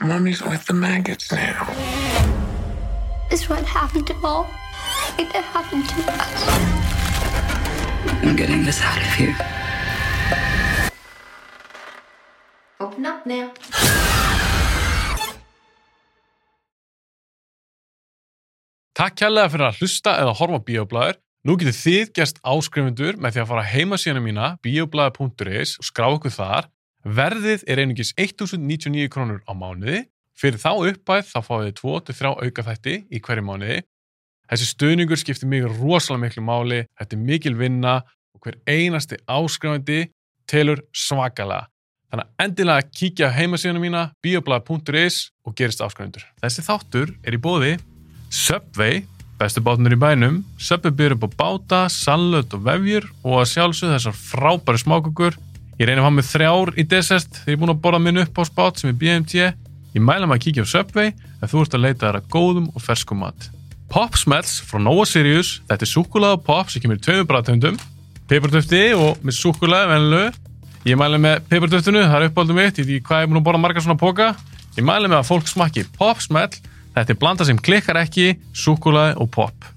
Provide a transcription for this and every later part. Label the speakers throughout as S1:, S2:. S1: Mummy's with the maggots now.
S2: Is what happened to all. It happened to us.
S3: I'm getting us out of here.
S4: Open up now.
S5: Takk kærlega fyrir að hlusta eða horfa á Bíoblæður. Nú getur þið gerst áskrifundur með því að fara á heimasíðuna mína bioblæður.is og skrá okkur þar. Verðið er einungis 1099 krónur á mánuði. Fyrir þá uppæð þá fáið þið 2-3 aukaþætti í hverju mánuði. Þessi stuðningur skiptir mig rosalega miklu máli, þetta er mikil vinna og hver einasti áskrifandi telur svakalega. Þannig að endilega kíkja á heimasíðuna mína bioblæður.is og gerist áskrifundur. Þessi þáttur er í bóði Subway, bestu bátunir í bænum Subway byrjur upp á báta, sallut og vefjur og að sjálfsögðu þessar frábæri smákukur Ég reyna að hafa með þrjár í desert þegar ég er búin að borða minn upp á spát sem er BMT Ég mæla maður að kíkja á Subway ef þú ert að leita þær að góðum og ferskum mat Pop Smells frá Nova Sirius Þetta er súkkulaða pop sem kemur í tveimur bræðtöndum Peppartöfti og með súkkulaði venlu Ég mæli með peipartöftinu, það er uppáldum mitt, ég veit ekki hvað ég er búin að borða margar svona póka. Ég mæli með að fólk smakki popsmell, þetta er blanda sem klikkar ekki, súkulaði og pop.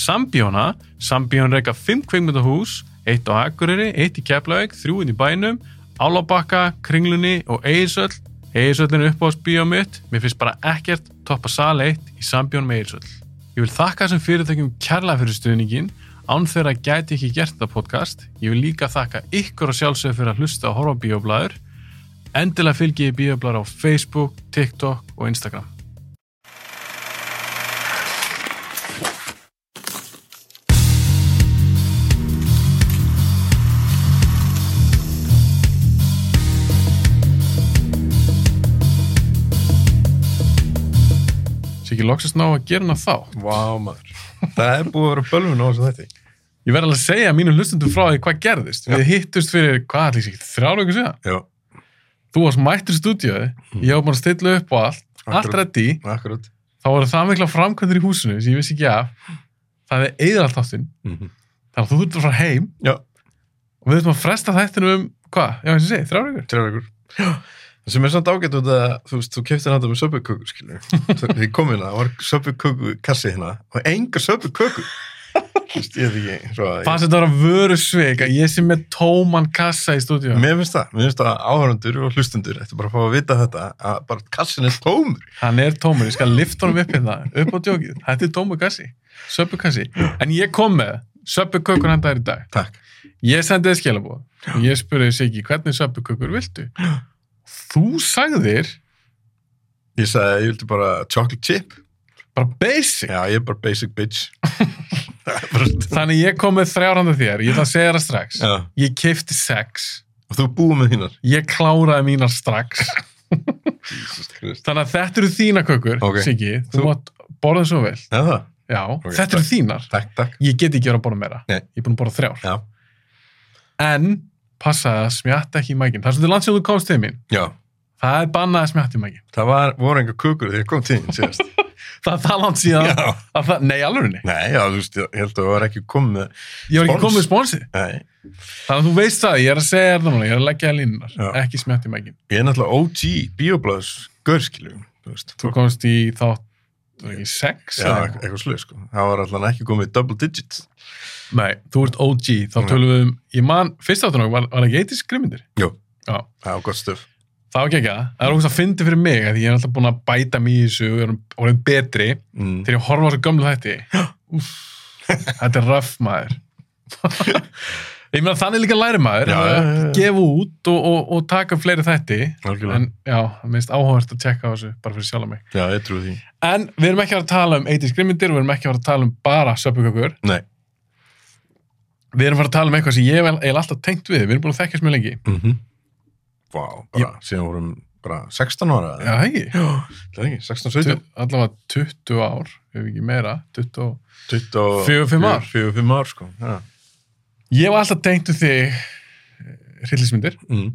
S5: Sambjóna, Sambjón reyka 5 kveikmyndahús, 1 á Akureyri, 1 í Keflavík, 3 inn í bænum, Álabakka, Kringlunni og Eirsöll. Eirsöllin er uppáhaldsbíó mitt, mér finnst bara ekkert toppa sal 1 í Sambjón með Eirsöll. Ég vil þakka þessum fyrirtækjum kærlega fyrir stuðningin, án þeirra gæti ekki gert það podcast. Ég vil líka þakka ykkur og sjálfsögur fyrir að hlusta og horfa á bíoblæður. Endilega fylgi ég bíoblæður á Facebook, TikTok og Instagram. Sér ekki loksast ná að gera hana þá.
S6: Vá maður. Það er búið að vera bölvun á þessu þætti.
S5: Ég verð alveg að segja mínum hlustundum frá því hvað gerðist. Við hittust fyrir, hvað allir sér, þrjára ykkur síðan.
S6: Já,
S5: Þú varst mættur í stúdíói, ég var búin að stilla upp og allt, allt
S6: Akkurat.
S5: reddi,
S6: akkurat.
S5: þá voru það mikla framkvæmdur í húsinu sem ég vissi ekki af. Það er eðar allt áttinn,
S6: Mhm.
S5: þannig að þú þurftur að fara heim
S6: Já,
S5: og við þurftum að fresta þættinu um, hvað, já, eins og ég segi, þrjára ykkur.
S6: trefur ykkur. Það sem er samt ágætt út að, þú veist, þú keftir handa með söpuköku, skilur. Þið komið hérna, það var söpuköku kassi hérna og enga söpuköku. Þú veist, ég veit ekki, svo að...
S5: Fannst þetta að vera vöru sveik að ég sem með tóman kassa í stúdíói.
S6: Ég, mér finnst það, mér finnst það að áhörundur og hlustundur eftir bara að fá að vita þetta, að bara kassin er tómur.
S5: Hann er tómur, ég skal lifta honum upp hérna, upp á djókið. Þetta er tómur kassi, söpbu kassi. En ég kom með söpbu kökur handa þér í dag.
S6: Takk.
S5: Ég sendi þið skilabóð. Ég spurði Siggi, hvernig söpbu kökur viltu? Þú sagðir,
S6: Ég sagði, ég vildi bara chocolate chip.
S5: bara basic.
S6: Já, ég er bara basic bitch. Það er bara-
S5: Þannig ég kom með þrjár handa þér, ég ætla að segja það strax.
S6: Já,
S5: Ég keipti sex,
S6: og þú búið með þínar.
S5: ég kláraði mínar strax.
S6: Jesus Christ.
S5: Þannig að þetta eru þína kökur,
S6: Ok.
S5: Siggi. Þú,
S6: Þú-
S5: mátt borða það svo vel.
S6: Já, það.
S5: Já,
S6: Ok,
S5: þetta eru þínar.
S6: Takk, takk.
S5: Ég get ekki verið að borða meira.
S6: Nei.
S5: Ég er búin að borða þrjár.
S6: Já,
S5: en passaði að smjatta ekki í mækinn. Það er svolítið langt sem þú komst til mín.
S6: já.
S5: Það er bannað að smjatta í mækinn.
S6: Það var, voru enga kukur þegar ég kom til þín síðast.
S5: Það er það langt síðan
S6: Já.
S5: að það, nei, alveg nei.
S6: Nei, já, þú veist, ég held að það var ekki komið.
S5: Ég var ekki
S6: Spons.
S5: komið með sponsið.
S6: Nei,
S5: Þannig að þú veist það, ég er að segja þér það núna, ég er að leggja það línunar,
S6: Já.
S5: ekki smjatta í mækinn.
S6: ég er náttúrulega OG bíoblæðs görskilum, þú veist.
S5: Þú komst í þátt, þú er ekki sex?
S6: Já,
S5: eða
S6: eitthvað,
S5: eitthvað?
S6: eitthvað sluð, sko. Það var alltaf ekki komið double digit.
S5: Nei, þú ert OG, þá
S6: Já.
S5: tölum við um, ég man, fyrst áttunum var, var ekki eitthvað skrimindir.
S6: Jú.
S5: Já.
S6: Það var gott stöf.
S5: Það var ekki ekki það, það er ógust að fyndi fyrir mig af því ég er alltaf búin að bæta mig í þessu og er orðin betri
S6: Mm.
S5: þegar ég horfa á þessu gömlu þætti Úff, þetta er röf maður ég meina þannig líka læri maður
S6: Já,
S5: að
S6: já, já, já.
S5: gefa út og, og, og taka upp fleiri þætti
S6: Algjörlega.
S5: en já, það minnst áhugavert að tjekka á þessu bara fyrir sjálf mig
S6: Já, ég trúi því.
S5: en við erum ekki að fara að tala um 80 grimmindir við erum ekki að fara að tala um bara söpukökur
S6: Nei.
S5: við erum að fara að tala um eitthvað sem ég er alltaf tengt við við erum búin að þekkjast mjög lengi
S6: Mm Vá, bara, síðan vorum bara 16 ára.
S5: já,
S6: eða?
S5: hegi,
S6: Það er ekki, 16,
S5: Tu-
S6: 17.
S5: allavega 20 ár ef ekki meira, 20 og
S6: 20
S5: Fjögur, fimm ár.
S6: 45 ár, sko. Já.
S5: Ég var alltaf tengt um þig hryllismyndir
S6: Mm.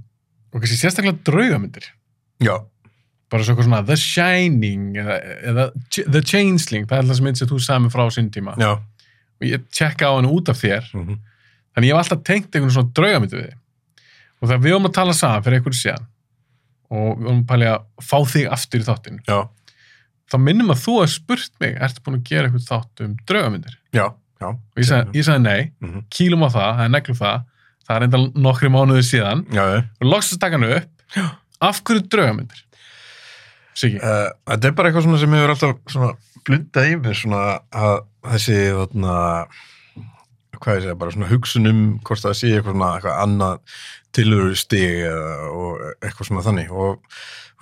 S5: og kannski sérstaklega draugamyndir.
S6: Já,
S5: Bara svo eitthvað svona The Shining eða, eða Ch- The Changeling, það er alltaf sem mynd sem þú sagði mig frá á sinn tíma.
S6: já.
S5: Og ég tjekka á henni út af þér.
S6: Mm
S5: Þannig ég var alltaf tengt einhvern svona draugamyndi við þig. Og þegar við varum að tala saman fyrir einhverju síðan og við vorum að pæli að fá þig aftur í þáttin
S6: já,
S5: þá minnum að þú að spurt mig ertu búin að gera eitthvað þátt um draugamyndir
S6: já, já
S5: og ég sagði, ég sagði nei,
S6: Mhm.
S5: kýlum á það það er neglum það, það er enda nokkri mánuði síðan
S6: Já, já
S5: og loksast taka hann upp af hverju draugamyndir Siggi,
S6: Uh, þetta er bara eitthvað svona sem hefur alltaf svona blundað í mér svona að þessi þarna hvað ég segja, bara svona hugsun um hvort það sé eitthvað svona eitthvað annað tilhöru stig eh, og eitthvað svona þannig og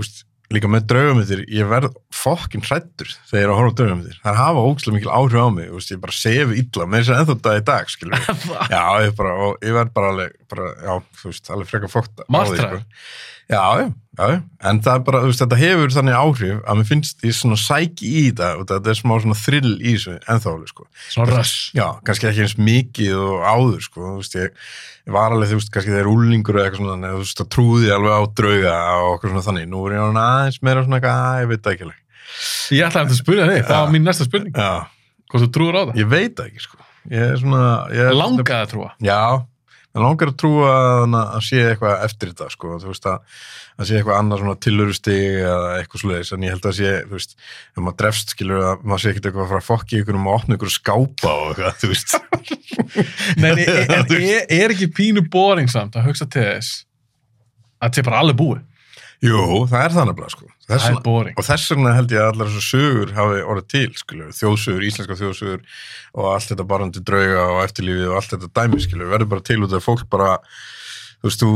S6: húst, líka með draugamindir, ég verð fokkin hrættur þegar ég er að horfa á draugamindir það hafa ógstlega mikil áhrif á mig, húst, ég bara sefi illa með þess að ennþá dag í dag, skilur við já, ég, bara, og ég verð bara alveg bara, já, þú veist, alveg frekar fokta
S5: Martraður?
S6: sko. Já, já, já, já. en það er bara, þú veist, þetta hefur þannig áhrif að mér finnst ég svona sæki í þetta og þetta er smá svona thrill í þessu ennþá, alveg, sko.
S5: svona röss
S6: Já, kannski ekki eins mikið og áður, sko, þú veist, ég, ég var alveg, þú veist, kannski þegar úlingur eða eitthvað svona, neð, þú veist, það trúði ég alveg á drauga og okkur svona þannig, nú er ég orðinn aðeins meira svona eitthvað, að, ég veit það ekki alveg.
S5: ég ætlaði að spyrja þig, það var mín næsta spurning
S6: Já,
S5: hvort þú trúir á það,
S6: ég veit það ekki, sko, ég er svona, ég er
S5: langaði að trúa
S6: Já, en langar að trúa að, að sé eitthvað eftir þetta, sko, þú veist að, að sé eitthvað annað svona tilurustig eða eitthvað svoleiðis, en ég held að sé, þú veist, ef maður drefst, skilur að maður sé ekkert eitthvað að fara að fokki ykkur um að opna ykkur skápa og eitthvað, þú veist.
S5: Nei, nei, en en er, er ekki pínu boring samt að hugsa til þess að þetta er bara alveg búið
S6: Jú, það er það nefnilega, sko. Þess
S5: það er
S6: vegna-
S5: boring
S6: Og þess vegna held ég að allar þessu sögur hafi orðið til, skilur, þjóðsögur, íslenska þjóðsögur og allt þetta barandi drauga og eftirlífið og allt þetta dæmi, skilur, verður bara til út af fólk bara, þú veist, þú,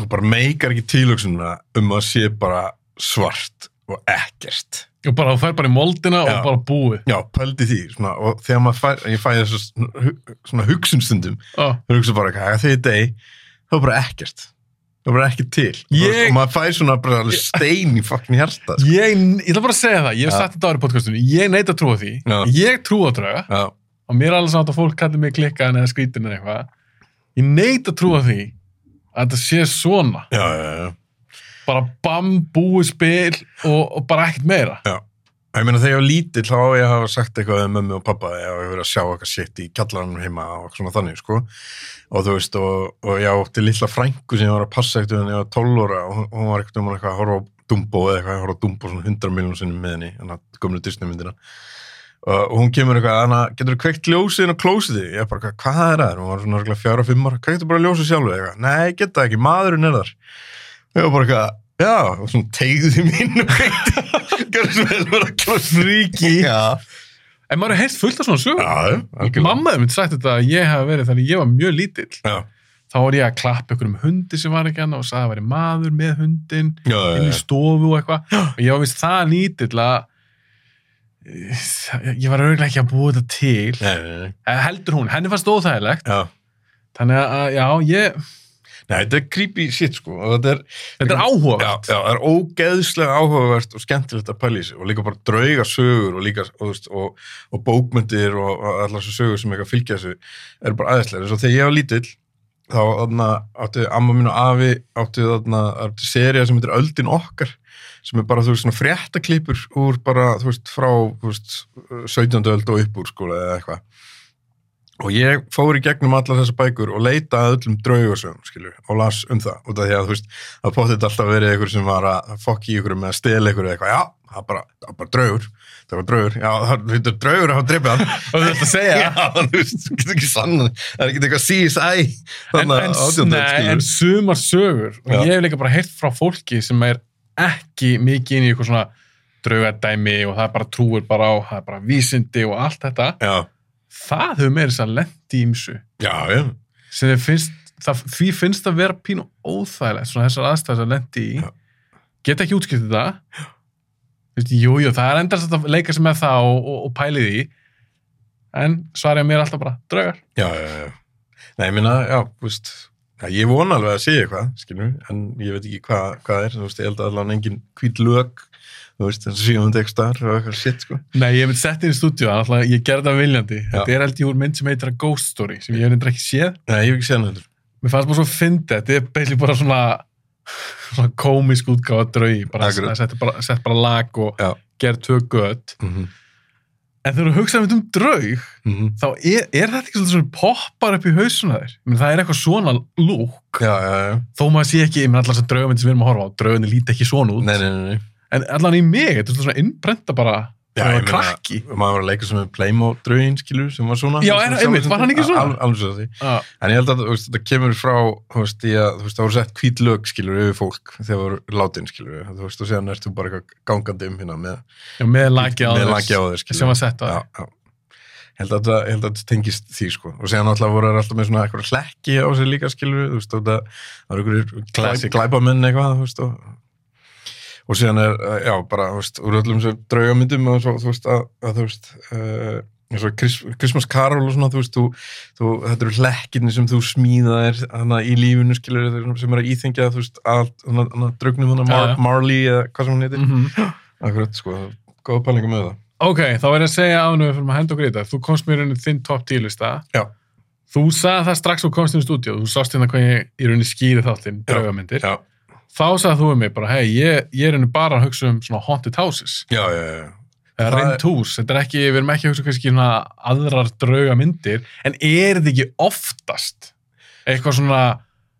S6: þú bara meikar ekki tilöksunna um að sé bara svart og ekkert.
S5: og bara þú fær bara í moldina
S6: Já.
S5: og bara búið
S6: Já, pældi því, svona, og þegar maður fær, ég fæ þessu svona hu- svona hugsunstundum,
S5: Ó,
S6: þú hugsa bara eitthvað, þegar ég deg, þá er bara ekkert. Það er bara ekki til.
S5: Ég-
S6: Og maður fær svona bara alveg stein í fokkin hjarta, sko.
S5: ég, ég ætla bara að segja það, ég hef
S6: Já.
S5: sagt þetta ári í podcastunni ég neita að trúa því,
S6: Já.
S5: ég trúa að drauga
S6: Já,
S5: og mér er alveg samt að fólk kallir mig klikkaðan eða skrítin eða eitthvað ég neita að trúa því að þetta sé svona
S6: já, já, já.
S5: bara bam, búið spil og, og bara ekkert meira
S6: Ég meina þegar ég var lítill þá á ég að hafa sagt eitthvað um mömmu og pappa eða ég hef verið að sjá eitthvað shit í kjallaranum heima og svona þannig sko og þú veist og, og ég átti litla frængu sem ég var að passa eitthvað en ég var 12 óra og hún- hún var eitthvað um eitthvað að horfa á Dumbo eða eitthvað, ég horfa á Dumbo svona 100 miljón sinni með henni, hann að gömlu Disney myndina og, og hún kemur eitthvað hann að getur þú kveikt ljósið inn á klósið ég er bara eitthvað, hvað er það, hún var svona örugglega fjögurra, fimm ára, kveiktu bara ljósið sjálfur?" Eitthvað, "Nei, ég get það ekki, maðurinn er þar." Ég var bara eitthvað, "Já," og svona teygði því mín og kveikti. Gjörðu svo vel, bara eitthvað fríki. Já,
S5: en maður er heilt fullt af svona sögur
S6: já, algjörlega.
S5: mamma hefur sagt þetta að ég hef verið þannig að ég var mjög lítill
S6: Já,
S5: þá var ég að klappa ykkur um hundi sem var ekki annað og sagði að það væri maður með hundin
S6: já, já,
S5: inn
S6: Eh. já.
S5: í stofu og eitthvað og ég var vist það lítill að eh, ég ég var auðvitað ekki að búa þetta til
S6: Nei, nei, nei.
S5: Eh, heldur hún, henni fannst óþægilegt
S6: Já.
S5: þannig að, já, ég,
S6: Nei, þetta er creepy shit, sko. og Þetta er,
S5: þetta er
S6: já,
S5: áhuga
S6: já, það er ógeðslega áhugavert og skemmtilegt að pæla í sig og líka bara drauga sögur og líka, og, þú veist, og, og bókmyndir og, og allar þessu sögur sem eitthvað fylgja þessu er bara aðeinslega. Eins og þegar ég var lítill, þá þarna, átti amma mín og afi átti þarna átti seria sem heitir Öldin okkar sem er bara þú veist svona fréttaklippur úr bara þú veist frá þú veist, 17. öld og upp úr sko eða eitthvað og ég fór í gegnum allar þessar bækur og leitaði að öllum draugasögum skilju og las um það út af því að þú veist það potið alltaf verið einhver sem var að fokki í ykkur með að stela ykkur eða eitthvað já, það var bara, það var bara draugur það var draugur, já, það hlutur draugur að hafa dreipið hann
S5: og þetta að segja
S6: já, þú veist, þú getur ekki sann það er ekki eitthvað CSI
S5: en,
S6: þarna
S5: en,
S6: átjándu öld,
S5: nei,
S6: skilurðu.
S5: en sumar sögur og
S6: Já.
S5: ég hef líka bara heyrt frá fólki sem er ekki mikið inn í eitthvað svona draugadæmi og það bara trúir bara á það er bara vísindi og allt þetta
S6: já,
S5: það hefur meira þess að lendi ímsu
S6: já, já,
S5: sem þið finnst það, því finnst það vera pínu óþægilegt svona þessar aðstæðis að lendi í
S6: Já.
S5: geta ekki útskiptið það Vist, jú, jú, það er endast að leika sem með það og, og, og pælið í en svarið mér er alltaf bara draugar
S6: já, já, já. Nei, ég minna, já, þú veist, já, ég vona alveg að segja eitthvað, skilur, en ég veit ekki hvað hvað er, þú veist, ég held að allan engin hvít lög, þú veist, þess að síðan textar og eitthvað shit, sko.
S5: Nei, ég mynd sett inn í stúdíu, alltaf ég gerði það viljandi.
S6: Já.
S5: Þetta er held ég úr mynd sem heitir A Ghost Story, sem ég hef reyndar ekki séð.
S6: Nei, ég hef ekki séð hann heldur.
S5: Mér fannst bara svo fyndið, þetta er beilig bara svona, svona komisk útgáfa draugi, bara
S6: Akkurat.
S5: sett bara, sett bara lag og
S6: Já.
S5: gerð tvö gött.
S6: Mm -hmm.
S5: En þegar þú hugsaðum um draug,
S6: Mhm.
S5: þá er, er þetta ekki svolítið svona poppar upp í hausuna þér? Menn, það er eitthvað svona lúk,
S6: Já, já, já.
S5: þó maður sé ekki, ég menn allar þessar draugmyndir sem við erum að horfa á, draugunni líti ekki svona út.
S6: Nei, nei, nei, nei.
S5: En allan í mig, þetta er svona innprenta bara,
S6: Já,
S5: bara
S6: ég meina-
S5: krakki.
S6: Maður var að leika sem með Playmo-draugin, skilur, sem var svona.
S5: Já,
S6: Sem-
S5: er-
S6: sem-
S5: einmitt, var hann ekki svona?
S6: Al- Alveg svo því.
S5: Já,
S6: En ég held að þú veist, þetta kemur frá, þú veist, í að, þú veist, það voru sett hvít lög, skilur, yfir fólk, þegar voru látin, skilur, þú veist, og séðan ertu bara eitthvað gangandi um hérna með,
S5: já, með lagi á
S6: með
S5: þess
S6: laki á þeir, skilur.
S5: sem var sett á
S6: Já,
S5: þér.
S6: já. Ég Held að, þetta- ég held að þetta tengist því, sko. Og séðan alltaf voru þær alltaf með svona eitthvað hlekki á sig líka, skilur, þú veist, og það það eru einhverjir
S5: Classic.
S6: glæpamenn eitthvað, þú veist, og og síðan er, eh, já, bara, þú veist, úr öllum sér draugamyndum og svo, þú veist, að, að þú veist, uh, eins og Chris, Christmas Carol og svona, þú veist, þú, þú, þetta eru hlekkinni sem þú smíðaðir hana í lífinu, skilur, þeir sem er að íþengja, þú veist, að, hana, hana, draugnum hana Mar
S5: Já, já.
S6: Marley eða hvað sem hún heitir.
S5: Mhm.
S6: Akkurat, sko, góða pælingu með það.
S5: Ok, þá er ég að segja ánum við fyrir að henda okkur í þetta. Þú komst mér í rauninni þinn top 10 lista.
S6: Já.
S5: Þú sagði það strax þú komst inn í stúdíu, þú sást hérna hvað ég í rauninni skýri þáttinn, draugamyndir.
S6: Já,
S5: Þá sagði þú um mig bara, hei, ég, ég er rauninni bara að hugsa um svona haunted houses,
S6: já, já, já, já.
S5: eða
S6: Það-
S5: reynd hús. Þetta er ekki, við erum ekki að hugsa kannski svona aðrar draugamyndir, en er þetta ekki oftast eitthvað svona,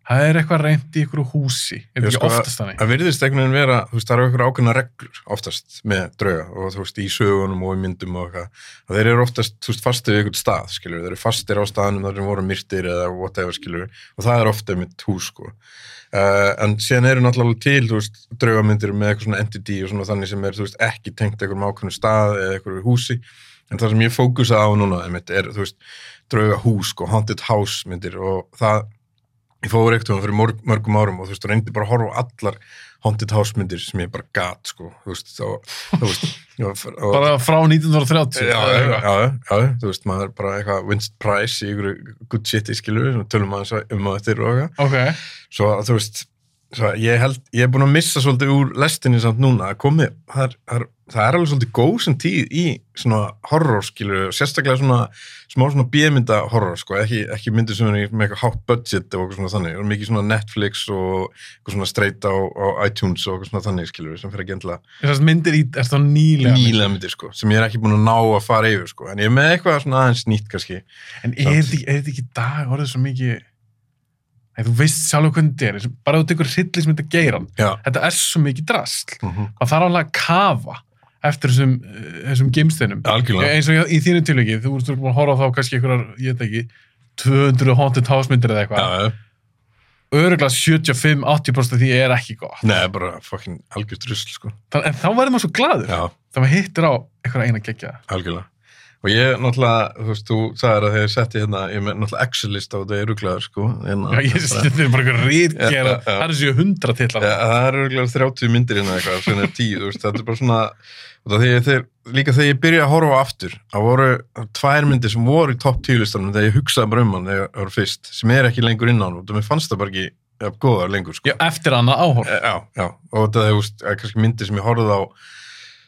S5: það er eitthvað reynd í ykkur húsi, er
S6: Já,
S5: þetta ekki
S6: sko,
S5: oftast þannig?
S6: Það virðist einhvern veginn vera, þú veist, það eru eitthvað ákveðna reglur oftast með drauga og þú veist, í sögunum og í myndum og eitthvað. Að þeir eru oftast, þú veist, fastir við einhvern stað, skilur, þeir eru fastir á staðanum þar sem voru myrtir eða whatever, skilur, og það er ofta einmitt hús, sko. Uh, en síðan eru náttúrulega til, þú veist, draugamyndir með eitthvað svona entity og svona þannig sem er, þú veist, ekki tengt einhverjum ákveðnum stað eða einhverju húsi. En það sem ég fókusa á núna, einmitt, er, þú veist, drauga hús, sko, haunted house myndir og það ég fór ekkert um fyrir mörg, mörgum árum og þú veist, og reyndi bara að horfa á allar haunted house myndir sem ég bara gat, sko þú veist, og, þú veist og, og,
S5: Bara frá
S6: já,
S5: 1930? eða
S6: já, já,
S5: eitthvað?
S6: já, já, þú veist, maður er bara eitthvað Winston Price í ykkur good shit í skilu, sem við tölum aðeins um að þetta er og eitthvað
S5: Ok,
S6: svo að þú veist svo að ég, held, ég er búin að missa svolítið úr lestinni samt núna að komi það er, það er, það er alveg svolítið góð sem tíð í svona horror skilur sérstaklega svona smá svona bímynda horror sko, ekki, ekki myndir sem er með eitthvað hátt budget og eitthvað svona þannig og mikið svona Netflix og eitthvað svona straight á, á iTunes og eitthvað svona þannig skilur sem fyrir að gendla
S5: þessast myndir í, er það nýlega? myndir?
S6: nýlega myndir sko sem ég er ekki búin að ná að fara yfir sko en ég er með eitthvað svona aðeins nýtt kannski
S5: En er
S6: Samt.
S5: þetta ekki- er þetta ekki í dag orðið svo mikið Nei, þú veist sjálf hvernig þetta er eins og bara þú tekur hryllismynd að geira hann
S6: já,
S5: þetta er svo mikið drasl
S6: mm
S5: það þarf alveg að kafa eftir þessum, eh, þessum geimsteinum
S6: algjörlega
S5: eins og í þínu tilöki, þú ert búin að horfa á þá kannski einhverjar, ég veit ekki 200 haunted house myndir eða eitthvað
S6: já, já.
S5: öruglega 75-80% af því er ekki gott
S6: Nei, bara fucking algjörst rusl sko
S5: Þann, en þá verður maður svo gladur
S6: já,
S5: þá maður hittir á einhverja eina geggja
S6: algjörlega og ég náttúrulega, þú veist, þú sagðir að þegar ég setti hérna, ég er með náttúrulega Excel-list á þetta ég rugglaður, sko hérna,
S5: Já, ég
S6: bara,
S5: þetta er bara einhver
S6: Já,
S5: rítgera
S6: já, já.
S5: það er þessi 100 til
S6: ja, það eru rugglaður 30 myndir hérna eitthvað, sem er 10, þú veist, þetta er bara svona og það þegar, þegar, líka þegar ég byrja að horfa á aftur, það voru tvær myndir sem voru í topp 10 listanum þegar ég hugsaði bara um hann þegar það voru fyrst, sem er ekki lengur inn á hann og mér fannst það bara ekki ja, góðar lengur, sko
S5: Já, eftir annað áhorf
S6: Eh, já, já, og þetta er, þú veist, er kannski myndir sem ég horfði á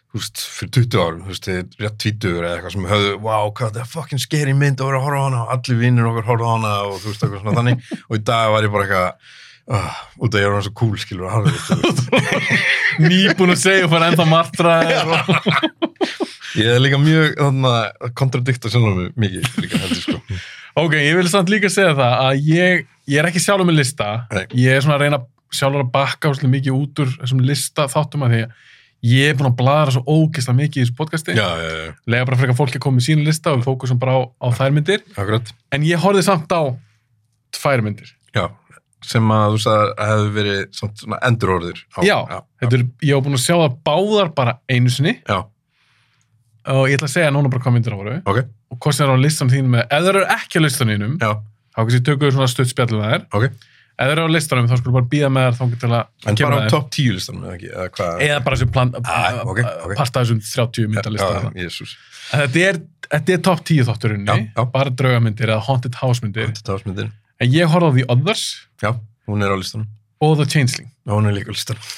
S6: þú veist, fyrir 20 árum, þú veist, þegar rétt 20 eða eitthvað sem höfðu, wow, hvað þetta er fucking scary mynd og voru að horfa á hana og allir vinnur okkar horfa á hana og þú veist, eitthvað svona þannig og í dag var ég bara eitthvað uh, út að ég er hann svo cool, skilur að horfa
S5: nýbúin að segja og fara ennþá martra og
S6: ég er líka mjög, þannig að kontradikta sjálfum mig mikið, líka heldur, sko
S5: Ok, ég vil samt líka segja það að ég, ég er ekki sjálfur með lista
S6: Nei.
S5: ég er svona að reyna sjálfur að bakka svolítið mikið út úr þessum lista þáttum að því að ég er búin að bladra svo ógeðslega mikið í þessu podcasti,
S6: já, já, já,
S5: lega bara frekar fólki að koma í sína lista og við fókusum bara á, á þær myndir
S6: akkurat
S5: en ég horfði samt á tvær myndir
S6: já, sem að þú sagði að hefðu verið samt svona endurorður á-
S5: Já,
S6: já, já,
S5: þetta er, ég var búin að sjá það báðar bara einu sinni
S6: já,
S5: og ég ætla að segja núna bara hvað myndir það voru
S6: ok,
S5: og hvort sem það er á listan þínum eða ef það eru ekki á listan þínum
S6: já,
S5: þá kannski tökum við svona stutt spjallum að þær
S6: ok
S5: ef það eru á listanum þá skulum bara býða með þær þangur til að
S6: En
S5: kemur
S6: bara
S5: að
S6: á
S5: þér.
S6: topp 10 listanum eða ekki, eða hvað?
S5: eða bara sem plan,
S6: Ah, ok, ok.
S5: parta þessum 30 myndalista
S6: Jésús.
S5: þetta er, þetta er top 10 þátturunni
S6: Já, já.
S5: bara draugamyndir eða haunted house myndir
S6: Þetta var smyndin.
S5: en ég horfði á The Others
S6: Já, hún er á listanum.
S5: og The Changeling
S6: Já, hún er líka á listanum.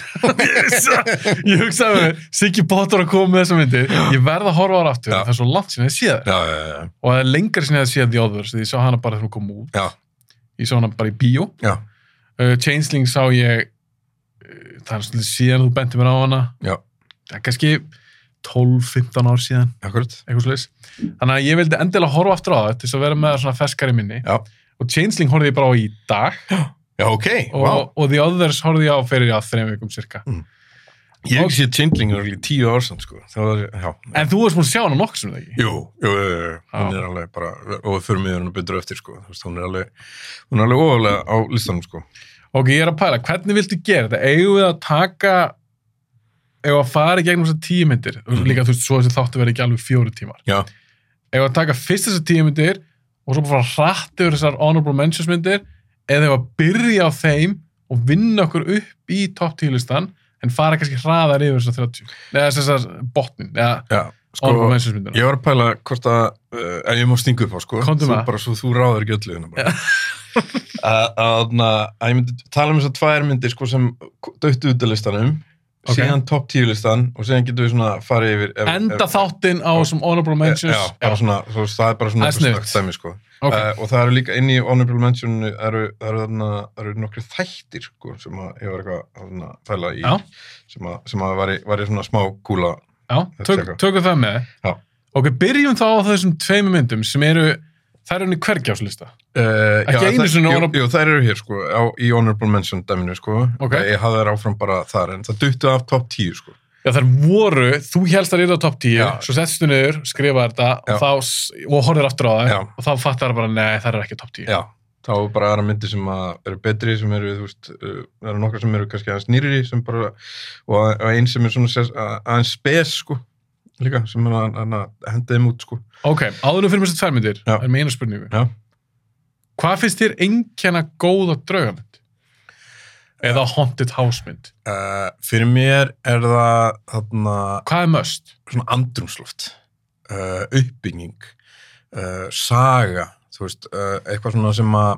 S5: ég hugsaði með Siggi Potter að koma með þessa myndir ég verð að horfa á það aftur
S6: Já.
S5: það er svo langt sinni að sé það
S6: Já, já, já,
S5: og það er lengar sinni að sé The Others því ég sá hana bara þegar hún kom út
S6: já,
S5: ég sá hana bara í bíó
S6: já,
S5: uh, Changeling sá ég uh, það er svolítið síðan þú bentir mér á hana
S6: já,
S5: það er kannski 12-15 ár síðan,
S6: akkurat.
S5: eitthvað slags. Þannig að ég vildi endilega horfa aftur á það til þess að vera með það svona feskari minni.
S6: Já.
S5: Og Changeling horfði ég bara á í dag
S6: Já, ok,
S5: og,
S6: vá.
S5: og The Others horfði ég á fyrir já, þreim vikum cirka.
S6: Ég hef ekki séð Changeling í tíu ár samt, sko. Það var, já.
S5: En þú varst múin að sjá hana nokkur sem það ekki.
S6: Jú, jú, jú, jú. hún er alveg bara, og við förum yfir hún betur eftir, sko. Þú veist, hún er alveg, hún er alveg ofalega á listanum, sko.
S5: Ok, ég er að pæla, hvernig viltu gera þetta? Eigum við að taka, eigum við að fara í gegnum þessar tíu myndir? Líka þú veist, svo þessi þáttu verði ekki alveg fjóri tímar.
S6: Já,
S5: Eigum við að taka fyrst þessar tíu myndir og svo bara fara hratt yfir þessar honorable mentions myndir eða eigum við að byrja á þeim og vinna okkur upp í topp tíu listan en fara kannski hraðar yfir þessar 30. Eða þessar botnin, eða
S6: já, sko.
S5: honorable mentions myndina.
S6: Ég var að pæla hvort að, uh, en ég má stinga upp á sko,
S5: Komdu
S6: þú
S5: með það.
S6: bara svo þú ráður ekki öllu hérna bara. Að- að þarna, að ég myndi tala um þess að tvær myndir sko sem döttu út af listanum,
S5: Ok.
S6: síðan topp tíu listan og síðan getum við svona farið yfir. Ef,
S5: Enda þáttinn á þessum honorable mentions.
S6: Já, bara svona, svo, það er bara
S5: Það
S6: svona
S5: er
S6: eitthvað
S5: sniðugt.
S6: snöggt dæmi sko.
S5: Ok.
S6: Uh, og það eru líka inn í Honorable Mention eru, eru, þarna, eru nokkri þættir sko, sem að ég var eitthvað þarna, að fæla í
S5: Já.
S6: sem að, sem að væri, væri svona smá kúla
S5: Já,
S6: Þetta
S5: tök,
S6: er eitthvað.
S5: tökum það með.
S6: Já.
S5: Ok, byrjum þá á þessum tveimu myndum sem eru, það eru henni hvergjáslista.
S6: Uh,
S5: Ekki einu sinni honorable-
S6: Jú, þær eru hér sko, á, í Honorable Mention dæminu sko
S5: Ok.
S6: Ég hafði þær áfram bara þar en það duttu af top 10 sko
S5: Já, þær voru, þú helst að rýða á topp 10,
S6: Já.
S5: svo settstu niður, skrifa þetta
S6: Já.
S5: og, þá, s- og horfir aftur á það
S6: Já.
S5: og þá fattar það bara, nei, það eru ekki topp 10.
S6: Já, þá er bara aðra myndir sem að eru betri sem eru, þú veist, uh, það eru nokkar sem eru kannski aðeins nýrri sem bara og, og einn sem er svona sér, aðeins spes sko líka, sem er að, að, að henda þeim út sko
S5: Ok, áðurum fyrir mér þessar tvær myndir,
S6: Já.
S5: er með eina spurningu.
S6: Já.
S5: Hvað finnst þér einkenna góða draugamynd? Eða haunted house mynd?
S6: uh, Fyrir mér er það þarna,
S5: Hvað er möst?
S6: svona andrumsloft uh, uppbygging uh, saga þú veist, uh, eitthvað svona sem að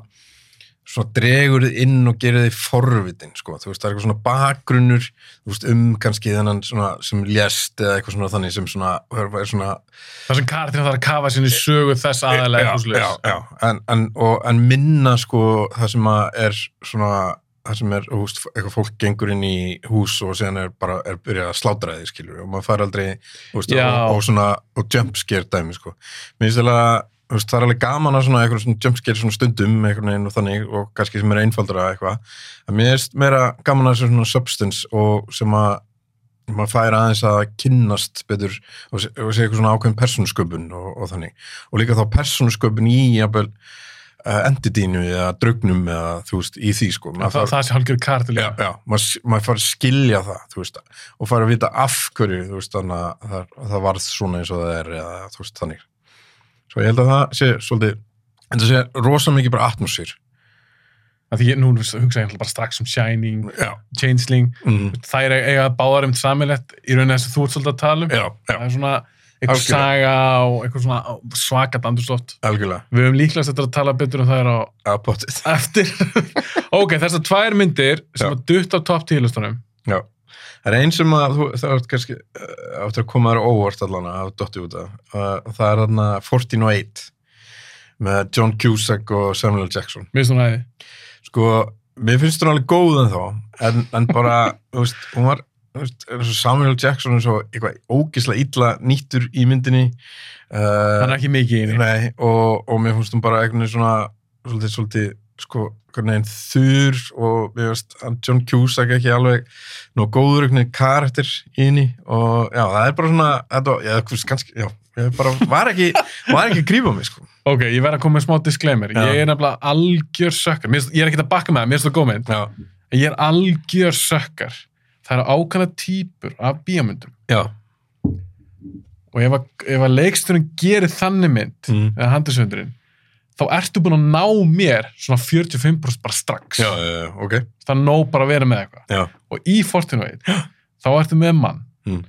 S6: svona dregur þið inn og gerir þið forvitin, sko, þú veist, það er eitthvað svona bakgrunnur, þú veist, um kannski þennan svona sem lést eða eitthvað svona þannig sem svona, er svona
S5: Það sem Karin þarf að kafa sinni sögu þess aðalega
S6: já, já, já, en, en, og, en minna sko það sem að er svona það sem er, þú veist, eitthvað fólk gengur inn í hús og síðan er bara, er byrjað að slátra því, skilur, og maður fær aldrei þú veist,
S5: Já.
S6: og, og svona, og jumpscare dæmi, sko, mér finnst alveg að þú veist, það er alveg gaman að svona eitthvað svona jumpscare svona stundum, eitthvað neginn og þannig og kannski sem er einfaldara eitthvað en mér finnst meira gaman að þessu svona substance og sem að maður fær aðeins að kynnast betur og sé, og sé eitthvað svona ákveðin persónsköpun og, og þannig, og líka þá persónsköpun í jafnvel uh, enditínu eða draugnum eða þú veist í því sko,
S5: Það, það,
S6: þarf-
S5: það sé hálfgjör Karin
S6: já, já, maður, maður fær að skilja það þú veist, og fær að vita af hverju þú veist, þannig að það, það varð svona eins og það er eða þú veist, þannig svo ég held að það sé svolítið en það sé rosa mikið bara atmosfýr
S5: Af Því ég nú hugsa ég náttúrulega bara strax um Shining,
S6: já,
S5: Changeling,
S6: mm,
S5: þær eiga- eiga báðar um samilegt í rauninni þess að þú ert svolítið að tala um
S6: já, já,
S5: það er svona eitthvað
S6: Algjörlega.
S5: saga og eitthvað svona svakat andurslott
S6: algjörlega
S5: við höfum líklegast eftir að tala betur um það er á
S6: að potið,
S5: eftir ok, þessar tvær myndir sem
S6: Já.
S5: að dutt á topp tíðlustunum
S6: já það er eins sem að þú, það er kannski uh, aftur að koma þér á óvart allan að dotti út af, uh, það er þarna 14 og 1 með John Cusack og Samuel L. Jackson
S5: mér finnst hún aðeins
S6: sko, mér finnst hún alveg góð en þá en, en bara, þú veist, hún var þú veist, eins og Samuel Jackson eins og eitthvað ógislega illa nýttur í myndinni
S5: það er
S6: uh,
S5: ekki mikið í henni
S6: nei, og, og mér finnst hún bara einhvern veginn svona svolítið, svolítið sko, hvernig einn þur og mér finnst hann John Cusack ekki alveg nú góður einhvern veginn karakter í henni og já, það er bara svona þetta, var- já, þú veist, kannski, já, ég bara var ekki, var ekki að grípa mig, sko
S5: ok, ég verð að koma með smá disclaimer
S6: Já.
S5: ég er nefnilega algjör sökkar Mér finnst- ég er ekkert að bakka með það, mér finnst það góð mynd
S6: já,
S5: en ég er algjör sökkar það eru ákvæmna típur af bíamundum
S6: já,
S5: og ef að, ef að leiksturinn gerir þannig mynd
S6: mm.
S5: eða handisöndurinn þá ertu búin að ná mér svona 45% bara strax
S6: já, já, ok
S5: það er nóg bara að vera með eitthvað
S6: já,
S5: og í Fortinveit þá ertu með mann
S6: Mm.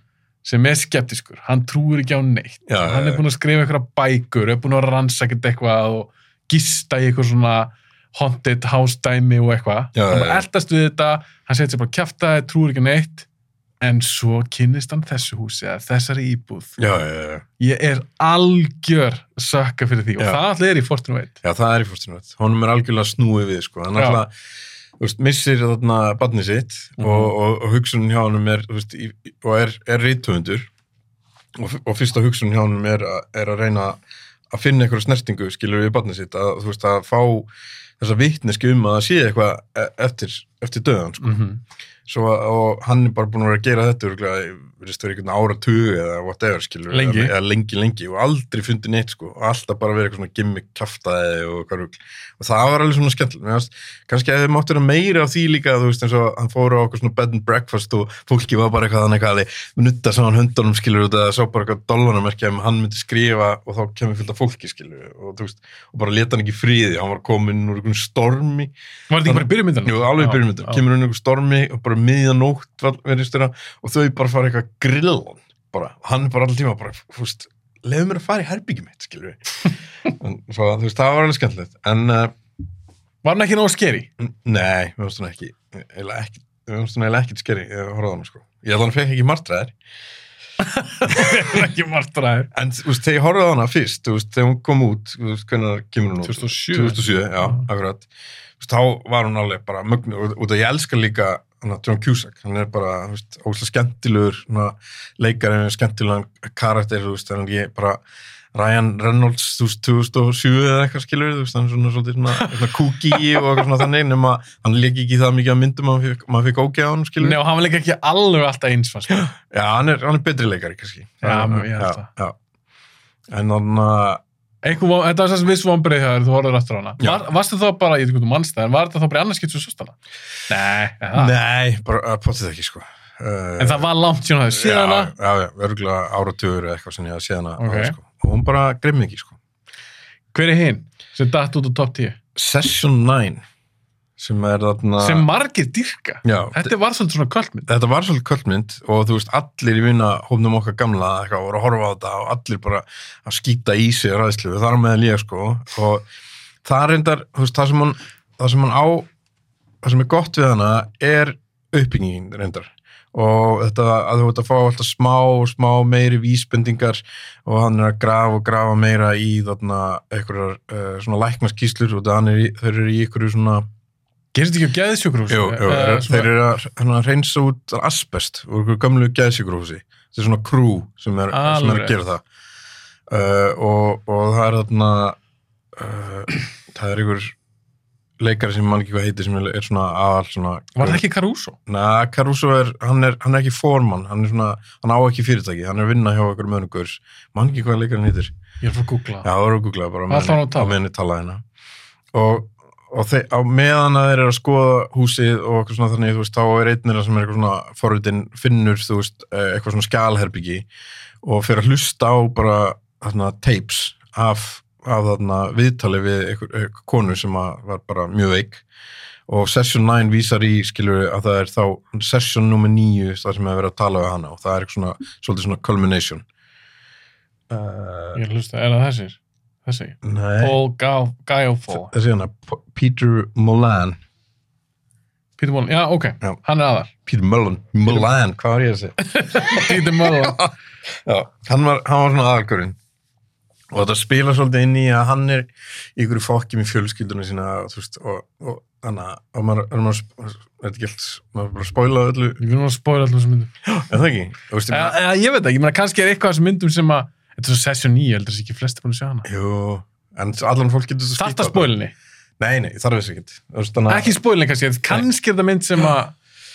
S5: sem er skeptiskur, hann trúir ekki á neitt
S6: Já,
S5: hann
S6: já,
S5: er búin að skrifa eitthvað bækur er búin að rannsaka þetta eitthvað og gista í eitthvað svona haunted house dæmi og eitthvað
S6: Já, já,
S5: hann bara
S6: já.
S5: eldast við þetta, hann setja bara kjafta trúir ekki á neitt en svo kynnist hann þessu húsi eða þessari íbúð
S6: já, já, já, já.
S5: ég er algjör sökka fyrir því og
S6: Já.
S5: það allir er í Fortune Wade
S6: Já, það er í fórstinu veit. Honum er algjörlega snúið við, sko. Hann
S5: Já.
S6: alltaf, þú veist, missir þarna barnið sitt
S5: Mhm.
S6: og, og, og hugsunin hjá honum er, þú veist, í, og er, er reythöfundur og, f- og fyrsta hugsun hjá honum er, að- er að reyna að finna einhverja snertingu skilur við barnið sitt að þú veist að fá þessa vitneski um að það sé eitthvað e- eftir, eftir döðan sko.
S5: mm
S6: Svo, að- og hann er bara búin að vera að gera þetta örgulega, verðist vera einhvern áratug eða whatever skilur
S5: Lengi.
S6: eða, eða lengi lengi og aldrei fundið neitt sko og alltaf bara verið eitthvað svona gimmick kaftaði og hvað rugl og það var alveg svona skemmtileg Mér fannst, kannski að þið máttu vera meira af því líka þú veist eins og hann fór á okkur svona bed and breakfast og fólki var bara eitthvað hann eitthvað að nutta saman höndunum skilur út að það sá bara eitthvað dollarnamerkja um hann myndi skrifa og þá kemur fyllt af fólki skilur og, þú veist, og bara leta hann ekki í friði hann var komin úr einhvern stormi
S5: Var þetta ekki bara byrjumyndan?
S6: Jú, alveg byrjumyndan, kemur hún einhver stormi og bara miðja nótt verðistur og þau bara fara eitthvað grillan bara, Og hann er bara allir tíma bara, fúst leiðu mér að fara í herbyggjum mitt, skilur við en, svo, þú veist, það var alveg skemmtilegt en, uh,
S5: Var hann ekki nógu skeri?
S6: n- nei, við varum svona ekki eiginlega ekki, við varum svona eiginlega ekkert skeri ég horfði á hann, sko, ég held að hann fekk ekki martræðir
S5: ekki margt ræður.
S6: En þú veist, þegar ég horfði á hana fyrst, þú veist, þegar hún kom út, þú veist, hvernig kemur hún út?
S5: 2007.
S6: 2007, já, akkurat. Þú veist, þá var hún alveg bara mögnu, og, og það ég elska líka hana, John Cusack, hann er bara, þú veist, óslega skemmtilegur, hana, leikarinn, skemmtilegan karakter, þú veist, en ég bara, Ryan Reynolds, þú veist, 2007 eða eitthvað skilur, þú veist, hann er svona svolítið svona, svona kúki og eitthvað svona þannig, nema hann leik ekki það mikið að myndum að maður fékk, maður fékk ógeð á hann, skilur.
S5: Nei, og hann var líka ekki alveg alltaf eins, sko. fannst mér.
S6: Já, hann er, hann er betri leikari, kannski.
S5: Já, mjög, ég held
S6: já, já. En uh, þannig að,
S5: Einhver, von- þetta var sem viss vonbreið hjá þér, þú horfður aftur á hana.
S6: Já.
S5: Var, varstu þá bara, ég veit ekki hvort þú mannst það, en var þetta þá bara í annars getur svo sostana? Nei, ja.
S6: Nei, bara potið ekki sko. Uh,
S5: En það var langt síðan að þau síðan hana.
S6: Já, já, örgulega áratugur eða eitthvað sem ég hafði séð hana.
S5: Ok.
S6: áður, Sko. Og hún bara grimmi ekki sko.
S5: Hver er hinn sem datt út á top 10?
S6: Session 9 sem er þarna...
S5: Sem margir dyrka.
S6: Já,
S5: Þetta var svolítið svona kvöldmynd.
S6: þetta var svolítið kvöldmynd og þú veist allir í vinna hófnum okkar gamla eitthvað, voru að horfa á þetta og allir bara að skýta í sig ræðslu þar með að líka sko og það reyndar, þú veist, það sem hann það sem hann á, það sem er gott við hana er uppbyggingin reyndar og þetta að þú veit að fá alltaf smá og smá meiri vísbendingar og hann er að grafa og grafa meira í þarna einhverjar uh, svona læknaskíslur og þannig er í, þeir eru í einhverju svona
S5: Gerist ekki á geðsjókur hús?
S6: Jú, jú,
S5: Eh,
S6: þeir eru að hérna, reynsa út asbest úr einhverju gömlu gæðsíkurhúsi þetta er svona krú sem er, sem er
S5: Alveg.
S6: að gera það uh, og, og það er þarna uh, það er einhver leikari sem mann ekki hvað heitir sem er, er svona aðal svona
S5: Var það ekki Caruso?
S6: Na, Caruso er, hann er, hann er ekki formann hann, er svona, hann á ekki fyrirtæki, hann er að vinna hjá einhverjum mönungur, mann ekki hvað leikarinn heitir
S5: Ég er að fara að googla.
S6: Já, það voru að googla bara á
S5: Alltaf hann
S6: meðan- á
S5: á tala.
S6: meðan ég talaði hérna. Og, og þe á meðan að þeir eru að skoða húsið og eitthvað svona þannig, þú veist, þá er einnir sem er eitthvað svona forritin finnur, þú veist, eh, eitthvað svona skjalherbyggi og fyrir að hlusta á bara þarna tapes af, af þarna viðtali við einhver, einhver konu sem að var bara mjög veik og session 9 vísar í skilur að það er þá session nummer 9 þar sem er verið að tala við hana og það er eitthvað svona, svolítið svona culmination uh,
S5: Ég er að hlusta, er það þessir? Þessi?
S6: Nei
S5: Paul Gau- Gaiofo.
S6: þessi hana, P- Peter Molan
S5: Peter Mullen, já, ok,
S6: Já.
S5: hann er aðal.
S6: Peter Mullen, Molan, hvað var ég að segja
S5: Peter Mullen.
S6: Já, hann var, hann var svona aðalgurinn og þetta spila svolítið inn í að hann er í ykkur fokkim í fjölskyldunum sína og þú veist og, og þannig að- og maður er maður, sp- er þetta gælt maður er bara að spoila öllu,
S5: Ég vil nú að spóra allir þessum myndum.
S6: er það ekki? Þú veist, ég meina-
S5: Eða, eða, ég veit ekki, ég meina, kannski er eitthvað af þessum myndum sem að, þetta er svo session 9, heldur þess ekki flestir búin að sjá hana.
S6: Jú, en allan fólk getur þetta
S5: Starta spólinni,
S6: Nei, nei, þarf þess ekki Þú veist, þannig að-
S5: ekki spólinni kannski, en kannski er þetta mynd sem að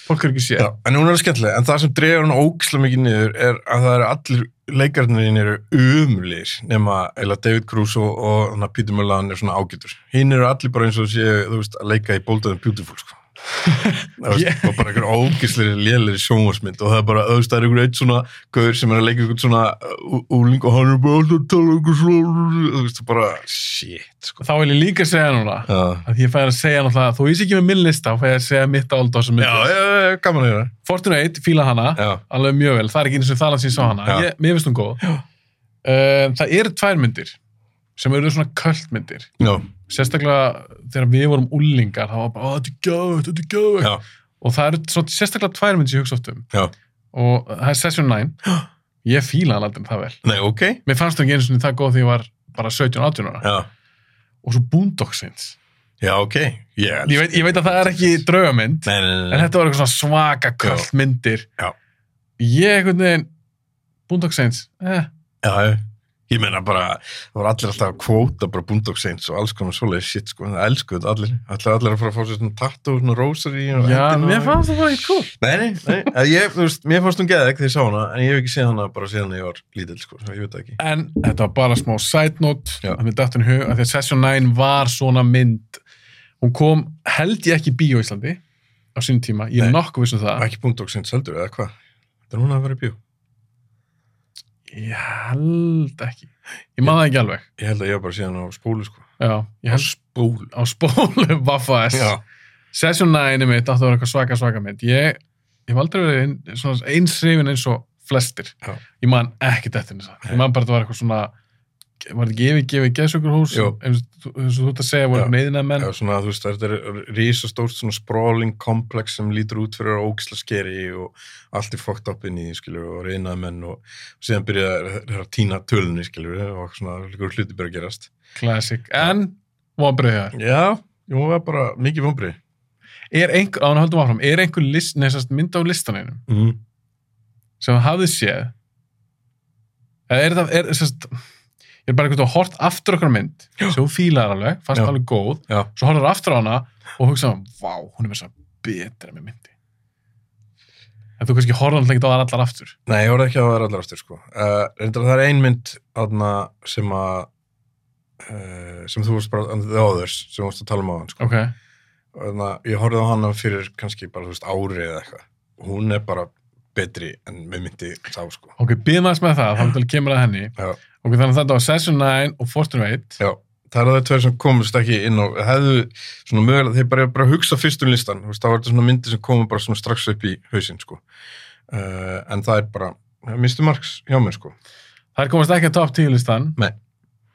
S5: fólk er ekki séð.
S6: Já, en hún er skemmtileg, en það sem dregur hún ógislega mikið niður er að það eru allir leikarnirinn eru umlir nema eða David Crusoe og hana, Peter Mullan er svona ágætur. Hinn eru allir bara eins og séu, þú veist, að leika í Bold and Beautiful, sko. Það veist, og bara einhver ógislega lélir sjónvarsmynd og það er bara, þú veist, það er einhver eitt svona gaur sem er að leika einhvern svona uh, úling og hann er bara alltaf að tala um einhver svona, þú veist, það bara, shit, sko.
S5: Þá vil ég líka segja núna,
S6: Já,
S5: að ég fæði að segja náttúrulega, þú veist ekki með minn lista, þá fæði að segja mitt áldu á þessum
S6: já,
S5: myndum.
S6: já, já, gaman að gera.
S5: Fortuna 1, fíla hana,
S6: Já,
S5: alveg mjög vel, það er ekki eins og þalan sem ég sá hana,
S6: Já.
S5: ég, mér finnst hún góð. Um, það eru tvær myndir sem eru svona kvöldmyndir,
S6: já,
S5: sérstaklega þegar við vorum úlingar, það var bara, "Ó, þetta er gjöð, þetta er gjöð,
S6: já,
S5: og það eru svona sérstaklega tvær myndir sem ég hugsa oft um
S6: já.
S5: og það er Session 9 ég fíla hann aldrei um það vel
S6: Nei, ok,
S5: mér fannst það ekki einu sinni það góð því ég var bara 17-18 ára
S6: já.
S5: og svo Boondocks-ins
S6: Já, ok. Ég, elska-
S5: ég, veit- ég veit að það er ekki draugamynd
S6: Nei, nei, nei.
S5: en þetta var eitthvað svona svaka kvöld myndir
S6: Já.
S5: ég einhvern veginn Boondock Saints, eh,
S6: Já, ég meina bara, það voru allir alltaf að kvóta bara Boondock Saints og alls konar svoleiðið shit, sko, en það elskuðu þetta allir. Allir allir að fara að fá sér svona tattoo, svona rosary og
S5: já,
S6: eddina
S5: mér
S6: og-
S5: fannst það bara eitt cool.
S6: Nei, nei, nei, að ég, þú veist, mér fannst hún geðeg þegar ég sá hana, en ég hef ekki séð hana bara síðan ég var lítill, sko, svo ég veit það ekki.
S5: En þetta var bara smá side note
S6: Já.
S5: að mér datt hún í hug að því að Session 9 var svona mynd. Hún kom, held ég ekki í bíó í Íslandi á sínum tíma, ég er
S6: Nei.
S5: nokkuð viss um það.
S6: Ekki Boondock Saints heldur, eða hvað? Þetta er hún að vera í bjó.
S5: Ég held ekki. Ég man það ekki alveg.
S6: Ég held að ég var bara síðan á spólu, sko.
S5: Já, ég held
S6: spólu?
S5: á spólu Vaffa S.
S6: Já.
S5: Session 9 mitt átti að vera eitthvað svaka svaka mynd. Ég, ég hef aldrei verið ein, svona eins hrifin eins og flestir.
S6: Já.
S5: Ég man ekki þetta eins og það. Ég man bara að það var eitthvað svona, var þetta ekki yfirgefið geðsökurhús?
S6: Jú.
S5: Eins og þú- eins og þú ert að segja,
S6: Já.
S5: voru neyðina menn.
S6: Já, svona, þú veist, þetta er risastórt svona sprawling komplex sem lítur út fyrir að ógisla skeri og allt er fokkt upp inn í, skilur, og reynað menn og, og síðan byrja þeirra að tína tölunni, skilur, og svona líkur hluti byrja að gerast.
S5: Classic, en vonbreyðar.
S6: Já, jú, það er bara mikið vombrið.
S5: Er einhver, án að höldum áfram, er einhver list, neðsast mynd á listaninu
S6: Mm.
S5: sem það hafði séð eða er það, er, sérst ég er bara einhvern veginn að hort aftur okkur mynd sem þú fílar alveg, fannst
S6: Já.
S5: alveg góð
S6: Já.
S5: svo horfður aftur á hana og hugsa vá, hún er með þess að betra með myndi en þú kannski horfður alltaf ekki á það allar aftur
S6: Nei, ég voru ekki að það er allar aftur, sko. Uh, reyndar það er ein mynd, aðna, sem að, uh, sem þú varst bara, The Others, sem þú varst að tala um á hann, sko.
S5: ok,
S6: og þannig að ég horfði á hana fyrir kannski bara, þú veist, ári eða eitthvað og hún er bara betri en mér myndi sá, sko.
S5: ok, býðum aðeins með það þá til kemur að henni
S6: Já.
S5: ok, þannig að þetta var Session 9 og Fortune 8
S6: Já, það eru þau tveir sem komist ekki inn og hefðu svona mögulega, þeir bara, bara hugsa fyrst um listan, þú veist, það var þetta svona myndi sem komum bara svona strax upp í hausinn, sko. Uh, en það er bara, misti margs hjá mér, sko.
S5: þær komast ekki að top 10 listan
S6: Nei.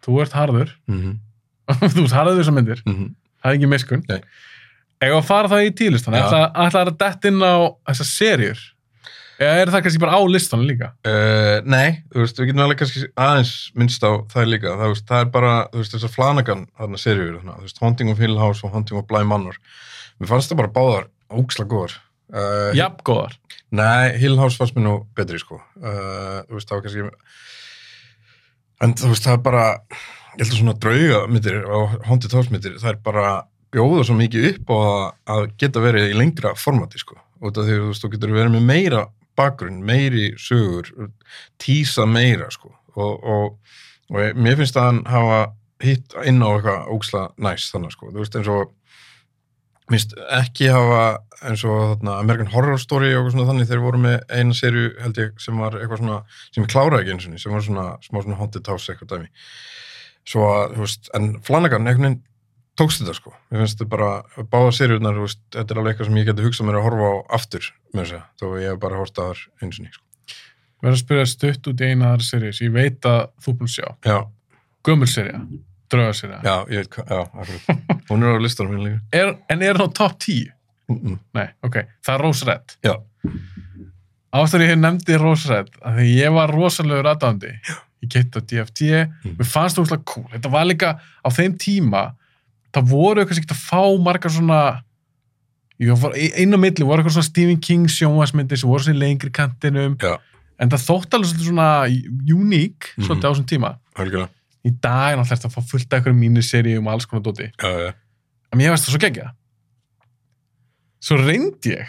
S5: þú ert harður,
S6: Mm -hmm.
S5: þú ert harður þessar myndir það er ekki miskun
S6: Nei.
S5: eða að fara það í tílistan
S6: Já.
S5: ætla, ætla að detta inn á þessar serjur eða er það kannski bara á listan líka
S6: Uh, nei, þú veist, við getum alveg kannski aðeins minnst á það líka, það, veist, það er bara, þú veist, þessar Flanagan þarna seriur, þarna, þú veist, Haunting of Hill House og Haunting of Bly Manor, mér fannst það bara báðar óksla góðar. Uh,
S5: jafn góðar
S6: Nei, Hill House fannst mér nú betri, sko, uh, þú veist, það var kannski, en þú veist, það er bara, ég held að svona drauga myndir og Haunted House myndir, það er bara bjóða svo mikið upp á að- að geta verið í lengra formati, sko, út af því, þú veist, þú getur verið með meira bakgrunn, meiri sögur, tísa meira sko og, og, og ég- mér finnst að hann hafa hitt inn á eitthvað óksla næs þannig sko, þú veist eins og minnst ekki hafa eins og þarna American Horror Story og eitthvað svona þannig þeir voru með eina serju held ég sem var eitthvað svona, sem ég kláraði ekki eins og sem var svona smá svona haunted house eitthvað dæmi svo að, þú veist, en Flanagan einhvern veginn tókst þetta sko mér finnst þetta bara, báða seriurnar, þú veist þetta er alveg eitthvað sem ég geti hugsað mér að horfa á aftur með þess að, þó ég hef bara horft að þar eins og ný, sko,
S5: verður að spyrja stutt út í eina aðra serjur sem ég veit að þú búin að sjá
S6: já,
S5: gömul serja, draugar serja
S6: Já, ég veit hvað, já, akkurat. Hún er á listanum minn líka.
S5: er, en er hann á top 10?
S6: Mm -mm.
S5: nei, ok, það er Rose Red
S6: Já.
S5: ástæður ég nefndi Rose Red að því ég var rosalegur aðdándi ég gett á DFT,
S6: Mm.
S5: mér fannst það úrslega cool þetta var líka á þeim tíma það voru kannski ekki að fá margar svona jú, það var- ein- inn á milli voru eitthvað svona Stephen King sjónvarsmyndir sem voru svona í lengri kantinum
S6: Já.
S5: en það þótt alveg svolítið svona uník
S6: Mhm.
S5: svolítið á þessum tíma
S6: Algjörlega.
S5: í dag er náttúrulega ertu að fá fullt af einhverjum mínuseríum og alls konar dóti
S6: Já, já.
S5: en mér veist það svo geggja svo reyndi ég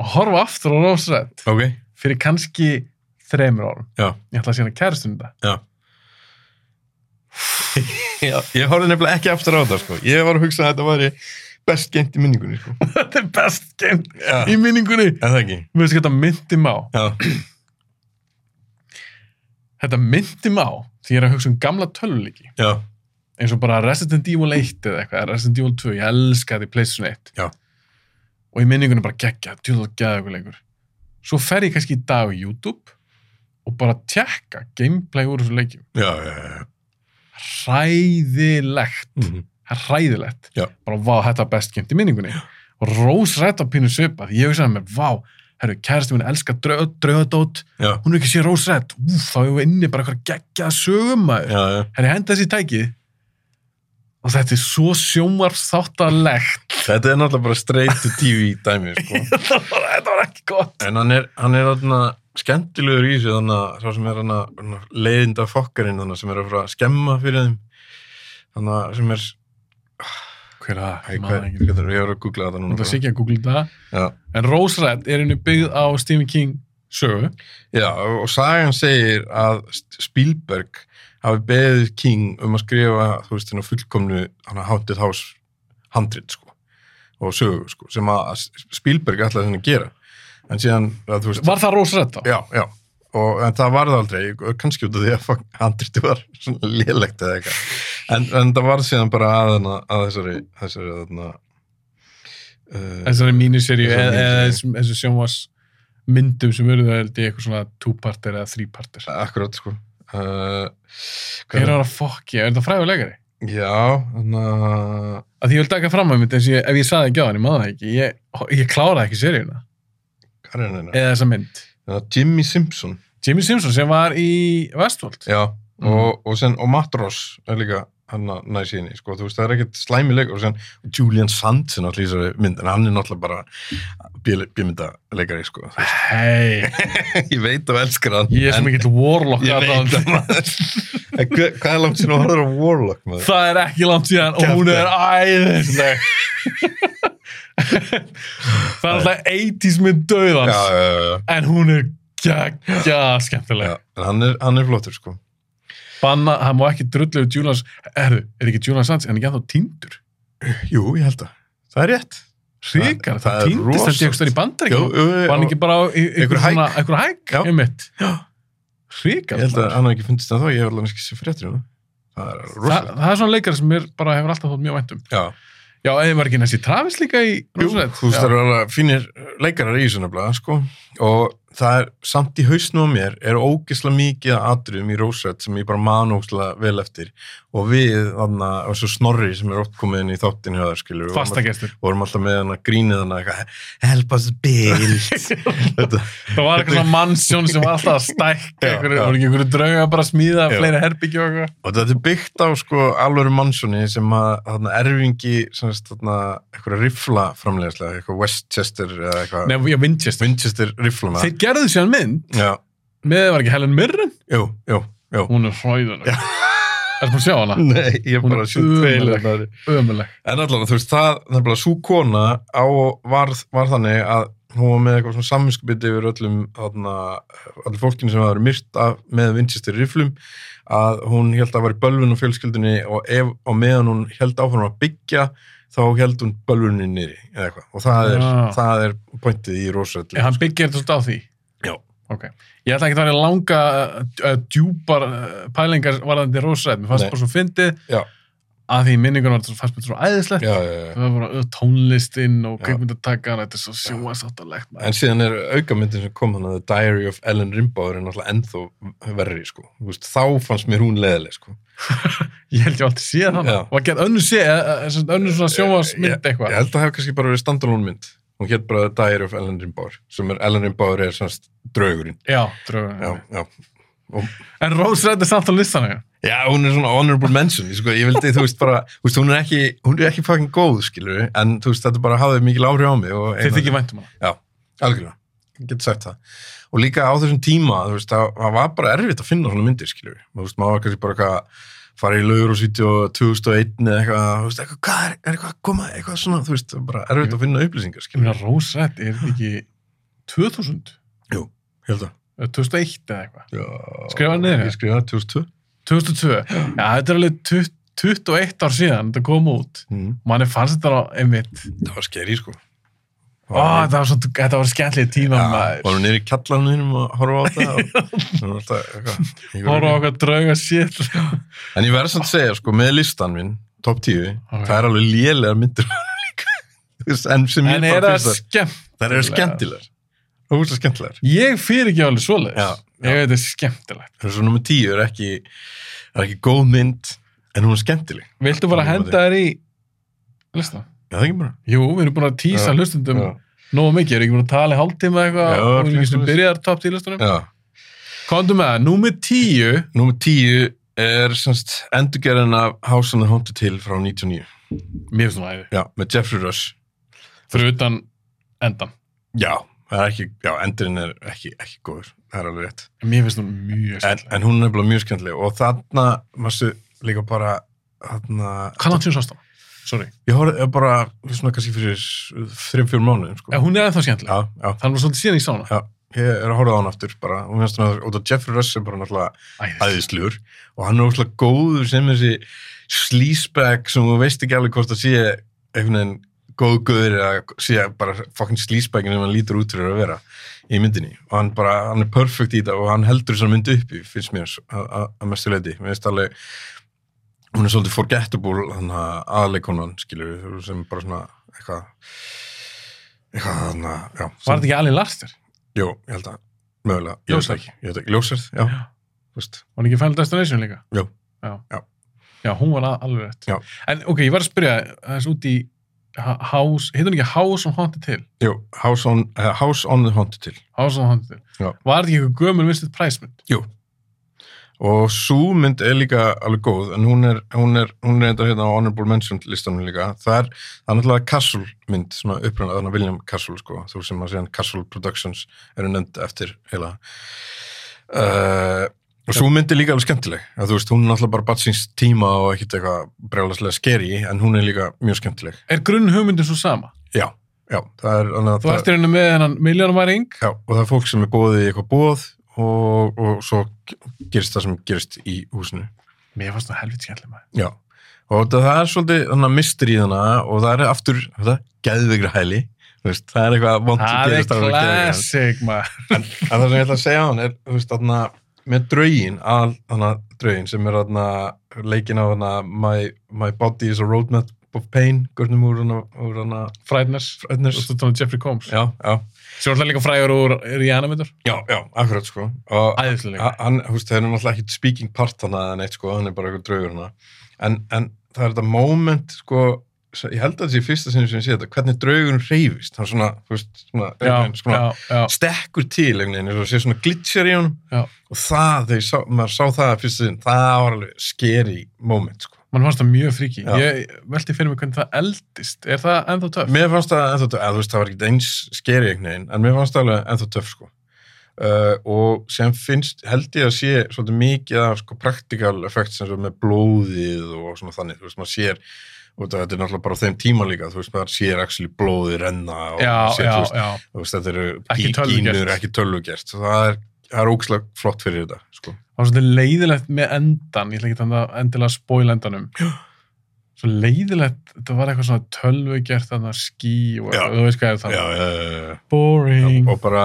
S5: að horfa aftur á Rose Red
S6: Ok.
S5: fyrir kannski þremur árum
S6: Já.
S5: ég ætla að sína kæristun þetta
S6: já. Ég horfði nefnilega ekki aftur á þetta, sko. Ég var að hugsa að þetta væri best gengt í minningunni, sko.
S5: þetta er best game
S6: Já.
S5: í minningunni
S6: En það ekki.
S5: mér finnst þetta myndi má
S6: Já.
S5: þetta myndi má því ég er að hugsa um gamla töluleiki
S6: Já.
S5: eins og bara Resident Evil 1 eða eitthvað eða Resident Evil 2, ég elska því PlayStation 1
S6: Já.
S5: og í minningunni bara geggja djúðlega geggja eitthvað leikur svo fer ég kannski í dag á YouTube og bara tjekka gameplay úr þessu leikjum
S6: Já, já, já.
S5: hræðilegt
S6: Mm -hmm.
S5: það er hræðilegt
S6: Já.
S5: bara vá, þetta var best gemt í minningunni og rós rætt á pínu svipa því ég hugsaði með, vá, herru, kærasti minn elskar draug, draugadót,
S6: Já.
S5: hún er ekki sér rós rætt úf, þá hefur inni bara eitthvað geggjað sögumæður
S6: Já, já.
S5: herru, henda þessi í tækið og þetta er svo sjómarstáttalegt
S6: Þetta er náttúrulega bara straight to TV dæmi, sko.
S5: þetta var þetta var ekki gott
S6: En hann er, hann er þarna skemmtilegur í þessu þannig að sá sem er hann að leiðinda fokkarinn þannig sem er að fara að skemma fyrir þeim þannig að sem er
S5: Hver er það?
S6: Æ,
S5: Ég man
S6: hvað,
S5: það ekki.
S6: hvað er, ég er að googla þetta
S5: Nú
S6: núna sko.
S5: ætla Siggi að googla þetta.
S6: Já.
S5: En Rose Red er henni byggð á Stephen King sögu.
S6: Já, og sagan segir að Spielberg hafi beðið King um að skrifa þú veist hérna fullkomnu hana Haunted House handrit sko og sögu sko sem að Spielberg ætlaði henni að gera en síðan að, þú veist
S5: Var það Rose Red þá?
S6: Já, já og, en það varð aldrei, kannski út af því að fuck, handriti var svona lélegt eða eitthvað en, en það varð síðan bara að, hana, að þessari, þessari þarna, uh,
S5: Þessari míniserju
S6: Þessari
S5: eða eða
S6: míniseríu.
S5: þessum þessu sjónvars myndum sem eru það held ég eitthvað svona two-parter eða three-parter.
S6: akkurat sko uh,
S5: Hver er það að fokki? Er það frægur leikari?
S6: Já, þannig að
S5: Að því ég vil taka fram að mitt eins og ég, ef ég saði ekki á hann, ég maður það ekki. Ég, ég kláraði ekki seríuna
S6: Hvað er hann hérna?
S5: eða þessa mynd.
S6: Þannig að Jimmy Simpson.
S5: Jimmy Simpson sem var í Westworld.
S6: Já.
S5: Mm.
S6: Og, og, sen, og Matt Ross er líka hann að næs í henni, sko, þú veist, það er ekkert slæmi leikur og sen Julian Sand sem alltaf lýsar mynd, en hann er náttúrulega bara bímynda leikari, sko Þú veist,
S5: Hei,
S6: ég veit og elskar hann
S5: ég er svo
S6: en-
S5: mikill warlock
S6: ég veit
S5: aðdáandi.
S6: það maður En hver- hvað er langt sinni að horfa á Warlock, maður?
S5: Það er ekki langt síðan og hún er æðisleg. það er alltaf 80s mynd
S6: Já,
S5: döðans
S6: já, já, já.
S5: en hún er geggja skemmtileg.
S6: já. En hann er, hann er flottur, sko
S5: Banna, hann má ekki drullu yfir Julian Herðu, er ekki Julian Sands, en ekki ennþá tindur?
S6: Jú, ég held að Það er rétt
S5: Ríkar,
S6: Það- það
S5: það
S6: er
S5: tindist
S6: rosalegt.
S5: þetta ekki stöður í
S6: Jú,
S5: bandaríkjum.
S6: jú,
S5: Var hann ekki bara á í- í-
S6: Einhver
S5: einhver
S6: hæk.
S5: svona- einhver hæk,
S6: Já.
S5: einmitt.
S6: Já. Ég
S5: Ríkar.
S6: held að
S5: maður.
S6: hann hafði ekki fundist það þá, ég hef alveg ekki sér fréttir um það. Það er
S5: Þa,
S6: rosalegt.
S5: það er svona leikar sem mér bara hefur alltaf þótt mjög væntum.
S6: Já.
S5: Já, eða var ekki næst í Travis líka í
S6: Jú,
S5: Rosalind?
S6: þú veist,
S5: Já.
S6: það eru alveg fínir leikarar í þessu nefnilega, sko. Og það er, samt í hausnum á mér, er ógislega mikið af atriðum í Rósrætt sem ég bara man ógislega vel eftir. Og við, þannig að, og svo Snorri sem er oft komið inn í þáttin hjá þar, skilur.
S5: Fastagestur.
S6: Og vorum alltaf með hann að grínið hann að eitthvað, help us build. Þetta,
S5: Það var eitthvað svona mannsjón sem var alltaf að stækka
S6: Já,
S5: einhverju,
S6: já.
S5: voru ekki einhverju drauga bara að smíða
S6: Já.
S5: fleiri herbyggju og eitthvað.
S6: og þetta er byggt á sko alvöru mannsoni sem að þarna erfingi sem sagt þarna eitthvað rifla framleiðslega, eitthvað Westchester eða eitthvað
S5: Nei, já, Winchester.
S6: Winchester riflana
S5: Þeir gerðu síðan mynd
S6: Já,
S5: með, var ekki Helen Mirren?
S6: jú, jú, jú
S5: Hún er hræðuleg. Er það að sjá hana?
S6: Nei, ég er
S5: Hún
S6: bara
S5: er
S6: að sjúta
S5: ömurleg. Ömuleg.
S6: En allavega, þú veist, það, nefnilega, sú kona á, var, var þannig að hún var með eitthvað svona saminskubiti yfir öllum, þarna, öllum fólkinu sem hafa verið myrt af, með vinstistir riflum, að hún held að var í bölvun og fjölskyldunni og, ef, og meðan hún held áfram að byggja, þá held hún bölvunni nýri, eða eitthvað. Og það er,
S5: Já.
S6: það er pointið í
S5: En
S6: rosöllu.
S5: hann byggir þetta svolítið á því?
S6: Já.
S5: Ok. Ég ætla ekki að vera í langa, uh, djúpar uh, pælingar varðandi rosarætt. Mér fannst
S6: Nei.
S5: bara svo fyndið
S6: Já.
S5: að því minningun var þetta fannst mér svo æðislegt.
S6: Já, já, já.
S5: Það var bara uh, tónlistin og
S6: Já.
S5: kveikmyndatakkan, þetta er svo sjóasáttalegt. maður.
S6: En síðan er aukamyndin sem kom þannig að The Diary of Ellen Rimbaud er náttúrulega ennþá verri, sko. Þú Veist, þá fannst mér hún leðileg, sko.
S5: Ég held ég aldrei séð hana.
S6: Já. Eh,
S5: Var gett önnur sé, eh, önnur svona sjónvarsmynd eitthvað.
S6: Ég held að það hef kannski bara verið standalone mynd. Hún hétt bara The Diary of Ellen Rimbaud, sem er Ellen Rimbaud er semst draugurinn.
S5: Já, drögum.
S6: Já, já.
S5: En Rose Red er samt á listanum. já.
S6: já, hún er svona honorable mention. Sko. Ég vildi, þú veist, bara, þú veist, hún er ekki, hún er ekki fucking góð, skilur við, en þú veist, þetta bara hafði mikil áhrif á mig. og
S5: Þið
S6: einan-
S5: þykir væntum hana.
S6: Já, algjörlega. Ég get sagt það. Og líka á þessum tíma, þú veist, það það var bara erfitt að finna svona myndir, skilur við. Þú veist, maður var kannski bara eitthvað að fara í laugur og sýti 2001 eða eitthvað, þú veist, eitthvað, hvað er, er eitthvað að koma, eitthvað svona, þú veist, það var bara erfitt að finna upplýsingar,
S5: Ég meina
S6: skilur við.
S5: Rose Red er þetta ekki 2000,
S6: Held að.
S5: eða 2001 eða eitthvað.
S6: Já.
S5: Skrifaðu niður, ja?
S6: Ég skrifaði 2002.
S5: 2002, já, þetta er alveg 20 21 ár síðan þetta kom út
S6: Mm.
S5: manni fannst þetta á einmitt
S6: Það var skeri, sko.
S5: Ó, þetta var, svo, þetta var skemmtlið tíma
S6: Já,
S5: maður
S6: varum niður í kallanum og horfa á þetta og það var alltaf eitthvað
S5: horfa á okkar drauga shit
S6: En ég verður samt að segja, sko, með listan minn, top 10,
S5: Ok.
S6: það er alveg lélegar myndir á honum líka. Þú veist, en sem ég
S5: en er
S6: bara
S5: það
S6: finnst
S5: skemmt
S6: það það eru skemmtilegar. Það eru skemmtilegar.
S5: ég fyrir ekki alveg
S6: Já,
S5: svoleiðis
S6: já.
S5: ég veit þetta er skemmtilegt
S6: Það er svo nummer 10, er ekki, það er ekki góð mynd, en hún er skemmtileg.
S5: viltu bara
S6: Fáum
S5: henda þér í lista
S6: Já, það er ekki bara.
S5: jú, við erum búin að tísa
S6: Já,
S5: hlustundum
S6: já.
S5: nógu mikið, erum ekki búin að tala í
S6: Já,
S5: hálftíma eitthvað og við erum ekki
S6: frekar
S5: sem
S6: svoleiðis.
S5: byrjar top 10 listunum
S6: Já.
S5: komdu með það, númið 10
S6: Nummer 10 er semst endurgerðin af House on the Haunted Hill frá 99.
S5: mér finnst það æði,
S6: Já, með Jeffrey Rush.
S5: fyrir utan endan
S6: Já, það er ekki, já, endurinn er ekki, ekki góður, það er alveg rétt
S5: Mér finnst hún mjög
S6: en,
S5: skemmtileg.
S6: en hún er nefnilega mjög skemmtileg og þarna, maður líka bara þarna,
S5: Hvað langt sér sást þá? Sorry.
S6: ég horfði ég bara svona kannski fyrir þrjum, fjórum mánuðum sko.
S5: Já, hún er ennþá skemmtileg.
S6: já, já,
S5: Það var svolítið síðan ég sá hana.
S6: já, ég er að horfa á hann aftur bara, og mér finnst hann að, og það Jeffrey Russ er bara náttúrulega
S5: Æðislega.
S6: æðislugur og hann er óslega góður sem þessi sleazebag sem þú veist ekki alveg hvort það sé einhvern veginn góð guður eða sé bara fokkin sleazebagin sem hann lítur út fyrir að vera í myndinni og hann bara, hann er perfect í þetta og hann heldur þessar mynd uppi, finnst mér s- að- að að mestu leiti, mér finnst alveg hún er svolítið forgettable hann aðleikonan, skilur við sem bara svona eitthvað eitthvað, hann já
S5: Var þetta ekki Alin Larster?
S6: Jú, ég held að, mögulega, ég veit
S5: Ljósarð.
S6: það ekki, ég veit ekki, ljósarð, já,
S5: Já.
S6: þú veist,
S5: Var hann ekki Final Destination líka?
S6: Jú.
S5: Já.
S6: Já.
S5: Já, hún var að- alveg rétt.
S6: Já.
S5: En ok, ég var að spyrja þess út í Ha- House, heitir hún ekki House on Haunted Hill?
S6: Jú, House on, uh, House on the Haunted Hill
S5: House on Haunted Hill.
S6: Já.
S5: Var þetta ekki eitthvað gömul Vincent Price mynd?
S6: og sú mynd er líka alveg góð en hún er, hún er, hún er þetta hérna á Honorable Mention listanum líka það er, það er náttúrulega Castle mynd sem er upprænað þarna William Castle sko þú sem að segja Castle Productions eru nefnd eftir heila uh, og svo mynd er líka alveg skemmtileg að þú veist, hún er náttúrulega bara batsins tíma og ekkit eitthvað brjálaslega skeri en hún er líka mjög skemmtileg
S5: Er grunn hugmyndin svo sama?
S6: já, já, það er annað,
S5: Þú ert í henni með hennan milljónumæring
S6: Já, og það er fólk sem er bóðið í eitthvað bóð og, og svo gerist það sem gerist í húsinu.
S5: Mér fannst það helvit skemmtileg maður.
S6: Já, og þetta- það er svolítið þannig að mistur í hana og það er aftur, þetta, geðveikri hæli, þú veist, það er eitthvað vont
S5: Það er
S6: þarna á geðveikri hæli.
S5: classic maður.
S6: En það sem ég ætla að segja á hann er, þú veist, þarna, með draugin, al, þarna, draugin sem er þarna, leikin á þarna, my, my body is a roadmap of pain, görnum úr hana, úr hana,
S5: Frighteners.
S6: Frighteners.
S5: Þú ert tónum Jeffrey Combs.
S6: Já, já,
S5: Sér alltaf líka frægur úr Rihanna myndur.
S6: já, já, akkurat, sko. Og,
S5: Æðislega.
S6: Ha- hann, þú veist, það er náttúrulega ekkit speaking part hann eða neitt, sko, hann er bara eitthvað draugur hann en, en það er þetta moment, sko s- ég held að þetta sé í fyrsta sinni sem ég sé þetta hvernig draugurinn reyfist, hann svona þú veist, svona,
S5: Já,
S6: einhvern veginn, svona
S5: já, já.
S6: stekkur til einhvern veginn, eins og sé svona glitcher í honum
S5: Já.
S6: og það, þegar ég sá, maður sá það að fyrsta sinni, það var alveg scary moment, sko
S5: Man fannst það mjög fríki.
S6: Já.
S5: Ég velti fyrir mig hvernig það eldist. Er það ennþá töff?
S6: Mér fannst það ennþá töff, eða þú veist, það var ekkert eins skeri einhvern veginn, en mér fannst það alveg ennþá töff, sko. Uh, og sem finnst, held ég að sé svolítið mikið af sko praktikal effekt sem svo með blóðið og svona þannig, þú veist, maður sér, og þetta þetta er náttúrulega bara á þeim tíma líka, þú veist, maður sér actually blóðið renna og
S5: Já,
S6: maður sér,
S5: já,
S6: þú, veist,
S5: já.
S6: þú veist, þetta eru
S5: Ekki
S6: gí-
S5: tölvugert.
S6: gínur, ekki tölvugert, svo það er, það er ógslag flott fyrir þetta, sko.
S5: Það var svolítið leiðilegt með endan. Ég ætla ekki þannig að endilega spóil endanum. Svo leiðilegt, þetta var eitthvað svona tölvugjert þannig að skí og
S6: Já.
S5: þú veist hvað er það.
S6: Já, já, já, já, já.
S5: Boring.
S6: og bara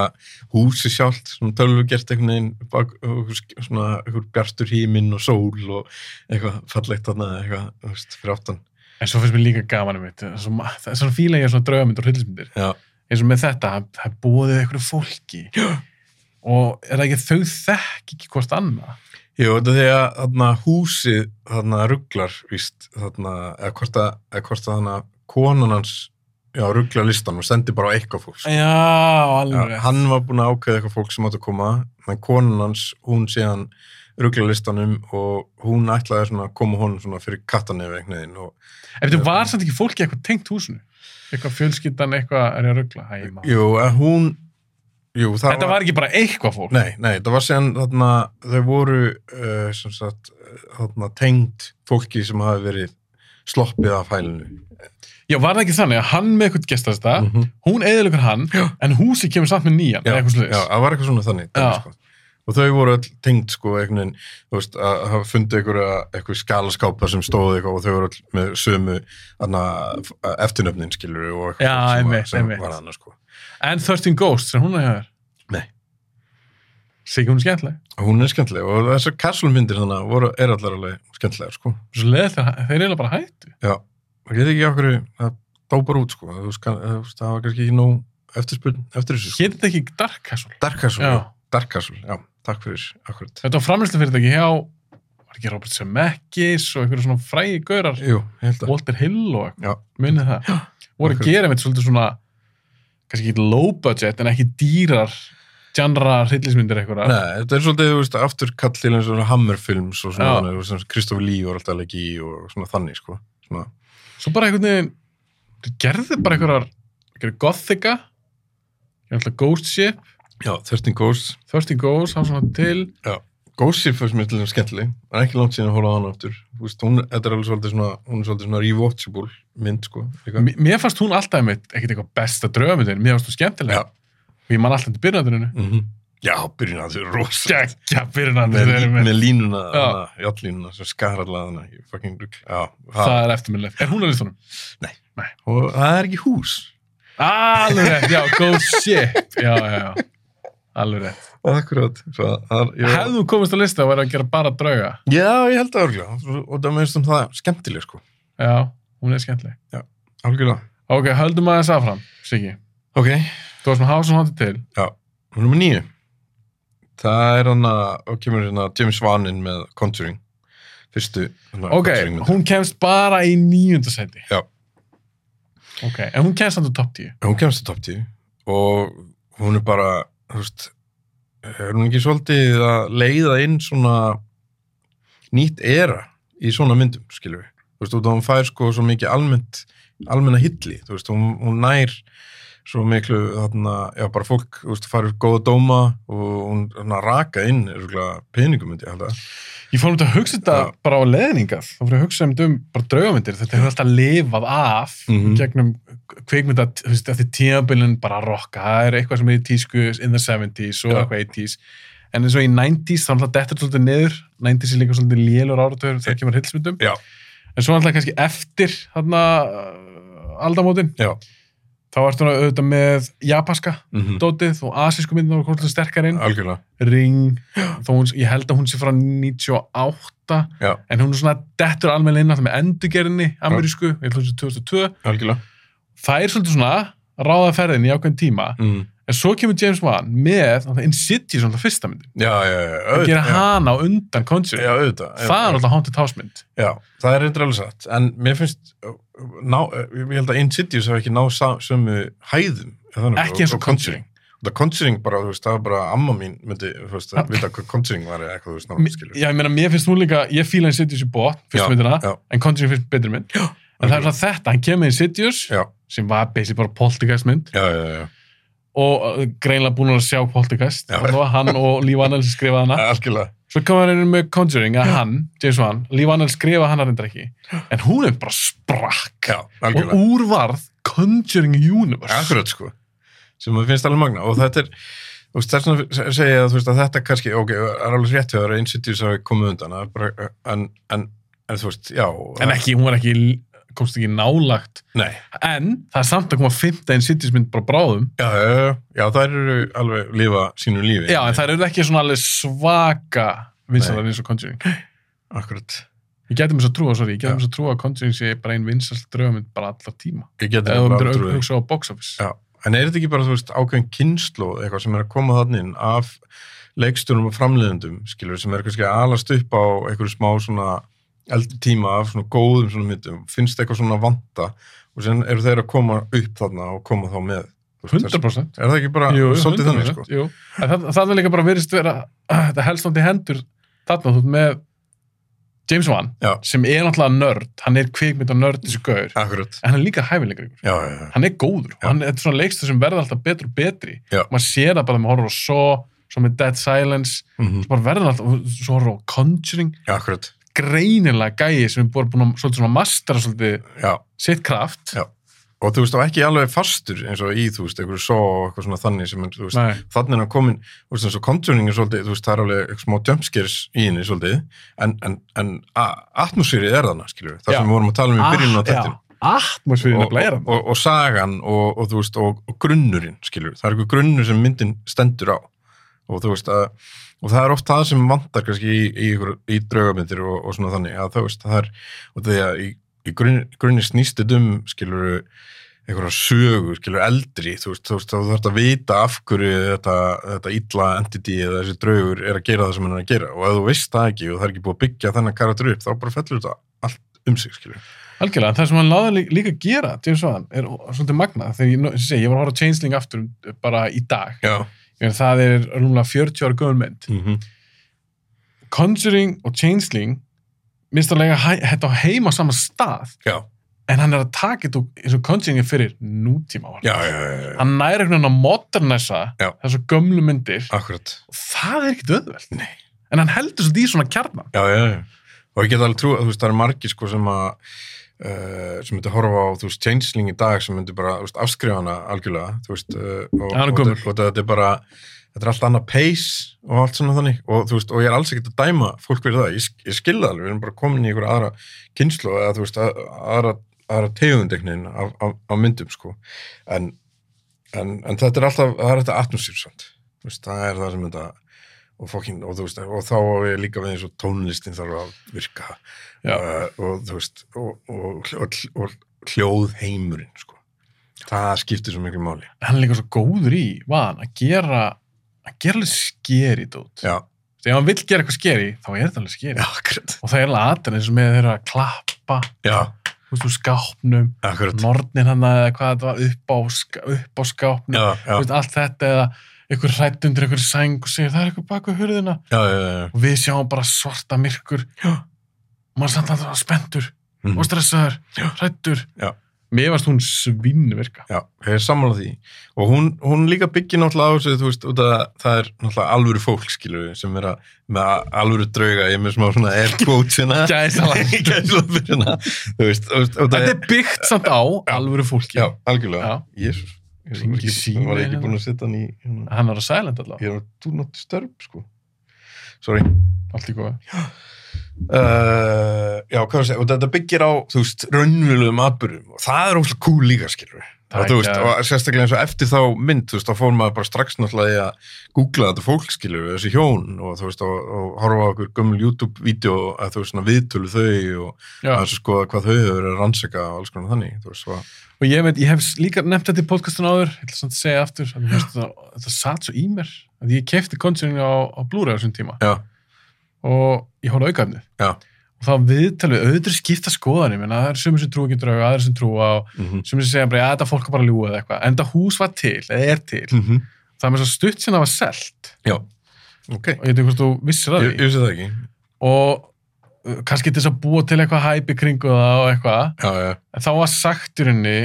S6: húsi sjálft svona tölvugert einhvern veginn bak, einhver sk- svona einhver bjartur híminn og sól og eitthvað fallegt þarna eitthvað, þú veist, fyrir áttan
S5: En svo finnst mér líka gaman um þetta. Það er svona fíla ég er svona draugamyndur og hryllismyndir.
S6: já,
S5: eins og með þetta, það- það er búið eitthvað fólki Já. og er það ekki þau þekk ekki hvort annað
S6: Jú, þetta er því að þarna húsið þarna rugglar víst þarna, eða hvort að, eða hvort að þarna konan hans já, rugglar listan og sendir bara á eitthvað fólk sko.
S5: Já, alveg
S6: já, hann var búin að ákveða eitthvað fólk sem átt að koma en konan hans, hún síðan rugglar listanum og hún ætlaði svona að koma honum svona fyrir kattan yfir einhvern veginn og
S5: Ef þetta var samt ekki fólki eitthvað tengt húsinu eitthvað fjölskyldan, eitthvað er ég að ruggla Æ, maður.
S6: Jú, en hún Jú, það
S5: Þetta var ekki bara eitthvað fólk
S6: Nei, nei, það var síðan þarna þau voru uh, sem sagt eh, þarna tengd fólki sem hafi verið sloppið af hælinu
S5: Já, var það ekki þannig að hann með eitthvað gestast það
S6: Mhm.
S5: hún eðilegur hann,
S6: Já.
S5: en húsi kemur samt með nýjan, eða
S6: já,
S5: eitthvað sliðis
S6: það var eitthvað svona þannig
S5: Já.
S6: dæmi, sko. og þau voru all tengd sko einhvern veginn, þú veist, að að hafa fundið einhverja eitthvað skalaskápa sem stóð eitthvað og þau voru all með sömu þarna, f- eftirnöfnin skilur og eitthvað
S5: Já,
S6: sem, var-
S5: einmitt,
S6: sem
S5: einmitt.
S6: var annars sko
S5: En 13 Ghosts, sem hún er hér
S6: Nei.
S5: Sikki hún er skemmtileg
S6: Hún er skemmtileg og þessar kassulmyndir þannig voru, er allar alveg skemmtilegar sko
S5: Svo leðið þeir, þeir eiginlega bara hættu
S6: Já, það getur ekki okkur að dópar út sko, þú veist, kann- þú veist, það var kannski ekki nóg eftirspurn eftir þessu sko.
S5: Hétt þetta ekki Dark Castle?
S6: Dark Castle,
S5: Já.
S6: já. Dark Castle, já, takk fyrir akkurat.
S5: Þetta var framlýslufyrirtæki hjá var ekki Robert Zemeckis og einhverju svona frægi gaurar,
S6: Jú, ég held að.
S5: Walter Hill og
S6: Já.
S5: eitthvað, munið það voru að
S6: akkurat.
S5: gera mitt svolítið svona kannski ekki low budget en ekki dýrar genre hryllismyndir eitthvað
S6: Nei, þetta er svolítið, þú veist, afturkall til eins og svona Hammerfilms og
S5: Já.
S6: svona, þannig, þú veist, sem Kristof Lee var alltaf leik í og svona þannig, sko. Svona,
S5: svo bara einhvern veginn þeir gerðu bara einhverjar einhverjar gothica ég ætla Ghost Ship,
S6: Já, Thirsting Ghosts.
S5: Thirsty Ghost, hann svona til
S6: Ghosts er fyrst mér til þess skemmtileg. Það er ekki langt síðan að hóla á hana aftur. Þú veist, hún, þetta er alveg svolítið svona, hún er svolítið svona rewatchable mynd, sko. líka.
S5: M mér fannst hún alltaf mitt, ekkert eitthvað besta dröfamöndin, mér fannst hún skemmtileg
S6: Já.
S5: og ég man alltaf til byrjunanduninu
S6: Mhm. Já, byrjun að þau er rosa.
S5: geggja
S6: Með, lí-
S5: byrjunanduninu
S6: með línuna,
S5: Já.
S6: hana, játtlínuna sem skar allavega hana, ég fucking rugg. Já, það,
S5: það er eftirminnilegt, er hún að listunum?
S6: og það er ekki hús.
S5: alveg rétt, já, Ghost Ship já, já, já, alveg rétt
S6: Akkurat. Svo, það, er- ég,
S5: hefðu komist á lista og væri að gera bara drauga
S6: Já, ég held það örgulega. Og það meðist um það skemmtileg, sko.
S5: já, hún er skemmtileg
S6: Algjörlega.
S5: ok, höldum aðeins áfram, Siggi
S6: Ok,
S5: þú varst með House on Haunted til
S6: nummer nýju. Það er hann að, og kemur hérna James Wan inn með Conjuring. Fyrstu hana,
S5: ok,
S6: Conjuring-myndina.
S5: hún kemst bara í nýjunda seti
S6: Já.
S5: ok, en hún kemst hann til top 10
S6: hún kemst í topp 10 og hún er bara þú veist, er hún ekki svolítið að leiða inn svona nýtt era í svona myndum, skilur við þú veist, út af hún fær sko svo mikið almennt almenna hilli, þú veist, hún, hún nær svo miklu, þarna já, bara fólk, þú veist, farur góða dóma og hún þarna, raka inn örugglega peningum, myndi ég held að
S5: ég fór um þetta að hugsa þetta
S6: Já.
S5: bara á leðningað þá fór ég að hugsa um þetta um bara draugamindir þetta hefur alltaf lifað af
S6: Mhm.
S5: gegnum kveikmynda þú veist, eftir tímabilin bara rocka, það er eitthvað sem er í tísku in the 70s og
S6: Já.
S5: eitthvað 80s en eins og í 90s þá er alltaf dettur svolítið niður 90s er líka svolítið lélur áratöður þegar kemur hilsmyndum,
S6: Já.
S5: en svo alltaf kannski eftir þarna uh, aldamótin,
S6: já,
S5: þá ertu nú auðvitað með japanska
S6: mm
S5: dótið og asísku myndin og komst sterkar inn
S6: algjörlega
S5: Ring, þó hún, ég held að hún sé frá 98
S6: Já.
S5: en hún er svona dettur almenn inn alltaf með endurgerðinni amerísku, ég held að hún sé 2002
S6: algjörlega
S5: það er svolítið svona ráða ferðin í ákveðin tíma
S6: mm.
S5: en svo kemur James Wan með náttúrulega Insidious alltaf fyrsta myndin
S6: já, já, já,
S5: að gera
S6: já,
S5: hana á undan
S6: já,
S5: Conjuring
S6: auðvitað
S5: það er alltaf Haunted House mynd
S6: Já, það er reyndar alveg satt en mér finnst uh, ná, uh, ég held að Insidious hef ekki náð sa- sömu hæðum ef það er nokkuð,
S5: Ekki eins og Conjuring.
S6: Það Conjuring bara, þú veist, það var bara amma mín myndi, þú veist,
S5: Ja.
S6: að vita hvað Conjuring var eða eitthvað, þú veist,
S5: M-
S6: náttúrulega skilur
S5: já, ég meina, mér finnst hún líka, ég fíla Insidious í bótt fyrstu myndina,
S6: já.
S5: en Conjuring finnst betri mynd já, en það er svona þetta, hann kemur með Insidious
S6: Já,
S5: sem var basically bara poltergeist mynd
S6: já, já, já, já,
S5: og uh, greinlega búin að sjá Poltergeist
S6: Já.
S5: það var hann og Líf Annel sem skrifaði hana
S6: algjörlega
S5: svo kom hann inn með Conjuring að hann, James Wan, Líf Annel skrifaði hana reyndar ekki en hún er bara sprakk
S6: Já,
S5: og
S6: algjörlega,
S5: úrvarð Conjuring Universe
S6: akkurat sko sem mér finnst alveg magna og þetta er þú veist, þess vegna se- segi ég að, þú veist, að þetta kannski ok, er alveg rétt hefur að Insidious hafi komið undan það er bara, en, en, en þú veist, já
S5: en ekki, hún var ekki, komst ekki nálagt
S6: Nei,
S5: en það er samt að koma fymta en sittismynd bara bráðum
S6: já, já, já, já, þær eru alveg lifa sínu lífi
S5: já, en það eru ekki svona alveg svaka vinsalar eins og Conjuring
S6: Akkurat.
S5: ég geti mér svo trúa, sorry, ég geti
S6: Já.
S5: mér svo trúa að Conjuring sé bara einn vinsal dröfumynd bara allar tíma
S6: Ég geti
S5: eða þú
S6: bara
S5: myndir
S6: trúið.
S5: hugsa á box office
S6: Já. En er þetta ekki bara, þú veist, ákveðin kynnslóð eitthvað sem er að koma þannig inn af leiksturum og framleiðendum, skilur, sem er kannski að alast upp á einhverju smá svona eldri tíma af svona góðum svona myndum, finnst eitthvað svona vanta og sen eru þeir að koma upp þarna og koma þá með. Þú veist,
S5: 100%
S6: Er það ekki bara svolítið þannig, sko?
S5: jú. En Það, það er líka bara verist vera þetta helst náttúrulega í hendur þarna þú ert með James Wan
S6: Já.
S5: sem er náttúrulega nörd, hann er kvikmynd og nörd þessi gaur,
S6: Akkurat.
S5: en hann er líka hæfilegur
S6: Já, já, já.
S5: hann er góður, og hann er svona leikstur sem verður alltaf betur og betri,
S6: Já.
S5: maður sér það bara þegar maður horfir á Saw, svo með Dead Silence
S6: Mm
S5: svo bara verður hann alltaf, svo horfir á Conjuring
S6: Akkurat.
S5: greinilega gæi sem er búin að- búin að svolítið svona mastera svolítið
S6: Já.
S5: sitt kraft
S6: Já. Og þú veist, og ekki alveg fastur eins og í, þú veist, einhverju svo og eitthvað svona þannig sem, er, þú veist,
S5: Nei,
S6: þannig er hann komin þú veist, eins og Conjuring er svolítið, þú veist, það er alveg eitthvað smá jumpscares í henni svolítið en, en, en a- atmosfærið er þarna, skiljum við, þar
S5: Já.
S6: sem við vorum að tala um í byrjun á
S5: Ah, já.
S6: tættinu
S5: atmosfærin
S6: og,
S5: nefnilega
S6: og,
S5: er hann.
S6: og, og sagan og, og, þú veist, og, og grunnurinn, skiljum við það er eitthvað grunnur sem myndin stendur á og þú veist að og það er oft það sem vantar kannski í, í, ykkur, í draugamindir og, og svona þannig að það, veist, það er, og því að í, í grunn, grunni snýstið um skilur einhverja sögu, skilur eldri þú veist, þú veist, þá þarf að vita af hverju þetta, þetta illa entity eða þessi draugur er að gera það sem hann er að gera og ef þú veist það ekki og það er ekki búið að byggja þennan karakter upp, þá bara fellur þetta allt um sig, skilur.
S5: Algjörlega, en það sem hann láði lí- líka gera James Wan er svolítið magnað þegar ég, nú- sem ég, segi, ég var að horfa á Changeling aftur um- bara í dag,
S6: Já.
S5: ég meina það er rúmlega 40 ára gömul mynd
S6: Mm -hmm.
S5: Conjuring og Changeling minnst að lega hæ- þetta á heima á sama stað
S6: Já.
S5: en hann er að taka þetta og- eins og Conjuring er fyrir nútíma
S6: já, já, já, já, já.
S5: hann næri einhvern veginn að modernæsa
S6: Já.
S5: þessar gömlu myndir
S6: akkurat
S5: og það er ekkit auðvelt Nei. en hann heldur svolítið í svona kjarnan
S6: já, já, já. og ég get alveg trú að þú veist, það er margir sko sem að uh, sem myndi horfa á, þú veist, changeling í dag sem myndi bara, þú veist, afskrifa hana algjörlega þú veist, uh, og,
S5: Já, hann er
S6: og,
S5: gömul.
S6: og, og þetta er bara þetta er allt annað pace og allt svona þannig og þú veist, og ég er alls ekkert að dæma fólk fyrir það, ég, sk- ég skilða alveg, við erum bara komin í einhverja aðra kynslu eða þú veist, að- aðra, aðra tegundeknin af, af, af myndum sko en, en, en þetta er alltaf, það er þetta atmosfýrsand það er það sem þetta og, fokkin, og, þú veist, og þá á ég líka við eins og tónlistin þarf að virka
S5: Já.
S6: uh, og þú veist og, og, og, og, og hljóð heimurinn sko. það skiptir svo miklu máli
S5: en hann er líka svo góður í vaðan að gera að gera alveg skeri dót
S6: já,
S5: ef hann vill gera eitthvað skeri þá er þetta alveg skeri
S6: já, akkurat
S5: og það er alveg aðeins eins og með þeirra að klappa
S6: já,
S5: þú veist, úr skápnum
S6: akkurat
S5: nornin hann eða hvað þetta var upp á, sk- upp á skápnum
S6: já, já,
S5: Þú veist, allt þetta eða ykkur hrætt undir ykkur sæng og segir það er ykkur baku hurðina
S6: já, já, já.
S5: og við sjáum bara svarta myrkur
S6: Já.
S5: maður samt að það var spendur
S6: Mm.
S5: og stressaður, hrættur
S6: Já.
S5: mér varst hún svinnverka
S6: Já, ég er sammála því og hún, hún líka byggir náttúrulega á þessu þú veist, út að það er náttúrulega alvöru fólk skilur við, sem er að, með alvöru drauga ég er með smá svona air quotes hérna
S5: Gæsalappi.
S6: Gæsalappi hérna þú veist, þú veist, út að-
S5: þetta er byggt samt á alvöru fólki
S6: Já, algjörlega.
S5: Já.
S6: Jésus. Ég var
S5: Hringi
S6: ekki,
S5: síma
S6: var ekki
S5: hérna.
S6: búin að setja hann í... Hérna.
S5: hann var að silent allavega,
S6: Ég var do not disturb, sko. Sorry.
S5: allt í góða
S6: Uh, já, hvað var að segja? Og þetta byggir á, þú veist, raunvöluðum atbyrjum. Og það er óslega cool líka, skilur við.
S5: Það
S6: Og,
S5: er
S6: þú veist,
S5: ekki að-
S6: og sérstaklega eins og eftir þá mynd, þú veist, þá fór maður bara strax náttúrulega í að googla þetta fólk, skilur við, þessi hjón og þú veist, og, og horfa á okkur gömul YouTube-vídeó að þú veist, svona viðtölu þau og
S5: Já.
S6: að skoða hvað þau hefur verið að rannsaka og alls konar þannig, þú veist, svo,
S5: og ég, veit, ég hef s- líka nefnt þetta í podcastun áður ég ætla samt að segja aftur að mér finnst þetta, þetta satt svo í mér að ég kefti Conjuring á, á Blu-ray á þessum tíma
S6: já,
S5: og ég horfði aukaðnið
S6: já,
S5: og það viðtal við auðvitað skipta skoðan ég menna það er sumir sem trú ekki um drauga, aðrir sem trúa og
S6: mhm,
S5: sumir sem segja bara, já þetta fólk er bara að ljúga eða eitthvað en þetta hús var til, eða er til
S6: mhm,
S5: það er með svo stutt sem það var selt
S6: já, ok.
S5: og ég veit ekki hvort þú vissir það
S6: Ég, ég
S5: því
S6: vissi það ekki.
S5: og uh, kannski til þess að búa til eitthvað hæpi kringu það og eitthvað
S6: Já, já,
S5: en þá var sagt í rauninni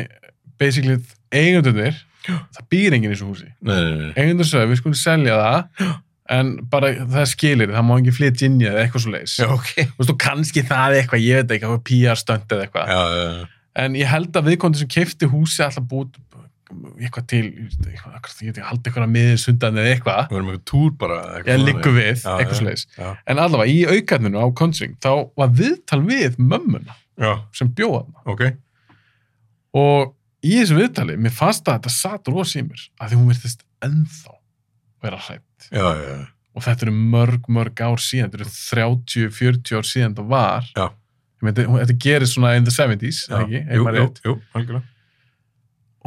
S5: basically eigendurnir það býr enginn í þessu húsi
S6: nei, nei, nei.
S5: eigendur sögðu, við skulum selja það en bara það skilir, það má enginn flytja inn í það eða eitthvað svo leiðis
S6: Já, ok.
S5: þú veist, og kannski það er eitthvað, ég veit ekki, eitthvað PR stönd eða eitthvað,
S6: Já, já, já.
S5: en ég held að viðkondi sem keifti húsi alltaf búið eitthvað til, ég veit ekki, akkurat, ég veit ekki, haldi eitthvað miður sundan eða eitthvað,
S6: Við erum eitthvað túr bara. eitthvað
S5: eða
S6: þannig.
S5: liggur við,
S6: Já,
S5: eitthvað
S6: já.
S5: svo leiðis
S6: Já,
S5: en allavega í aukarninu á Conjuring þá var viðtal við mömmuna
S6: já,
S5: sem bjóða hana
S6: ok.
S5: og í þessu viðtali, mér fannst að þetta satt rosa í mér, að því hún virtist ennþá vera hrætt
S6: Já, já, já.
S5: og þetta eru mörg, mörg ár síðan þetta eru 30, 40 ár síðan það var
S6: Já.
S5: Ég meina, þetta, hún- þetta gerist svona in the 70s,
S6: já.
S5: eða ekki, ef
S6: Jú,
S5: maður
S6: jú,
S5: rétt
S6: jú, algjörlega.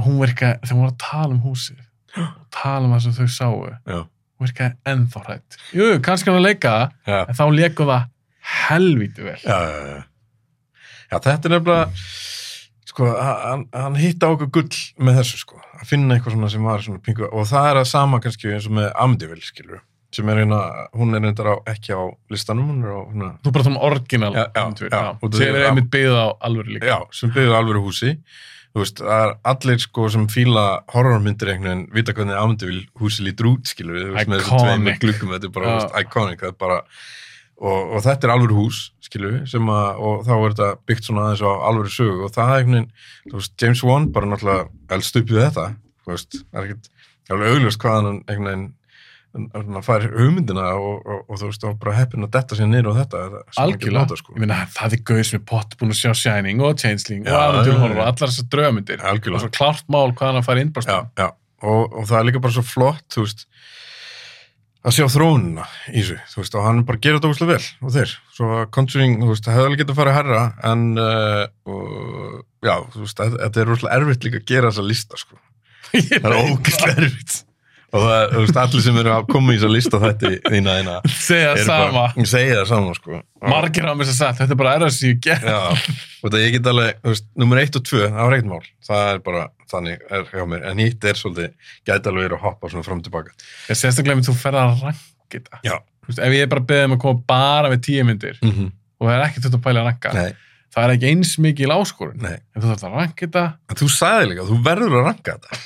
S5: og hún virka, þegar hún var að tala um húsið og tala um það sem þau sáu
S6: Já.
S5: hún virkaði ennþá hrætt jú, jú, kannski hann að leika það,
S6: Já,
S5: en þá leiku það helvíti vel
S6: já, já, já. Já, þetta er nefnilega, sko, hann, hann hitta á okkur gull með þessu, sko. Að finna eitthvað svona sem var svona pingu. Og það er að sama kannski eins og með Amdivel, skilur. Sem er hérna, hún er reyndar á, ekki á listanum, hún er á, hérna,
S5: Þú bara tala um orginal
S6: Já, já,
S5: myndvél,
S6: já.
S5: Og
S6: Og
S5: sem
S6: þau-
S5: er
S6: já.
S5: einmitt byggð á alvöru líka.
S6: Já, sem byggðu alvöru húsi þú veist, það er allir sko sem fíla horrormyndir einhvern veginn vita hvernig Amityville húsi lítur út, skilur við þú veist, með þessum
S5: Iconic.
S6: tveimur gluggum, þetta er bara
S5: Já.
S6: þú veist, iconic, það er bara og, og þetta er alvöru hús, skilur við sem að, og þá er þetta byggt svona aðeins á alvöru sögu og það er einhvern veginn, þú veist, James Wan bara náttúrulega elst upp við þetta, þú veist það er ekkert, það er alveg augljóst hvað hann einhvern veginn hann fær hugmyndina og, og, og þú veist, þá er bara heppin að detta sér niður á þetta, þetta sem hann getur
S5: Algjörlega.
S6: notað, sko.
S5: Ég meina, það er gauð sem er pott búin að sjá Shining og Changeling
S6: Já,
S5: og Aventur
S6: já,
S5: Horror
S6: já.
S5: og allar þessar draugamyndir.
S6: Algjörlega.
S5: Og svo klart mál hvað hann að fara innbrast.
S6: já, já. Og, og það er líka bara svo flott þú veist að sjá þróunina í þessu þú veist, og hann bara gerir þetta úrslega vel og þeir, svo að Conjuring, þú veist, það hefði alveg getað að fara herra en uh, og, já, þú veist, þetta- þetta er úrslega erfitt líka að gera þessa lista, sko
S5: Ég
S6: það er
S5: veit
S6: ógæslega erfitt og það, er, þú veist, allir sem eru að koma í þessa lista þetta þína, þína,
S5: það. Segja
S6: eru
S5: sama.
S6: bara segja það sama, sko
S5: Margir á mér sem sagt, þetta er bara erfið sem ég gerð.
S6: Já, og það ég get alveg, þú veist, nummer 1 og 2, það var ekkert mál, það er bara, þannig er hjá mér, en hitt er svolítið, gæti alveg verið að hoppa svona fram og tilbaka.
S5: Ég sérstaklega ef þú ferð að ranka þetta.
S6: Já.
S5: Þú veist, ef ég er bara beðið um að koma bara með tíu myndir
S6: Mm -hmm.
S5: og það er ekkert þetta að pæla að ranka,
S6: Nei,
S5: það er ekki eins mikil áskorun
S6: Nei.
S5: en þú þarf að ranka þetta
S6: En þú sagði líka, þú verður að ranka þetta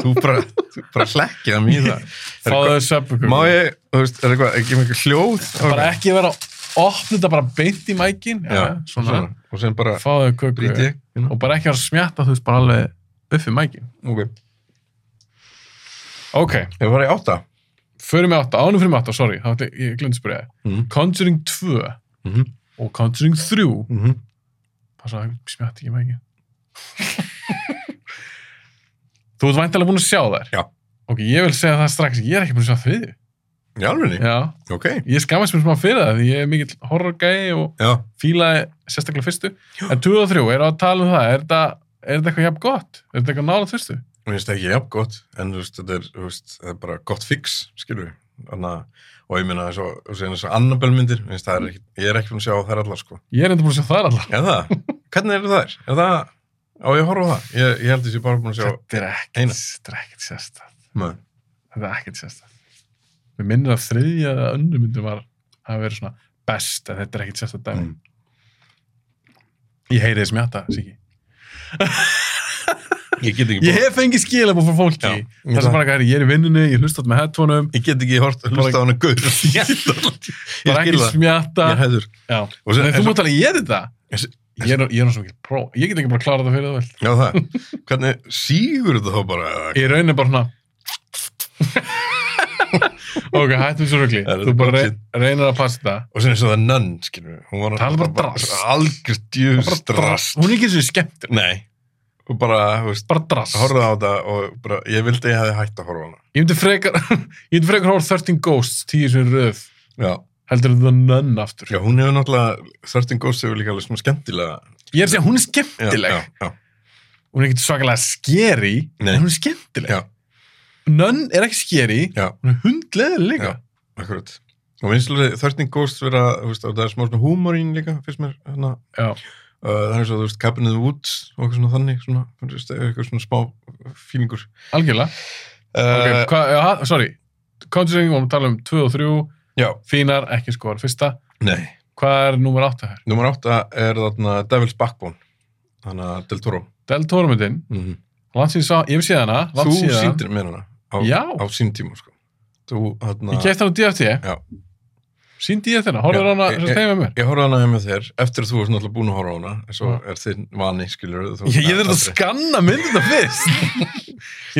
S6: þú bara, þú bara hlekkið að mýða
S5: fá þau söpbökum
S6: Má ég, þú veist, er eitthvað, ekki mikið hljóð
S5: bara ekki vera að opna þetta bara beint í mækin
S6: Já, svona,
S5: svona,
S6: og sem bara
S5: fá þau köku
S6: brýti ég you know?
S5: og bara ekki vera að smjatta þú veist bara alveg upp í mækin
S6: Ok,
S5: ok,
S6: ég var í átta
S5: förum við átta, ánum fyrir mig átta, sorry þá ætli- ég glemt að spyrja þig.
S6: Mhm.
S5: Conjuring 2
S6: Mhm.
S5: og Conjuring 3
S6: mm -hmm.
S5: passa að smjatta ekki í mækin þú ert væntalega búin að sjá þær
S6: Já.
S5: ok, ég vil segja það strax, ég er ekki búin að sjá þriðju
S6: Í alveg,
S5: já,
S6: ok
S5: ég skammast mér smá fyrir það því ég er mikill horrorgæi og
S6: Já,
S5: fílaði sérstaklega fyrstu en 2 og 3 er að tala um það er þetta, er þetta eitthvað jafn gott? er þetta eitthvað nála fyrstu?
S6: mér finnst ekki jafn gott en þú veist, þetta er, þú veist, það er bara gott fix skilur við Anna, og ég minna þess að þess að Annabelle myndir finnst, það er ekki, ég er ekki búin að sjá þær allar sko
S5: ég er enda búin að sjá það allar
S6: Er það? Hvernig eru þær? Er það, á ég að horfa á það? Ég, ég held þess að ég bara búin að sjá
S5: þetta er
S6: eina.
S5: ekkert, þetta er ekkert sérstæð
S6: Nei.
S5: þetta er ekkert sérstæð við minnum að þriðja eða önnu myndum var að vera svona best en þetta er ekkert sérstæð dæmi
S6: Mm.
S5: ég heyri þess mjata, Siki
S6: Ég get ekki
S5: ég hef fengið skilabú frá fólki
S6: Já, ég
S5: þess að
S6: það.
S5: bara hvað er, ég er í vinnunni, ég hlustat með headphoneum
S6: Ég get ekki hort,
S5: Bara-
S6: hlusta á hana guður. Ég
S5: bara
S6: skil
S5: ekki
S6: það.
S5: smjata
S6: Ég er hæður.
S5: Já.
S6: Og sem-
S5: Nei, þú
S6: en-
S5: mátt alveg ég þetta
S6: En sem-
S5: ég er, ég er nú svo mikil pró ég get ekki bara að klára þetta fyrir það
S6: Já, það. Hvernig sígur þetta þá bara?
S5: vel ég raunir bara svona ok, hættum svo rögli
S6: Það er
S5: þú bara
S6: bullshit.
S5: re- reynir að passa þetta
S6: Og sem eins og það nönn, skilur við. Hún var
S5: Það er bara drasl.
S6: Algjör djús drast.
S5: hún er ekki eins og skemmt
S6: Nei. Og bara, þú veist,
S5: bara drass
S6: horfði á þetta og bara, ég vildi að ég hefði hægt að horfa á hana.
S5: ég myndi frekar ég myndi frekar horf 13 Ghosts tíu sem röð
S6: Já.
S5: heldur en The Nun aftur
S6: Já, hún hefur náttúrulega, Þörstin Ghost hefur líka alveg svona skemmtilega.
S5: ég er að segja hún er
S6: Já,
S5: skemmtileg
S6: já, já.
S5: hún er ekki svakalega skeri
S6: Nei.
S5: en hún er skemmtileg
S6: Já.
S5: Nun er ekki skeri
S6: Já.
S5: hún er hundleðileg líka
S6: Já. Akkurat. Og vinslega Þörstin Ghost vera, þú veist, og það er smá svona húmórin líka, finnst mér, hérna,
S5: Já.
S6: uh, það er eins og, þú veist, Cabin in the Woods og eitthvað svona þannig, svona, þú veist, eitthvað svona smá fílingur.
S5: algjörlega
S6: Uh,
S5: Ok, hva, ja, sorry Conjuring, við vorum að tala um 2 og 3
S6: Já,
S5: fínar, ekki skor, fyrsta
S6: nei.
S5: hvað er nummer 8 hér?
S6: Númer átta er þarna Devil's Backbone, þannig að Del Toro.
S5: Del Toro myndin,
S6: Mm -hmm.
S5: landsýn sá, ég hef séð hana
S6: Þú
S5: langt Mhm. síðan.
S6: síndir mér hana á,
S5: Já.
S6: á sín tíma, sko. Þú, hérna- þarna...
S5: ég kefti hana á DFT
S6: Já.
S5: síndi ég þetta, horfður
S6: Já,
S5: hana
S6: ég-
S5: sem stein með mér
S6: Ég horfði á hana með þér, eftir að þú varst náttúrulega búin að horfa á hana, en svo
S5: Já.
S6: er þinn vani, skilur þú.
S5: Mm. ég, ég þurft að skanna myndina fyrst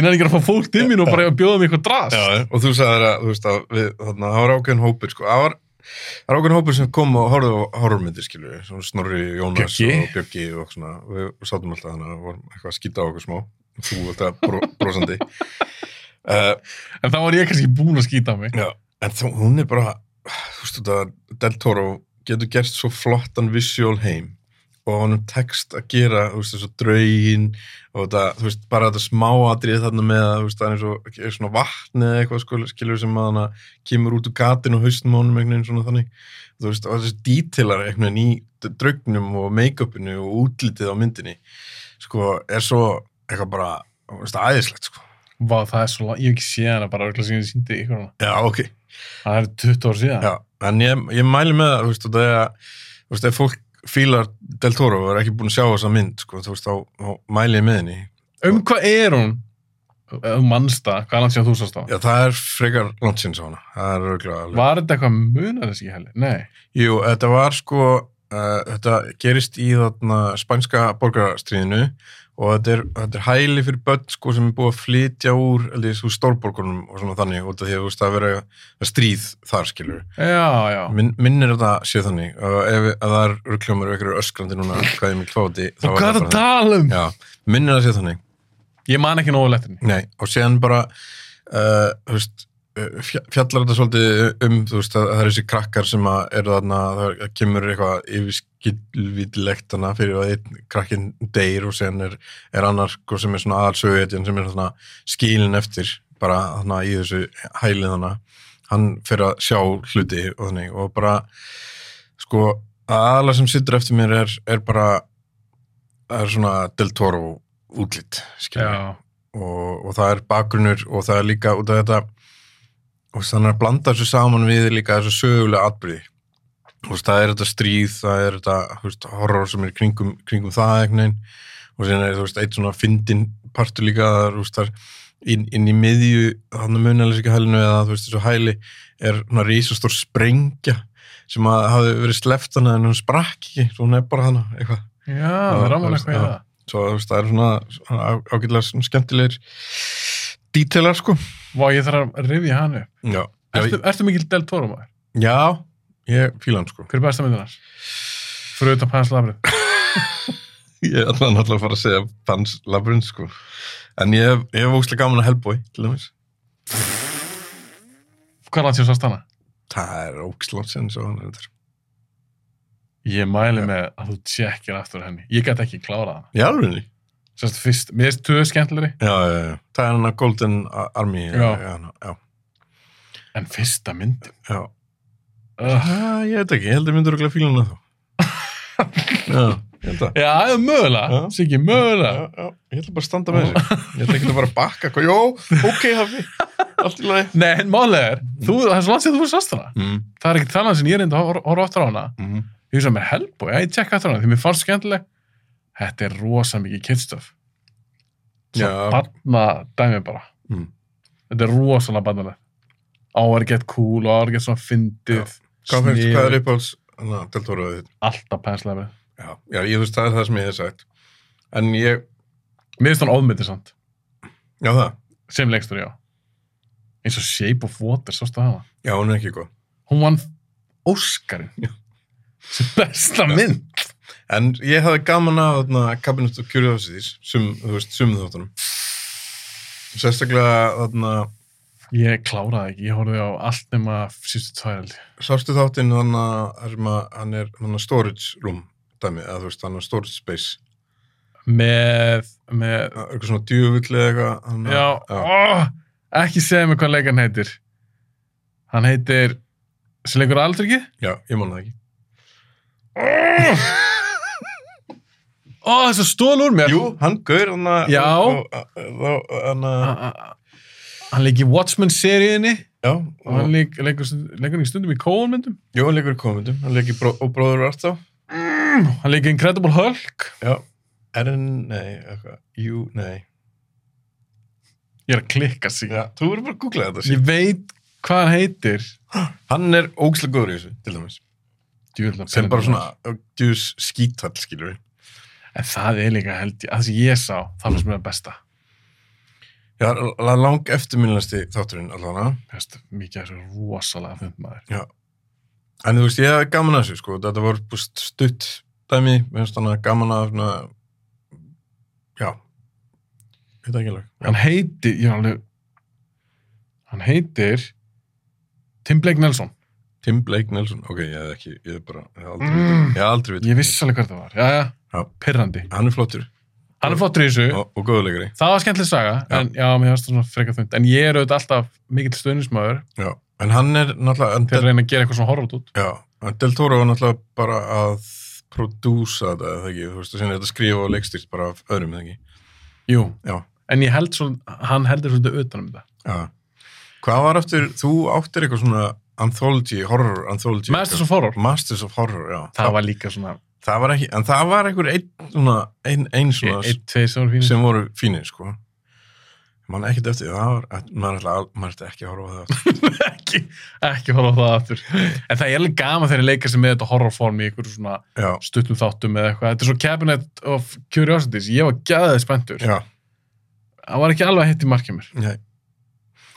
S5: ég næði ekki að fá fólk til mín og bara bjóða mér eitthvað drast
S6: Já, og þú sagðir að, þú veist, að við, þarna, það var ákveðin hópur, sko, það var, það var ákveðin hópur sem kom og horfði á horfmyndir, skilur við, svona Snorri, Jónas
S5: Bjöggi.
S6: og Bjöggi og svona, við sátum alltaf þannig að vorum eitthvað að skýta á okkur smá, þú alltaf bro, brosandi. uh,
S5: en þá var ég kannski búin að skýta mig
S6: já, en þá, hún er bara, þú veist, þetta, Del Toro getur gert svo flottan visual heim og honum tekst að gera, þú veist, þessu draugin og þetta, þú veist, bara þetta smáatrið þarna með að, þú veist, það er eins og er svona vatn eða eitthvað, sko, skilur sem að hana kemur út úr gatinu og haustum á honum einhvern veginn svona þannig, þú veist, og þessi dítilar einhvern veginn í d- draugnum og make-upinu og útlitið á myndinni sko, er svo eitthvað bara, þú veist, æðislegt, sko
S5: Vá, það er svo langt, ég hef ekki séð hana bara örugglega síðan ég sýndi ykkur hana
S6: Já, ok,
S5: það er 20 ár síðan
S6: Já, en ég, ég mæli með það, þú veist, og það er að, þú veist, ef fólk fílar Del Toro og er ekki búin að sjá þessa mynd, sko, þú veist, þá, þá mæli ég með henni.
S5: um hvað er hún? Um mannsta, hvað er hann síðan þú sást á?
S6: Já, það er frekar langt sín sá hana, það er auðvitað alveg.
S5: Var þetta eitthvað munar þess ekki helgi? Nei.
S6: Jú, þetta var sko, uh, þetta gerist í þarna spænska borgarastríðinu og þetta er, þetta er hæli fyrir börn, sko, sem er búið að flytja úr, eða þessu stórborgunum og svona þannig, út af því að, þú veist, það er verið að stríð þar, skilur.
S5: Já, já.
S6: Minn, minnir að það sé þannig, og ef að það er örkljómar og ykkur öskrandi núna, hvað ég mikil fáti, þá
S5: Og
S6: er
S5: hvað er
S6: það
S5: það
S6: bara
S5: að tala um?
S6: Já, minnir að sé þannig
S5: Ég man ekki nógu lettinni.
S6: Nei, og séðan bara uh, þú veist, uh, fja- fjallar þetta svolítið um þú veist, að það er þessi krakkar sem að eru þarna, það er- kemur eitthvað yfirskilvítilegt hana fyrir að einn krakkin deyr og séðan er, er annar sko, sem er svona aðalsöguhetjan sem er þarna skilin eftir bara þarna í þessu hælið hana hann fyrir að sjá hluti og þannig og bara sko aðalega sem sittur eftir mér er, er bara það er svona Del Toro útlitt skilur
S5: Já.
S6: og, og það er bakgrunnur og það er líka út af þetta og þannig að blanda þessu saman við líka þessu sögulega atbyrði þú veist, það er þetta stríð, það er þetta þú veist, horror sem er í kringum, kringum það einhvern veginn og síðan er þú veist, eitt svona fyndin partur líka það er, þú veist, þar inn, inn í miðju hann munalíska hælinu eða þú veist þessu hæli er svona rísastór sprengja sem að hafi verið sleppt hana en hún sprakk ekki, svo hún er bara hana eitthvað,
S5: Já, það er
S6: þú
S5: ráman
S6: veist,
S5: eitthvað í
S6: já.
S5: það.
S6: svo þú veist, það er svona, svona á- ágætlega svona skemmtilegir dítelar sko
S5: Vá, ég þarf að rifja hann upp.
S6: já, já,
S5: Ertu, ertu mikil Del Toro maður?
S6: já ég fíla hann sko
S5: Hver er besta myndin hans? Fyrir utan Pans Labrið.
S6: Ég ætlaði náttúrulega að fara að segja Pans Labyrinth sko. En ég hef, ég hef óslega gaman að Hellboy til dæmis.
S5: Hvað er það til þess að stanna?
S6: Það er ókslátt sinn svo hann er þetta.
S5: Ég mæli með að þú tjekkir aftur henni. Ég gæti ekki klárað hana.
S6: Í alvegni?
S5: Sérst fyrst, mér erst töðu skemmtilegri,
S6: Já, já, já. Það er hann að Golden Army.
S5: Já.
S6: Já, já, já.
S5: en fyrsta myndin.
S6: já.
S5: Uh.
S6: Ah, ég veit ekki, ég held að myndur okkur að fíla hana þá. já, ég held að.
S5: Já, það er mögulega,
S6: Já.
S5: Siggi,
S6: Já,
S5: mögulega.
S6: já, ég ætla bara að standa með þessu. Ég ætla ekki að bara bakka. eitthvað. Jó, ok, hafi. Allt í lagi.
S5: Nei, en málega er, þú, það er svo langt sér þú fyrir sást hana.
S6: Mm,
S5: Það er ekkert talan sem ég reyndi að hor- horfa aftur á hana.
S6: mm.
S5: Ég hugsa mér, helbúi, ég tjekka aftur á hana, því mér fannst skemmtileg. Þetta er rosa mikið kidstöf.
S6: Já,
S5: Barna dæmi bara.
S6: Mm.
S5: Þetta er rosalega barnalega. Á að vera gett cool og á að vera gett svona fyndið.
S6: hvað finnst,
S5: sniðugt,
S6: hvað er uppáhalds, hann að deltóraðið þitt?
S5: Alltaf penslega með.
S6: Já, já, ég veist, það er það sem ég hef sagt. En ég,
S5: Mér finnst hann ofmyndið samt,
S6: já það,
S5: sem lengstur, já. Eins og Shape of Water, sástu hana.
S6: já, hún er ekki góð.
S5: Hún vann Óskarinn. Sem besta mynd.
S6: En ég hafði gaman af þarna, Cabinet of Curiosities, sum, þú veist, sum þáttunum. Sérstaklega, þarna,
S5: Ég kláraði ekki, ég horfði á allt nema sístu tværaldi.
S6: sástu þáttinn þarna, þar sem að hann er þarna storage room, dæmi, eða þú veist, hann er storage space.
S5: Með, með,
S6: Það er Eitthvað svona djöfull eða eitthvað. hann-
S5: já,
S6: já.
S5: Ó, ekki segja mig hvað leikarn heitir. Hann heitir, sem leikur aldrei ekki?
S6: Já, ég man það ekki.
S5: Ó, það er svo stól úr mér.
S6: Jú, hann gaur, hann að,
S5: Já. Ah.
S6: og- og- og- hann að,
S5: A- a- a- Hann leik í Watchmen-seríunni
S6: já,
S5: og hann
S6: og,
S5: leik, leikur, stund- leikur hann ekki stundum í Coen-myndum.
S6: jú, hann leikur í komendum, hann leikur í bró, og bróður vart þá.
S5: Mm, Hann leik í Incredible Hulk.
S6: Já, Erin, nei, eitthvað, jú, nei.
S5: Ég er að klikka sig.
S6: Já, þú verður bara að googla þetta,
S5: Ég veit hvað hann heitir.
S6: Hann er ógslag góður í þessu, til dæmis.
S5: Djúvill að
S6: Sem bara
S5: pirrandi maður.
S6: svona, djús skítall, skilur við.
S5: En það er líka held ég, að það sem ég sá, það fannst mér að besta.
S6: Já, það er lang eftirminnilegasti þátturinn allavega.
S5: Mér finnst mikið af þessu rosalega fynd maður.
S6: En þú veist, ég hafði gaman að þessu, sko. Þetta voru búst stutt dæmi, mér finnst þannig gaman að, svona, já, veit ekki alveg. Já,
S5: Hann heitir, ég er alveg, hann heitir Tim Blake Nelson.
S6: Tim Blake Nelson, ok, ég hef ekki, ég hef bara, ég hef aldrei, mm.
S5: Mm.
S6: ég hef aldrei vitað.
S5: Ég vissi alveg hvað það var. Já, já,
S6: Já.
S5: pirrandi.
S6: Hann er flottur
S5: Hann er flottur í þessu.
S6: og, og góðulegri.
S5: Það var skemmtileg saga,
S6: Já.
S5: en já, mér finnst það svona frekar þund. En ég er auðvitað alltaf mikill stuðnismöður
S6: Já, en hann er náttúrulega, en
S5: til að
S6: Del,
S5: reyna að gera eitthvað svona horror út.
S6: já, en Del Toro var náttúrulega bara að prodúsa þetta, eða ekki, þú veist, og sinni þetta skrifa og leikstýrt bara af öðrum, eða ekki.
S5: Jú.
S6: Já.
S5: En ég held svona, hann heldur svona utan um þetta.
S6: Já. Hvað var aftur, þú áttir eitthvað svona anthology, horror anthology.
S5: Masters of Horror.
S6: Masters of Horror, já.
S5: Það var líka svona,
S6: það var ekki, en það var einhver einn, svona, einn, einn svona
S5: e- einn, tveir sem voru fínir.
S6: sem voru fínir, sko. Man ekkert eftir því, það var, maður ætla, al- maður ætla ekki að horfa á það. aftur.
S5: ekki, ekki horfa á það aftur en það er alveg gaman þegar ég leika sem með þetta horrorform í einhverju svona
S6: Já,
S5: stuttum þáttum eða eitthvað, þetta er svo Cabinet of Curiosities ég var gæðið spenntur
S6: já,
S5: það var ekki alveg að hitt í markið mér
S6: nei.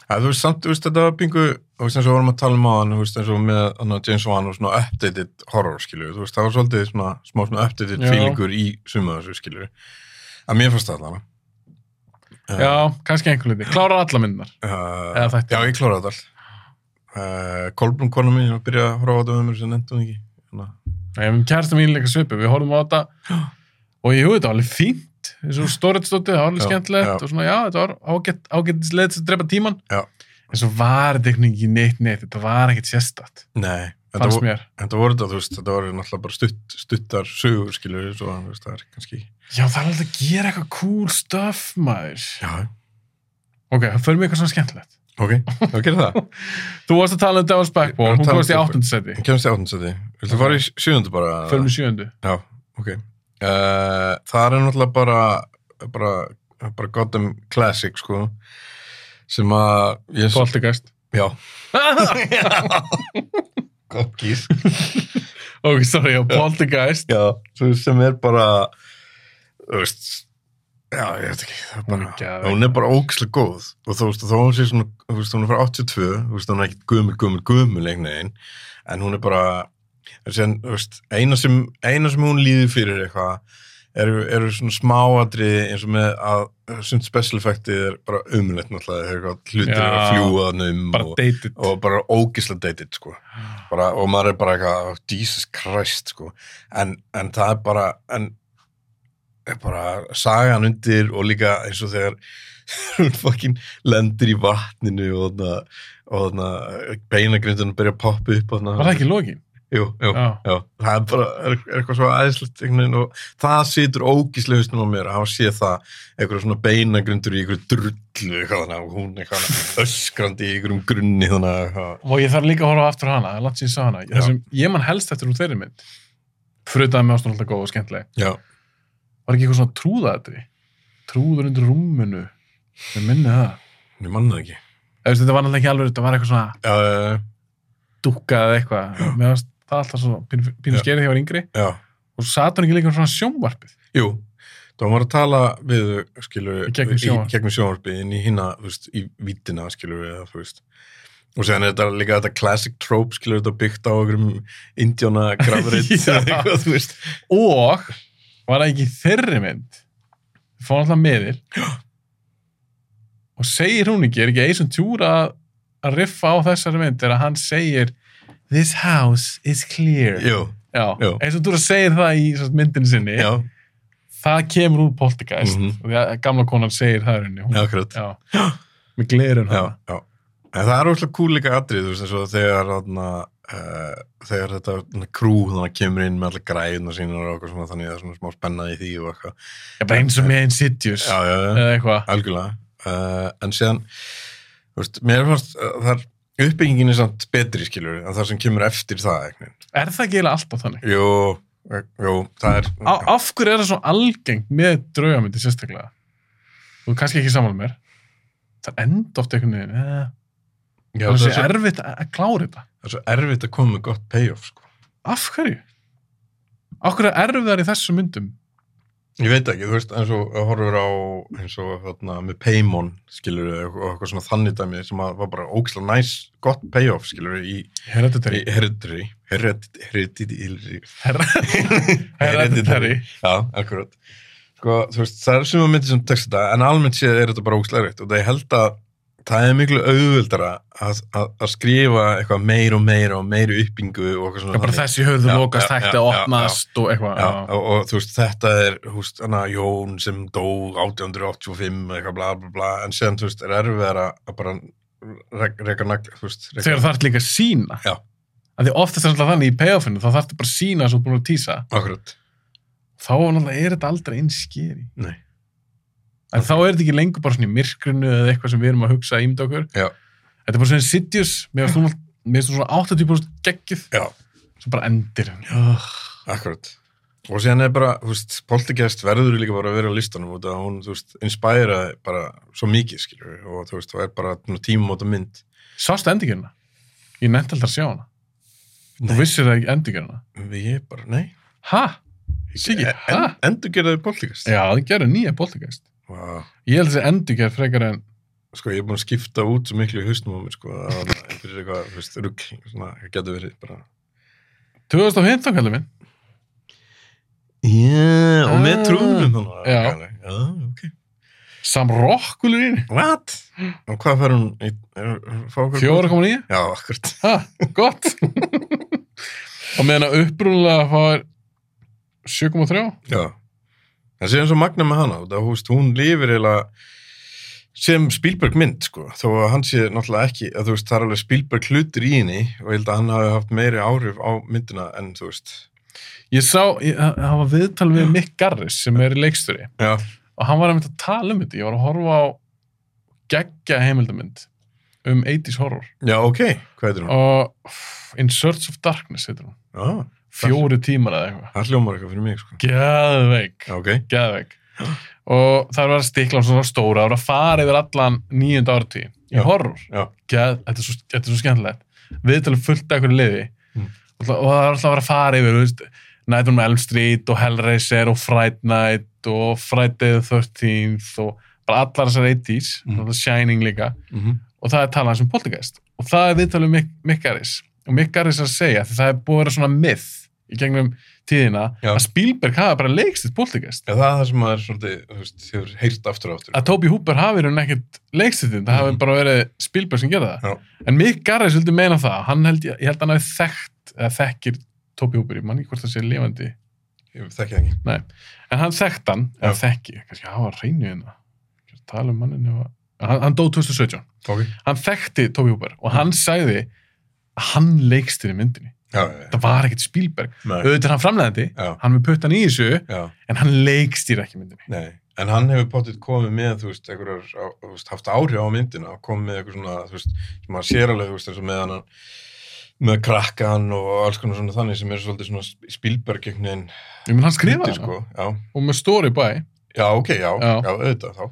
S6: Það, þú veist, samt, þú veist, þetta var pingu, þú veist, eins og vorum að tala um á hann, þú veist, eins og með hana, James Wan og svona updated horror, skilju, þú veist, það var svolítið svona, smá svona updated
S5: Já.
S6: feelingur í sumu þessu, skilju. Að mér fannst það allavega.
S5: já, kannski einhver liti, klárar alla myndnar
S6: Uh,
S5: Eða þætti.
S6: Já, ég kláraði þetta allt. Uh, Kolbrún konu mín var að byrja að horfa á þetta með mér sem nefndi hún ekki. Hérna. Þannig, að-
S5: ég hef kærast mín líka svipu, við horfum á þetta og ég hugið þetta var alveg fínt eins og stóriðstótið, það var alveg
S6: Já, já.
S5: skemmtilegt og svona já, þetta var ágætt, ágættis leið til að drepa tíman
S6: Já.
S5: en svo var þetta einhvern veginn ekki neitt neitt, þetta var ekkert sérstætt
S6: Nei, þetta,
S5: fannst
S6: vo,
S5: mér,
S6: þetta voru þetta, þú veist, þetta voru náttúrulega bara stutt, stuttar sögur, skilur, svo þú veist, það er kannski...
S5: já það er alveg að gera eitthvað cool stuff maður
S6: Já,
S5: Ok, það fyrir mig eitthvað svona skemmtilegt.
S6: ok, þá gerir það.
S5: Þú varst að tala um Devil's
S6: Ég
S5: Backbone,
S6: var að
S5: hún
S6: tala um
S5: komst
S6: Devil's
S5: í
S6: Backbone.
S5: áttundasæti.
S6: Ég kemst í áttundsæti. Viltu fara í sjöundu bara?
S5: Förum í sjöndu.
S6: Já, ok. Uh, það er náttúrulega bara, bara, bara Gotham Classic, sko, sem að... Ég,
S5: Poltergeist.
S6: Já. Gott gís.
S5: ok, sorry, já, Poltergeist.
S6: Já, þú veist, sem er bara, þú veist, já, ég veit ekki, það er
S5: Hún er
S6: bara,
S5: geðveik.
S6: hún er bara ógæslega góð og þú veist, og þó hún sé svona, þú veist, hún er frá 82, þú veist, hún er ekkit gumil, gumil, gumil einhvern veginn, en hún er bara, sen, þú veist, eina sem, eina sem hún líður fyrir eitthvað, eru, eru svona smáadriði eins og með að svona special effectið er bara umlegt náttúrulega, þegar eitthvað hlutir eru að
S5: Já.
S6: fljúa þannig um
S5: Bara
S6: og,
S5: dated.
S6: og bara ógislega deytitt sko. bara, og maður er bara eitthvað oh, Jesus Christ sko. en, en það er bara en, er bara sagan undir og líka eins og þegar hún fucking lendir í vatninu og þarna, og þarna beinagrindunum byrja að poppa upp þarna.
S5: Var það ekki lokin?
S6: Jú, jú,
S5: Já.
S6: já, það er bara er, er eitthvað svo aðeinslegt einhvern veginn og það situr ógíslega hausnum á mér að hafa séð það eitthvað svona beinagrundur í einhverju drullu eitthvað þannig og hún eitthvað þarna öskrandi í einhverjum grunni þannig eitthvað.
S5: Og ég þarf líka að horfa aftur á hana, langt síðan sá hana.
S6: Já.
S5: Það sem ég man helst eftir úr þeirri mynd, frutaði með ástun alltaf góð og skemmtileg,
S6: Já,
S5: var ekki eitthvað svona trúðaðri, trúður undir rúminu, ég minni það.
S6: ég manna það ekki
S5: Eða, veist, þetta var náttúrulega ekki alveg, þetta var eitthvað svona
S6: Já, já, já,
S5: dúkka eða eitthvað. Mér fannst það alltaf svona pínu, pínu
S6: Já.
S5: skerið þegar ég var yngri.
S6: já,
S5: Og svo satt hún ekki líka um svona sjónvarpið.
S6: jú þá var að tala við skilu,
S5: Í gegnum sjónvarp.
S6: í gegnum sjónvarpið inn í hinna, þú veist, í vítina skilu við það, þú veist og séðan er þetta líka þetta classic trope skilu þetta byggt á einhverjum indjána grafreit
S5: Já.
S6: eitthvað, þú veist
S5: Og var það ekki í þeirri mynd, við fórum alltaf meðil, og segir hún ekki, er ekki Eison Tjúra að riffa á þessari mynd, er að hann segir This house is clear.
S6: Jú,
S5: Já,
S6: Já.
S5: eins og þú segir það í sem sagt, myndin sinni,
S6: já,
S5: það kemur úr poltergeist
S6: Mhm.
S5: og því að gamla konan segir það í rauninni, hún,
S6: já, akkurat
S5: já, með glerun hana.
S6: já, já. En það er óslega cool líka atrið, þú veist, eins og þegar þarna, uh, þegar þetta þarna, krú þannig kemur inn með allir græðuna sínar og eitthvað svona, þannig að það er svona smá spennaði í því og eitthvað.
S5: Já, bara eins og með Insidious
S6: Já, já, já,
S5: eða eitthvað,
S6: algjörlega. Uh, en síðan, þú veist, mér fannst, uh, það er uppbyggingin er samt betri, skilur, en það sem kemur eftir það, eitthvað.
S5: er það ekki eiginlega alltaf þannig?
S6: Jú, eh, jú, það er,
S5: Á, af hverju er það svo algengt með draugamyndi sérstaklega? Þú er kannski ekki samanlega mér það enda oft einhvern veginn eh,
S6: já,
S5: það
S6: það,
S5: sé
S6: er svo,
S5: erfitt að að klára þetta
S6: það er svo erfitt að koma með gott payoff, sko.
S5: af hverju? Af hverju er erfiðar í þessum myndum?
S6: Ég veit ekki, þú veist, eins og að horfur á eins og þarna með Paymon skilur og og eitthvað svona þannig dæmi sem að var bara ógislega næs, gott payoff skilur í, í
S5: Hereditary
S6: Hereditary Hereditary Hereditary
S5: Her- Hereditary
S6: Já, akkurat sko, þú veist, það er sem að myndi sem tekst þetta en almennt séð er þetta bara ógislega rétt og það ég held að það er miklu auðvöldara að, að, að skrifa eitthvað meir og meir og meir uppbyngu og eitthvað
S5: Já,
S6: svona
S5: bara
S6: þannig.
S5: þessi höfðu
S6: Já,
S5: lokast
S6: já,
S5: hægt
S6: já,
S5: að
S6: já,
S5: opnast og eitthvað.
S6: Já,
S5: Já,
S6: og, og þú veist, þetta er húst, hana, Jón sem dó 1885 eitthvað bla bla bla en séðan, þú veist, er erfiðar að að bara rek- reka nagla, þú veist reka,
S5: Þegar það ert líka að sína.
S6: Já.
S5: Af Því oftast er alltaf þannig í payoffinu, þá þarftu bara að sína svo búin að tísa.
S6: Akkurat,
S5: Þá er náttúrulega- er þetta aldrei eins skeri.
S6: nei
S5: En þá er þetta ekki lengur bara svona í myrkrinu eða eitthvað sem við erum að hugsa ímd okkur.
S6: Já.
S5: Þetta er bara svona Insidious, mér finnst þú náttúrulega, mér finnst þú svona 80% geggjuð
S6: Já,
S5: sem bara endir.
S6: akkurat og séðan er bara, þú veist, Poltergeist verður líka bara að vera á listanum út af að hún, þú veist, inspæraði bara svo mikið, skilur við, og þú veist, það er bara tímumóta mynd
S5: Sástu endingurina? Ég nefndi alltaf að sjá hana. Þú
S6: Nei.
S5: vissir það ekki endingurina.
S6: við ég bara, nei
S5: Ha? Siggi,
S6: en,
S5: ha?
S6: endur geraði Poltergeist
S5: Já, það gerir nýja boltingæst.
S6: Vá.
S5: Ég held þessi endurgerð frekar en
S6: sko ég er búin að skipta út svo miklu í hausnum á mér sko að það er fyrir eitthvað þú veist, rugl, svona, það getur verið bara
S5: 2015 kallið minn.
S6: yeah, og með
S5: Ah.
S6: trúðum þannig
S5: Já.
S6: já, ok
S5: Sam Rockwell er inn.
S6: what? og hvað fær hún í, er, er, fá okkur-
S5: 4,9.
S6: já, akkurat
S5: Ha, gott. og meðan að upprúnulega fáir 7,3.
S6: já. en séðan svo magna með hana það, veist, hún lifir eiginlega sem Spielberg mynd sko þó að hann sé náttúrulega ekki að þú veist það er alveg Spielberg hlutur í henni og ég held að hann hafi haft meiri áhrif á myndina en þú veist
S5: Ég sá, ég, það var viðtal við Mick Garris sem er í leiksturi
S6: já,
S5: og hann var að mynda að tala um þetta. Ég var að horfa á geggja heimildamynd um 80s horror
S6: já ok, hvað heitir hún?
S5: og pff, In Search of Darkness heitir hún
S6: Já,
S5: fjóri tímar eða eitthvað
S6: það hljómar eitthvað fyrir mig, sko.
S5: geðveik,
S6: Já, ok.
S5: geðveik og það er að vera stiklan svona stóra það er að fara yfir allan nýjönda ártíð í
S6: Já.
S5: horror,
S6: Já.
S5: Geð, þetta, er svo, þetta er svo skemmtilegt viðtalið fullt af einhverju liði
S6: Mm.
S5: og það og það er alltaf að vera að fara yfir þú veist, Night on Elm Street og Hellraiser og Fright Night og Friday the 13th og bara allar þessar 80s
S6: Mm.
S5: mm. Shining líka
S6: Mm -hmm.
S5: og það er talað hans um poltergeist og það er viðtalið Mick, Mick Harris og Mick Harris er að segja því það er búið að vera svona myth í gegnum tíðina
S6: Já.
S5: að Spielberg hafa bara leikstitt poltergeist
S6: það er það sem maður svolítið, þú veist, hefur heyrt aftur og aftur.
S5: að Toby Hooper hafi raun ekkert leikstittin það hafi
S6: Mhm.
S5: bara verið Spielberg sem gerði það
S6: Já.
S5: en Mick Harris vildi meina það hann held, ég held að hann hafi þekkt eða þekkir Toby Hooper, ég man ekki hvort það sé lifandi
S6: Ég þekki það ekki.
S5: en hann þekkt hann, eða þekki kannski hafa hann reynu hérna Ekki að tala um mannin ef að- hann, hann dó 2017
S6: Ok.
S5: hann þekkti Toby Hooper og
S6: Mhm.
S5: hann sagði að hann leikstýri myndinni
S6: Já, já, já.
S5: það var ekkert Spielberg
S6: Nei.
S5: auðvitað er hann framlegandi,
S6: Já.
S5: hann við puttan í þessu
S6: Já,
S5: en hann leikstýri ekki myndinni
S6: nei. En hann hefur potið komið með, þú veist, einhverjar, á- þú veist, haft áhrif á myndina og komið með eitthvað svona, þú veist, sem maður sér alveg, þú veist, eins og með hann, með krakkan og alls konar svona þannig sem er svolítið svona spilberg einhvern veginn.
S5: ég menn hann skrifaði
S6: skrítið,
S5: sko.
S6: sko. Já,
S5: og með story by,
S6: já, ok, já,
S5: Já.
S6: já, auðvitað þá.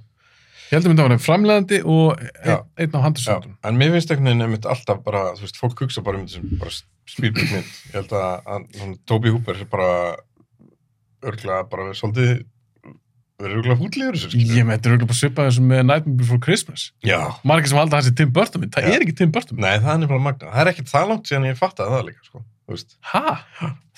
S5: ég heldur myndi að hann er framlegandi og
S6: Já.
S5: ein, einn á
S6: Já,
S5: handasöndum
S6: en mér finnst einhvern veginn einmitt alltaf bara, þú veist, fólk hugsa bara um þetta sem bara Spielberg mynd. Ég held að, að hann, Toby Hooper er bara örglega bara svolítið verður örglega fútlegur þessu, skilur.
S5: ég með þetta er auðvitað bara svipað eins og með Nightmare Before Christmas
S6: Já.
S5: margir sem halda að hans er Tim Burton mynd það
S6: Já.
S5: er ekki Tim Burton mynd
S6: Nei, það er nefnilega magna. Það er ekkert það langt síðan ég fattaði það líka, sko. Þú veist.
S5: ha?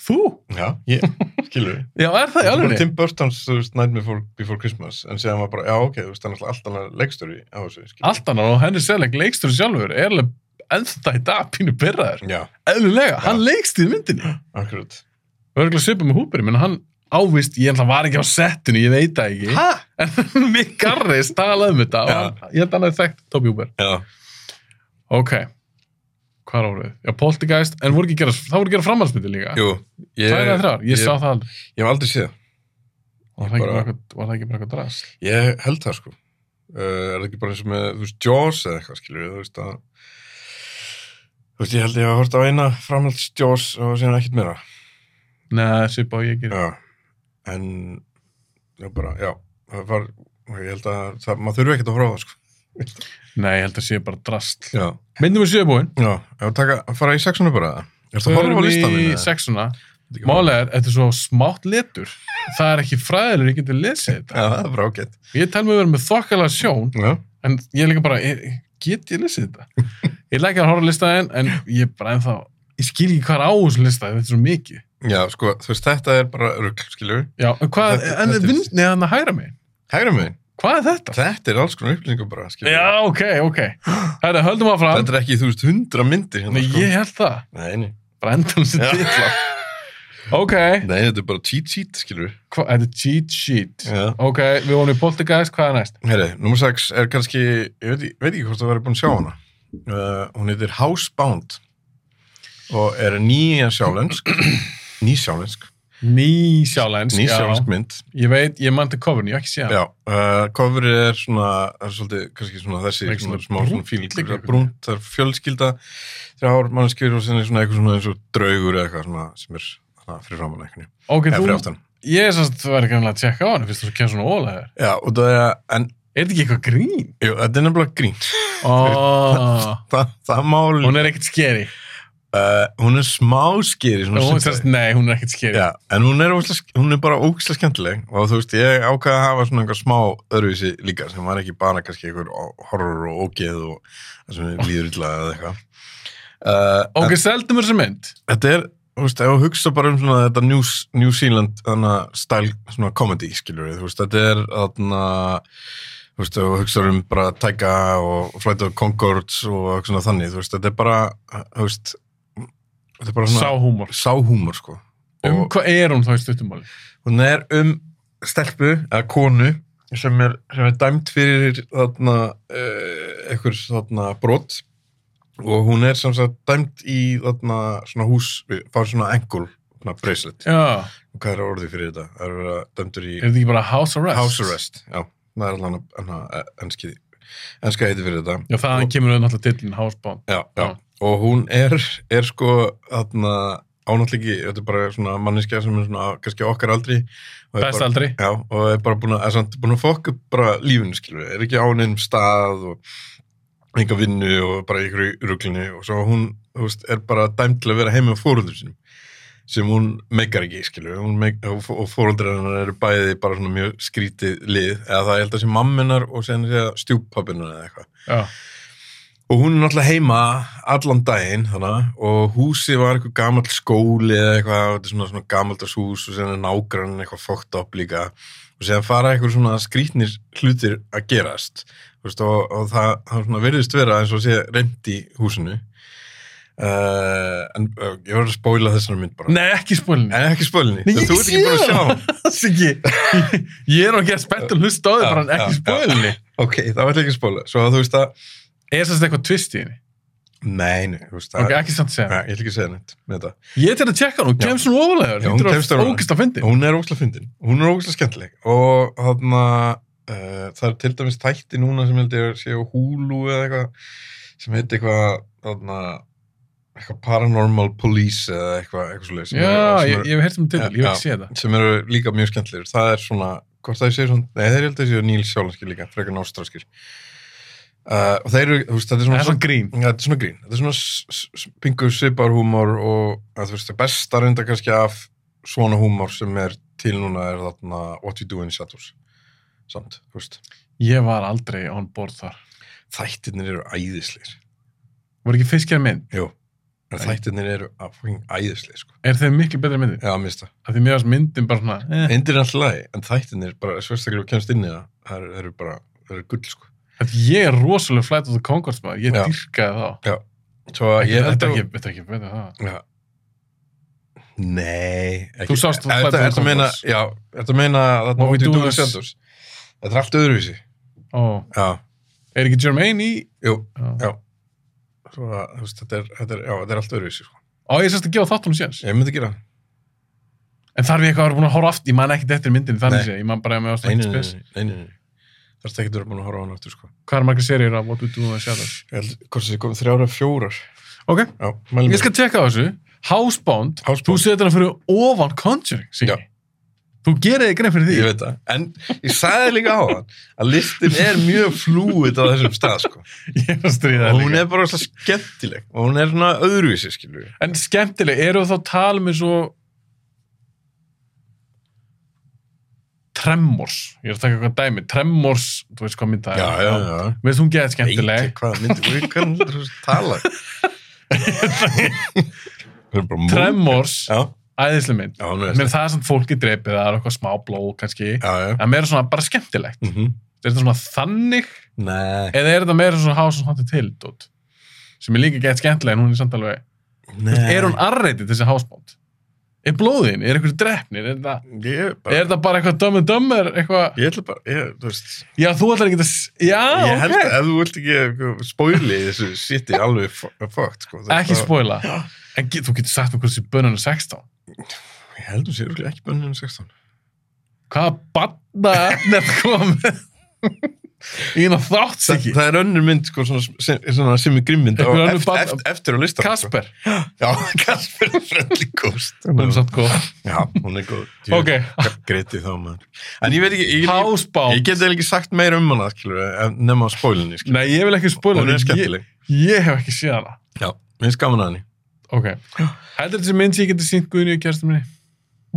S5: þú?
S6: Já, ég, skilur við.
S5: já, er það í
S6: bara
S5: alveg?
S6: Tim Burton's, þú veist, Night Before, Before Christmas, en síðan var bara, já, ok, þú veist, það er náttúrulega allt annað leikstöri á þessu, skilur
S5: allt annar og henni sérleik leikstur sjálfur er alveg ennþá í dag pínu byrraður
S6: Já,
S5: eðlulega, hann leikstýri myndinni
S6: akkurat.
S5: Örgulega svipað með Húberi, menn hann ávist, ég ætla var ekki á settinu, ég veit það ekki.
S6: Hæ?
S5: En Mick Garris talaði um þetta og
S6: Já.
S5: hann, ég held að hann hafi þekkt Toby Húber.
S6: Já.
S5: Ok, hvað ára við? Já, Poltergeist, en voru ekki að gera, það voru að gera framhaldsmyndi líka.
S6: Jú. Ég,
S5: Tvær eða þrjár, ég, sá það aldrei.
S6: Ég hef aldrei séð það.
S5: Var það ekki
S6: bara-
S5: bara eitthvað- var það ekki bara eitthvað drast?
S6: Ég held það sko uh, Er það ekki bara eins og með, þú veist, Jaws eða eitthvað skilur við, þú veist að Þú veist, ég held ég að horta á eina framhalds Jaws og síðan ekkert meira
S5: Nei, svipað og ég gerir.
S6: Já, en já, bara, já, það var ég held að, það, maður þurfi ekkert að horfa á það sko
S5: Nei, ég held að sé bara drast.
S6: Já,
S5: Myndum við sjöbúin.
S6: já, ef að taka, að fara í sexuna bara Er það horfa á listanum?
S5: Í sexuna. Málega er, þetta er svo smátt letur. Það er ekki fræðilegur, ég geti lesið
S6: Já,
S5: þetta.
S6: það er bara ágætt
S5: Ég tel mig að vera með þokkalega sjón
S6: Já,
S5: en ég er líka bara, ég, get ég lesið þetta? Ég lækja að horfa á listaðin en ég er bara ennþá, ég skil ekki hvað er á þessu listaði, þetta er svo mikið.
S6: já, sko, þú veist, þetta er bara rugl, skilur við
S5: Já, en hvað,
S6: Þetta-
S5: en
S6: þetta er-
S5: vinn, neða hann að hæra mig,
S6: Hægra megin,
S5: hvað er þetta?
S6: þetta er alls konar upplýsingar bara, skilur
S5: Já, ok, ok. Herra, höldum að fram.
S6: Þetta er ekki, þú veist, hundra myndir hérna, sko.
S5: Nei, ég held það,
S6: Nei, nei.
S5: bara endan sem
S6: Já.
S5: titla. Ok,
S6: Nei, þetta er bara cheat sheet, skilur við.
S5: hva, þetta er cheat sheet.
S6: Já.
S5: Ok, við vonum í Poltergeist, hvað er næst?
S6: Herri, nummer 6 er kannski, ég veit, ég veit ekki hvort það verið búin að sjá hana. Uh, hún heitir Housebound og er nýja sjálensk, nýsjálensk,
S5: Nýsjálensk,
S6: nýsjálensk mynd.
S5: Ég veit, ég mann til coverinu, ég hef ekki sé hann.
S6: Já, uh, coverið er svona, er svolítið, kannski svona þessi,
S5: Ekki
S6: svona
S5: svona
S6: smá
S5: brúnt
S6: svona fílingur,
S5: líka.
S6: það er brúnt, það er fjölskylda, þrjár mannskjur og sinni svona eitthvað svona eins og draugur eða eitthvað svona sem er svona fyrir framann eitthvað,
S5: Ok,
S6: eða fyrir
S5: þú,
S6: aftan.
S5: ég er sannst verið kannski að tjekka á hann, fyrst þú kemur svona ólega
S6: Já, og það er, en,
S5: Er þetta ekki eitthvað grín?
S6: jú, þetta er nefnilega grín.
S5: Oh,
S6: Þa, það máli
S5: hún er ekkert skeri
S6: Uh, hún er smá skýri svona
S5: hún,
S6: stundum.
S5: sérst, Nei, hún er ekkert skeri
S6: Já, en hún er, ógeðslega sk- hún er bara ógislega skemmtileg og þú veist, ég ákvaði að hafa svona einhver smá öðruvísi líka sem var ekki bara kannski einhver o- horror og ógeð og það sem mér líður illa eða eitthvað uh,
S5: Ok,
S6: en
S5: seldum þessa mynd
S6: Þetta er, þú veist, ef þú hugsa bara um svona þetta New, New Zealand þarna style svona comedy, skilur við, þú veist, þetta er þarna þú veist, ef þú hugsa um bara Taika og Flight of Conchords og svona þannig, þú veist, þetta er bara þú veist, þetta er bara svona
S5: Sáhúmor
S6: sáhúmor sko
S5: Um
S6: og
S5: hvað er hún þá í stuttumáli?
S6: hún er um stelpu eða konu sem er, sem er dæmt fyrir þarna uh, einhver þarna brot og hún er sem sagt dæmt í þarna svona hús fá svona engul, svona bracelet
S5: Já,
S6: hvað er orðið fyrir þetta? Það er að vera dæmtur í
S5: er þetta ekki bara house arrest?
S6: house arrest já, það er allan að- hann að- enski enska heiti fyrir þetta
S5: Já, þaðan kemur auðvitað náttúrulega tillin housebound
S6: Já, já.
S5: Já.
S6: og hún er, er sko þarna ánáttlega ekki, þetta er bara svona manneskja sem er svona kannski á okkar aldri og er
S5: Best
S6: bara-
S5: aldri.
S6: já, og er bara búin að, er samt búin að fokka upp bara lífinu skilur, er ekki ánum stað og enga vinnu og bara í ykkur ruglunni og svo hún þú veist, er bara dæmt til að vera heima á fóröldur sinum sem hún meikar ekki skilur, hún meik, og, og fóröldur hennar eru bæði bara svona mjög skrítið lið eða það er held að sé mamminar og sen stjúppappinar eða eitthvað
S5: Já.
S6: og hún er náttúrulega heima allan daginn þannig, og húsið var eitthvað gamall skóli eða eitthvað, þetta er svona, svona gamaldars hús og sen er nágrann eitthvað fókt upp líka og sen fara eitthvað svona skrítnir hlutir að gerast þú veist, og, og það, það svona virðist vera eins og sé reynd í húsinu uh, en uh, ég var að spóla þessar mynd bara
S5: Nei, ekki spólinu.
S6: en ekki spólinni,
S5: Nei, ég
S6: þú ert ekki
S5: sé
S6: búin að sjá
S5: það.
S6: hana.
S5: Ekki. Ég er nú ekki að spenntum hlusta á þig,
S6: Já,
S5: bara ekki
S6: já,
S5: spólinu.
S6: ok, það var ekki að spóla svo að þú veist að,
S5: Er þess að eitthvað tvist í henni?
S6: nei, nei, þú veist að
S5: Ok, ekki samt að segja.
S6: Nei, ég ætla ekki að segja neitt með þetta
S5: Ég er til að tjekka hann, hún kemst hún ofalega.
S6: Já, hún
S5: Hún
S6: kemst hún
S5: kemst hún
S6: ofarlega.
S5: ógist að fyndi.
S6: Hún er ógæslega fyndin, hún er ógæslega skemmtileg og þarna uh, það er til dæmis þætti núna sem held ég að sé á Hulu eða eitthvað sem heit eitthvað þarna eitthvað paranormal police eða eitthvað, eitthvað svoleiðis sem,
S5: Já,
S6: eru- sem,
S5: ég
S6: eru-
S5: ég hef hert um til,
S6: Já,
S5: ég hef
S6: já.
S5: ekki séð það.
S6: sem eru líka mjög skemmtilegir það er svona, hvort það ég segir svona nei, þeir held að séu Níl Sjálanski líka, frekar nástraskir uh, og þeir eru, þú veist, þetta er
S5: Það
S6: svona
S5: er svona grín.
S6: Já, þetta er svona grín, þetta er svona s- s- s- pingu sviparhúmor og að þú veist, það besta reynda kannski af svona húmor sem er til núna er þarna What You Do in the Shadows samt, þú veist
S5: Ég var aldrei on board þar.
S6: þættirnir eru æðisleir
S5: Voru ekki fiskjar mynd?
S6: Jú, en
S5: Æ.
S6: þættirnir eru að fucking æðisleir sko.
S5: Er þeir miklu betri en myndir?
S6: Já, minnst það,
S5: Af því mér varst myndin bara svona, eh.
S6: myndir er alltaf lagi en þættirnir, bara sérstaklega kemst inn í það það eru- eru bara, það eru gull sko
S5: Af því ég er rosalega flight of the Conchords maður, ég
S6: Já.
S5: dyrkaði þá.
S6: Svo að ég
S5: Þetta
S6: held
S5: er
S6: að
S5: ekki, þetta er ekki betri en það.
S6: Já. Nei ekki.
S5: Þú sást
S6: Er
S5: Flight of the
S6: þetta að meina
S5: Conchords?
S6: Já, er þetta að meina þarna
S5: What We
S6: What You Do
S5: Do
S6: in
S5: in
S6: the
S5: the-
S6: Shadows Þetta er allt öðruvísi
S5: Ó,
S6: Já,
S5: er ekki Jermaine í?
S6: jú,
S5: Já.
S6: já Svo að, þú veist, þetta er, þetta er, já, þetta er allt öðruvísi sko.
S5: Á, ég sérst að gefa þáttunum séns.
S6: Ég myndi gera það.
S5: En þarf ég eitthvað að vera búin að horfa aftur, ég man ekkert eftir myndin þannig
S6: Nei.
S5: sé, ég man bara að
S6: Nei, nei,
S5: mér ástæðið
S6: nei,
S5: spes.
S6: nei, nei, nei, nei. Það er ekki að vera búin að horfa á hann aftur sko.
S5: Hvað er margar serið af What We Do in the Shadows?
S6: Ég held, hvort þessi komið þrjára fjórar
S5: Ok,
S6: Já, mælum
S5: ég skal tjekka á þessu. Housebound, þú
S6: Hásbús
S5: setur hana fyrir ofan Conjuring, Siggi.
S6: Já.
S5: Þú gerir þig grein fyrir því.
S6: Ég veit það, en ég sagði líka á hann að listin er mjög flúið á þessum stað, sko.
S5: Ég er að stríða
S6: Og hún
S5: þér líka.
S6: er bara svo skemmtileg og hún er svona öðruvísi, skilur við.
S5: En skemmtileg, eru þá talum eins og Tremors, ég er að taka eitthvað dæmi Tremors, þú veist hvað mynd það
S6: Já,
S5: er
S6: já, já.
S5: Veist hún geðið
S6: Skemmtileg.
S5: skemmtileg
S6: Hvað myndir við, hvernig myndir við tala? Við erum bara múl.
S5: Tremors,
S6: Já,
S5: æðislega mynd
S6: já, hún er
S5: Menn það er samt fólki drepið, það er eitthvað smá blóð kannski,
S6: Já, já.
S5: en meira svona bara skemmtilegt
S6: Mm -hmm.
S5: Er þetta svona þannig
S6: Nei.
S5: eða er þetta meira svona House of Haunted Hill dót? sem er líka geðið skemmtileg en hún er samt alveg
S6: Nei.
S5: Er hún arreitið þessi hásbónd? Er blóðin? Er einhver drefnir? Er þetta
S6: Ég bara,
S5: Er þetta bara eitthvað dömmu dömmur, eitthvað...
S6: ég ætla bara, ég, þú veist,
S5: Já, þú ætlar ekki að... s- Já,
S6: ég held að
S5: Ah, ok.
S6: ef þú vilt ekki eitthvað spóli í þessu sitti alveg fókt, sko. Það er
S5: Ekki
S6: bara-
S5: spóila. En get, þú getur sagt okkur þessi bönun er 16.
S6: Ég held hún sé örugglega ekki um bönnið en 16.
S5: Hvaða banna efnið komið? Ína þátt sig
S6: Það,
S5: ekki.
S6: það er önnur mynd, sko, svona, sem, svona sem er grimmynd
S5: Einhver
S6: á-
S5: önnur
S6: eft-
S5: barn-
S6: eft- eftir á listan.
S5: Kasper.
S6: Sko. Já, Kasper er friendly ghost.
S5: Hún er samt góð.
S6: Já, hún er góð.
S5: Ok.
S6: Greiti þá, maður. En ég veit ekki, ég, ég, Ég
S5: Hásbánd.
S6: get eiginlega ekki sagt meira um hana, skilur, en nema á spólinni, skilur.
S5: Nei, ég vil ekki spóila.
S6: Hún er skemmtileg.
S5: Ég hef ekki séð hana.
S6: Já, mér finnst gaman að henni.
S5: Ok. Heldur þessi mynd sem ég geti sínt Guðinu í kjærstum minni?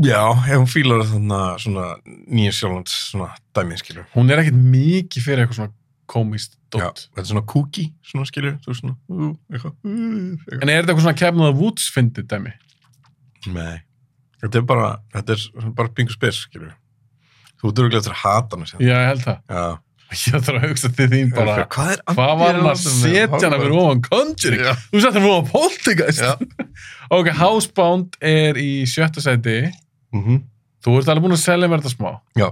S6: Já, ef hún fílar þarna svona nýja sjálflands svona dæmið, skilur.
S5: Hún er ekkit mikið fyrir eitthvað svona komist
S6: Já,
S5: dótt.
S6: þetta er svona kúki, svona skilur, þú veist svona, ú, eitthvað, ú, eitthvað.
S5: En er þetta eitthvað svona Cabin of the Woods fyndið dæmi?
S6: Nei, þetta er bara, þetta er bara pingu spes, skilur. Þú ert örgulega eftir að hata hana sér.
S5: Já, ég held það.
S6: Já.
S5: Ég þarf að hugsa til þín bara...
S6: hvað er
S5: Hvað var hann að setja hann fyrir ofan Conjuring?
S6: Já.
S5: Þú setja hann fyrir ofan Poltergeist? Ok, Housebound er í sjötta sæti.
S6: Mm -hmm.
S5: Þú ert alveg búin að selja mér þetta smá.
S6: Já.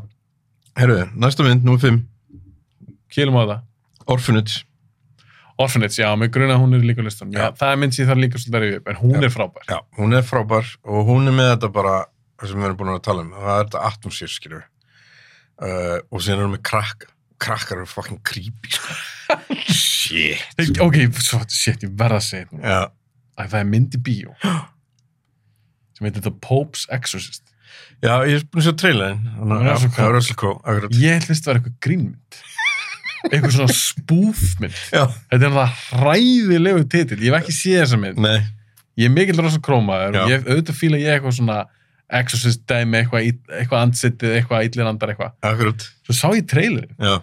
S6: Herruðu, næsta mynd, nummer 5,
S5: Kýlum á það.
S6: Orphanage.
S5: Orphanage, já, með gruna hún er líka á listan. Já,
S6: Já.
S5: það er mynd sem ég þarf líka svolítið að rifja upp, en hún
S6: Já.
S5: er frábær.
S6: Já, hún er frábær og hún er með þetta bara, það sem við erum búin að tala um, það er þetta Eh, atmosfér, skilur. Uh, og síðan erum við krakka. Krakkar eru fucking creepy. sko. Shit.
S5: Ok, svo, shit, ég verð að segja þetta.
S6: Já.
S5: Æ, það er mynd í bíó sem heitir The Pope's Exorcist.
S6: Já, ég er búin að sjá trailerin.
S5: Já, Russell Crowe.
S6: Russell Crowe, akkurat.
S5: Ég held veist að það var eitthvað grínmynd. Eitthvað svona spúfmynd.
S6: Já.
S5: Þetta er það hræðilegu titill. Ég hef ekki séð þessa mynd.
S6: Nei.
S5: Ég er mikill rosa krómaður og
S6: Já.
S5: ég hef auðvitað fíla ég eitthvað svona Exorcist dæmi, eitthvað, ill- eitthvað andsittið, eitthvað illir andar eitthvað.
S6: Akkurat.
S5: Svo sá ég trailerinn.
S6: Já.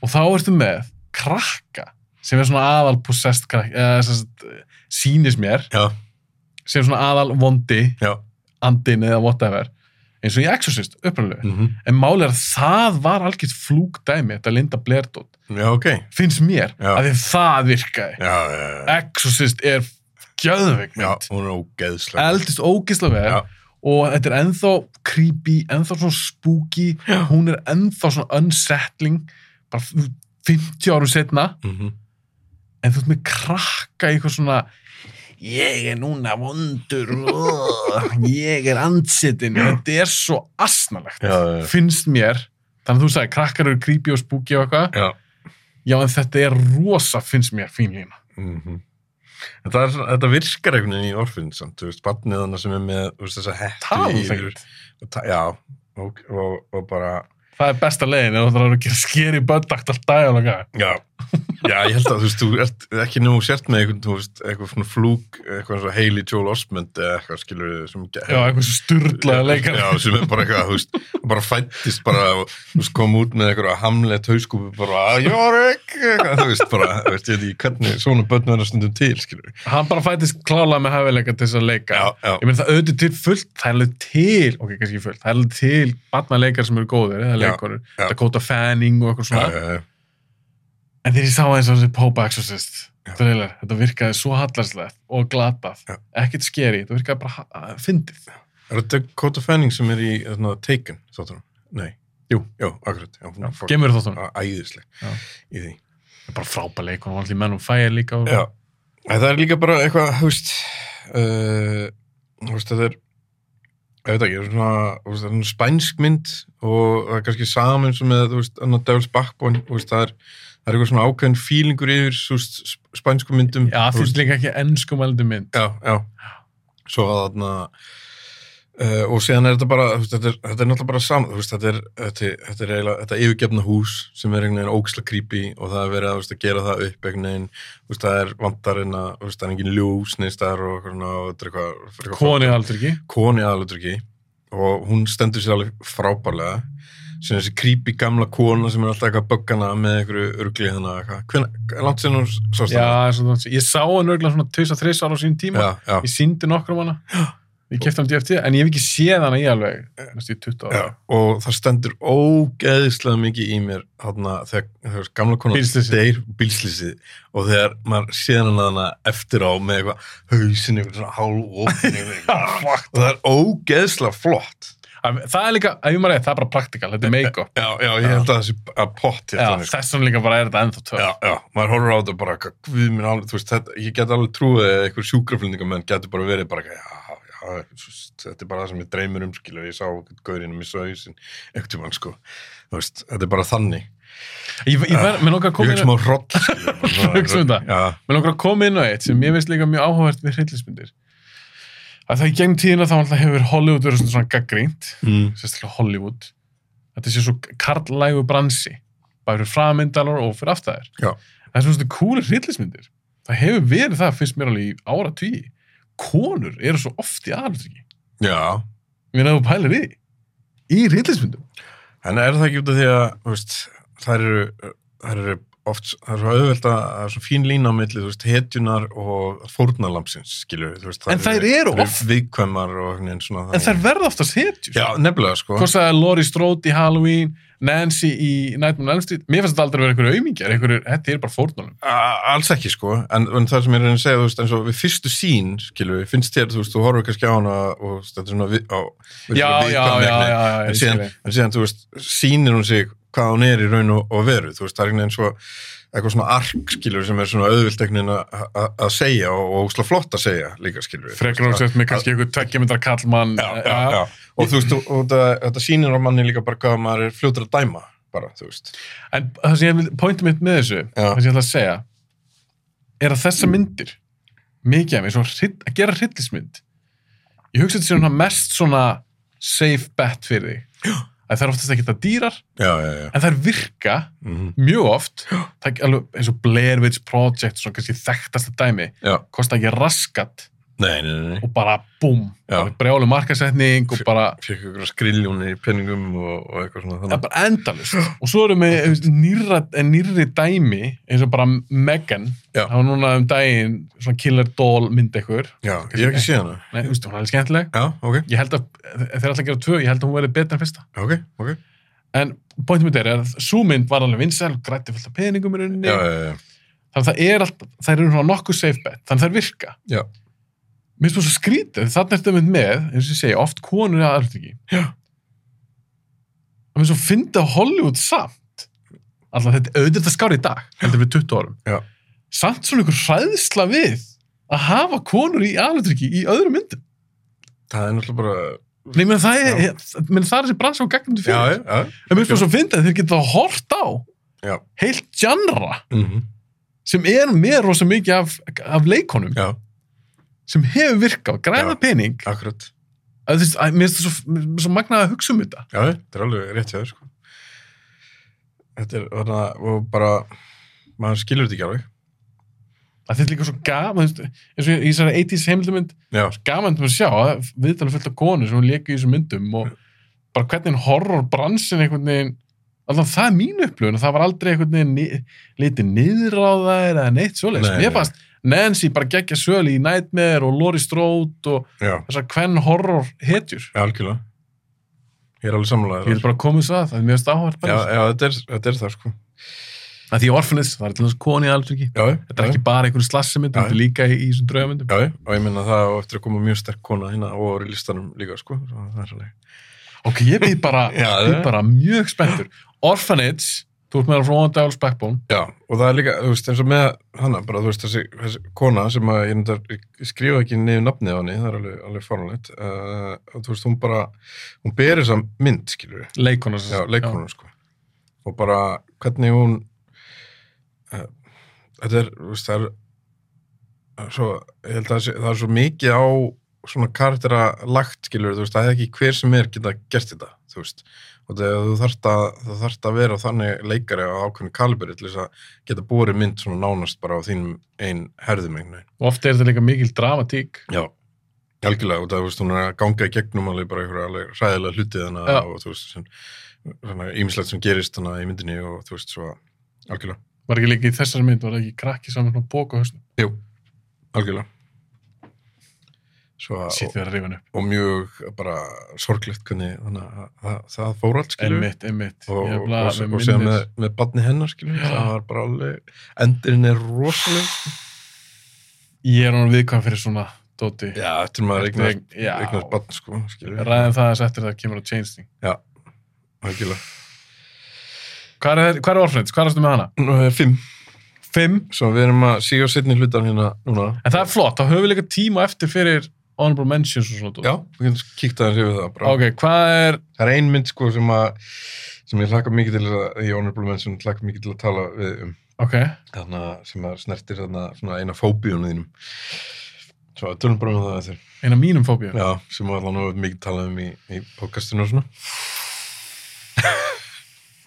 S5: og þá ertu með krakka sem er svona aðal possessed krakka, eða sérst, sýnis mér,
S6: Já.
S5: sem er svona aðal vondi,
S6: Já.
S5: andin eða whatever, eins og í Exorcist upprænlega,
S6: Mhm.
S5: en málið er að það var algjört flúkdæmi, þetta Linda Blair dót,
S6: Já, ok.
S5: finnst mér
S6: Já.
S5: að því það virkaði,
S6: Já, já, já.
S5: Exorcist er
S6: Já,
S5: gjöðveikmynd,
S6: hún er ógeðslega.
S5: eldist ógislega vel
S6: Já.
S5: og þetta er ennþá creepy, ennþá svona spooky hún er ennþá svona unsettling bara 50 árum setna
S6: Mhm.
S5: en þú ert með krakka í eitthvað svona ég er núna vondur uh, ég er ansettin þetta er svo asnalegt
S6: Já, já, já.
S5: finnst mér þannig að þú sagði krakkar eru creepy og spooky og eitthvað
S6: Já.
S5: já en þetta er rosa finnst mér fín lína
S6: Mhm. En það er svona- Þetta virkar einhvern veginn í orfinn samt, þú veist, barniðana sem er með þú veist, þessa
S5: um
S6: hettu yfir
S5: talfengt
S6: og ta- Já, og, og, og bara
S5: það er besta leiðin ef þú þarf að gera skeri böndakt allt dægulega
S6: Já, já, ég held að þú veist, þú ert ekki nú sért með einhvern, þú veist, eitthvað svona flúk, eitthvað eins og Hailey Joel Osmond eða eitthvað, skilur við, sem
S5: já eitthvað svo styrlaða leikar
S6: Já, sem er bara eitthvað, þú veist, bara fættist bara og þú veist, kom út með eitthvað hamlet hauskúpu bara, "Ah, Jórek, eitthvað, þú veist, bara, þú veist, ég veit ekki hvernig svona börnum er að stundum til, skilur við.
S5: hann bara fættist klála með hafileika til þess að leika
S6: Já, já.
S5: ég meina það auðvitað til fullt það er alveg til, ok, kannski ekki fullt það er alveg til barnaleikar sem eru góðir eða
S6: Já,
S5: leikonur,
S6: já.
S5: Dakota Fanning og eitthvað
S6: Já,
S5: svona
S6: já, já,
S5: en þegar ég sá eins og þessi Pope Exorcist trailer, þetta virkaði svo hallarslegt og glatað,
S6: Já.
S5: ekkert skeri þetta virkaði bara ha- að- fyndið
S6: Er þetta Dakota Fanning sem er í þarna, Taken, þáttunum? Nei.
S5: Jú.
S6: Jú, akkurat. Já, hún fór
S5: gemur þóttunum,
S6: æðisleg
S5: Já.
S6: í því.
S5: bara frábæð leikonum og allir menn og fæir líka og...
S6: Já. En það er líka bara eitthvað, þú veist, uh, þú veist, þetta er, ég veit ekki, það er svona, þú veist, það er svona spænsk mynd og það er kannski saman sem með, þú veist, annar Devils Backbone, þú veist, það er, það er eitthvað svona ákveðin fílingur yfir, þú veist, sp- spænsku myndum.
S5: Já,
S6: þú
S5: þú veist líka ekki ennskum eldur mynd.
S6: Já, já. Svo að þarna, uh, og síðan er þetta bara, þú veist, þetta er, þetta er náttúrulega bara saman, þú veist, þetta er, þetta er, þetta er eiginlega, þetta yfirgefna hús sem er einhvern veginn óksla creepy og það er verið að, þú veist, að gera það upp einhvern veginn, þú veist, það er vandarinn að, þú veist, það er engin ljós neins þar og eitthvað, svona, og þetta er eitthvað, eitthvað
S5: Konið aldrei ekki.
S6: koni aðalutryggi og hún stendur sér alveg frábærlega sem þessi creepy gamla kona sem er alltaf eitthvað böggana með einhverju örglið hana eitthvað, hvernig, langt sinni hún sást
S5: Já,
S6: hana?
S5: svo, þannig. ég sá hann örgulega svona 2-3 ára á sínum tíma.
S6: já, já.
S5: ég síndi nokkrum hana ég kefti hann DFT en ég hef ekki séð hana í alveg næstu í 20 ára
S6: Já, og það stendur ógeðislega mikið í mér þarna, þegar, þegar gamla konar
S5: Bílslysið.
S6: deyr bílslýsið og þegar maður séð hann hana eftir á með eitthvað hausin eitthvað svona hálf opin og það er ógeðislega flott
S5: En það er líka, ef ég maður reyð, það er bara praktikal þetta er make-up
S6: já, já, ég held að það sé að pott hérna, sko.
S5: Já, þess vegna líka bara er þetta ennþá töf
S6: Já, já, maður horfir á þetta bara, eitthvað, guð minn alveg, þú veist, þetta, ég get alveg trúið að einhver sjúkraflendingamenn getur bara verið bara, eitthvað, já, já, þú veist, þetta er bara það sem ég dreymir um, skilur, ég sá einhvern gaurinn um í sögjusin, einhvern tímann, sko, þú veist, þetta er bara þannig.
S5: ég, ég verð, mér langar að
S6: Ég
S5: koma
S6: veist
S5: inn á-
S6: smá hroll, skilur. bara svona-
S5: Hugsa um það.
S6: Já,
S5: mig langar að koma inn á eitt sem ég veist líka mjög áhugavert við hryllismyndir að það í gegnum tíðina þá alltaf hefur Hollywood verið svona, svona gaggrínt
S6: mm.
S5: sérstaklega Hollywood þetta sé svo karlægu bransi bara fyrir framyndalar og fyrir aftæðir
S6: Já.
S5: það er svona svona kúli hryllismyndir það hefur verið það finnst mér alveg í ára tví konur eru svo oft í aðalutryggi
S6: já,
S5: ég meina ef þú pælir í því í hryllismyndum
S6: en er það ekki út af því að, þú veist, þær eru, þær eru oft, það er svo auðvelt að, það er svo fín lína á milli, þú veist, hetjunar og fórnarlampsins, skilur, þú veist,
S5: En þær eru oft-
S6: viðkvæmar og einhvern veginn svona.
S5: en þær verða oftast hetjur
S6: Já, nefnilega, sko.
S5: hvort það er Laurie Strode í Halloween Nancy í Nightmare on Elm Street mér finnst þetta aldrei að vera einhverju aumingjar einhverju, þetta er bara fórnunum
S6: A- alls ekki sko, en, en það sem ég er að reyna að segja þú veist, eins og við fyrstu sín, skilur við finnst þér, þú veist, þú horfur kannski á hana og þú veist, þetta er svona við, á, við
S5: já, já, já, já, já,
S6: en,
S5: ég
S6: síðan,
S5: skil
S6: en síðan, þú veist, sýnir hún sig hvað hún er í raun og, og veru þú veist, það er einhvern veginn svo eitthvað svona ark, skilur, sem er svona auðvilt einhvern veginn að- að að segja og, og slá flott að segja líka, skilur
S5: þig. frekar ásett með kannski einhver tveggjamyndar kallmann
S6: já, já, já. og þú veist, og, og þetta, þetta sýnir á manni líka bara hvað maður er fljótur að dæma bara, þú veist
S5: En það sem ég vil, pointum mitt með þessu,
S6: Já.
S5: það sem ég ætla að segja, er að þessar myndir, mikið af mér, svona, hryll- að gera hryllismynd, ég hugsa þetta sé svona mest svona safe bet fyrir þig. Já. Það er oftast ekki það dýrar,
S6: já, já, já,
S5: en þær virka
S6: Mhm.
S5: mjög oft, það er alveg eins og Blair Witch Project, svona kannski þekktasta dæmi,
S6: já.
S5: kosta ekki raskat
S6: Nei, nei, nei, nei.
S5: og bara búm,
S6: Já.
S5: brjálu markasetning og bara
S6: Fekk ykkur skriljónir í penningum og, og eitthvað svona
S5: það er
S6: þannig.
S5: bara endalust og svo erum við veist, nýrra, nýrri dæmi eins og bara Megan
S6: Já.
S5: það var núna um daginn svona killer doll mynd ekkur
S6: Já, ég hef ekki séð hana.
S5: Nei, þú veist, hún er alveg skemmtileg
S6: Já, ok,
S5: ég held að þeir alltaf gera tvö, ég held að hún verði betur en fyrsta
S6: ok, ok.
S5: en pointum mitt er að sú mynd var alveg vinsæl grætti fullt af peningum í rauninni
S6: Já, já, já, já.
S5: þannig að það er alltaf, þær eru svona nokkuð safe bet þannig að þær virka
S6: Já.
S5: mér finnst þú svo skrítið, þannig er þetta mynd með eins og ég segi, oft konur er aðallt ekki
S6: Já.
S5: það finnst þú fyndi að Hollywood samt alltaf þetta, auðvitað þetta skári í dag heldur við 20 árum
S6: Já.
S5: samt svona ykkur hræðsla við að hafa konur í aðaltryggi í öðrum myndum
S6: Það er náttúrulega bara...
S5: Nei, menn, það, er,
S6: Já.
S5: ég- meina, það er þessi bransa og gagnandi
S6: Já, já,
S5: fyrir
S6: já.
S5: en mér finnst þú svo fyndi að þeir geta hort á
S6: Já.
S5: heilt genre
S6: Mm
S5: sem er með rosa mikið af, af leikonum
S6: Já,
S5: sem hefur virkað, græða
S6: Já.
S5: pening
S6: akkurat.
S5: að þú veist, að, mér finnst það svo, mér finnst svo magnað að hugsa um þetta
S6: Já, þetta er alveg rétt hjá þér, sko. Þetta er þarna, og bara, maður skilur þetta ekki alveg.
S5: að þetta er líka svo gaman þú veist, eins og ég- í þessari 80s heimildamynd
S6: Já,
S5: gaman til að sjá að viðtalið fullt af konu sem hún leku í þessum myndum og bara hvernig horrorbransin einhvern veginn allan það er mín upplöfun það var aldrei einhvern veginn ni- litið niður á þær eða neitt svoleiðis
S6: Nei,
S5: mér
S6: nei.
S5: fannst Nancy bara geggja sölu í Nightmare og Laurie Strode og
S6: já,
S5: þessar hvern horror hetjur
S6: já, algjörlega. Ég er alveg
S5: ég vil
S6: samlaðið.
S5: bara koma þess að það er mjög stáhært
S6: Já,
S5: bara
S6: já, þetta er, þetta er það, sko.
S5: að því orfinis, það er til þess koni alls ekki
S6: Já,
S5: þetta er ekki bara einhvern slassimynd
S6: Já.
S5: þetta er líka í, í þessum draugamyndum
S6: Já, já, og ég minna það á eftir að koma mjög sterk kona hérna og ári listanum líka, sko. Svo Það er alveg.
S5: Ok, ég býð bara,
S6: Já,
S5: býð
S6: það-
S5: bara mjög spenntur. Orphanage, þú ert með það frá One Devil's Backbone.
S6: Já, og það er líka, þú veist, eins og með hana, bara, þú veist, þessi, þessi kona sem að ég, reyndar- ég skrifa ekki niður nafnið á henni, það er alveg, alveg fórhaldið, uh, og þú veist, hún bara, hún berir þessa mynd, skilur við,
S5: Leikona. sem
S6: já,
S5: sagt.
S6: leikonum, sko, og bara hvernig hún, uh, þetta er, þú veist, það er, það er svo, ég held að það sé- það er svo mikið á svona karaktera lagt, skilur við, þú veist, það er ekki hver sem er geta gert þetta, þú veist, og þegar þú þarft að, þú þarft að vera þannig leikari á ákveðin kalibri til þess að geta borið mynd svona nánast bara á þínum einn herðum einhvern veginn.
S5: Og Oft er þetta líka mikil dramatík.
S6: Já. Algjörlega, og það, þú veist, hún er að ganga í gegnum alveg bara einhverja alveg ræðilega hluti þannig
S5: Já.
S6: og þú veist, sem, svona ímislegt sem gerist þannig í myndinni og þú veist, svo algjörlega,
S5: Var ekki líka í þessari mynd, var ekki krakki saman á bókahösnum.
S6: algjörlega. Svo að,
S5: Sitt
S6: og,
S5: við að rifin upp.
S6: og mjög bara sorglegt hvernig þannig að það, það fór allt, skilur
S5: Einmitt, einmitt.
S6: og,
S5: Ég er
S6: og,
S5: bara
S6: og,
S5: með
S6: og segja með,
S5: minnir.
S6: með badni hennar skiljum,
S5: Já.
S6: það var bara alveg endurinn er rosaleg
S5: Ég er hann viðkvæm fyrir svona, Dóti.
S6: já, eftir maður
S5: Eftir-
S6: eignast,
S5: já.
S6: eignast badn sko, skiljum,
S5: Ræðum það þess eftir það kemur á Changeling.
S6: algjörlega
S5: Hvað er, hvað er Orphanage? Hvað er þetta með hana?
S6: Nú, það er fimm,
S5: Fimm.
S6: svo við erum að síga setni hlutan hérna núna
S5: En það er flott, þá höfum við líka tíma eftir fyrir Honorable Mentions og svona, Dóti.
S6: já, við getum kíkt hérna aðeins yfir það bara.
S5: Ok, hvað er,
S6: það er ein mynd sko sem að sem ég hlakka mikið til að, í Honorable Mention hlakka mikið til að tala við um
S5: ok,
S6: þarna sem að snertir þarna svona eina fóbíunum þínum svo að tölum bara um það eftir
S5: eina mínum fóbíu.
S6: já, sem að allan of mikið tala um í, í podcastinu og svona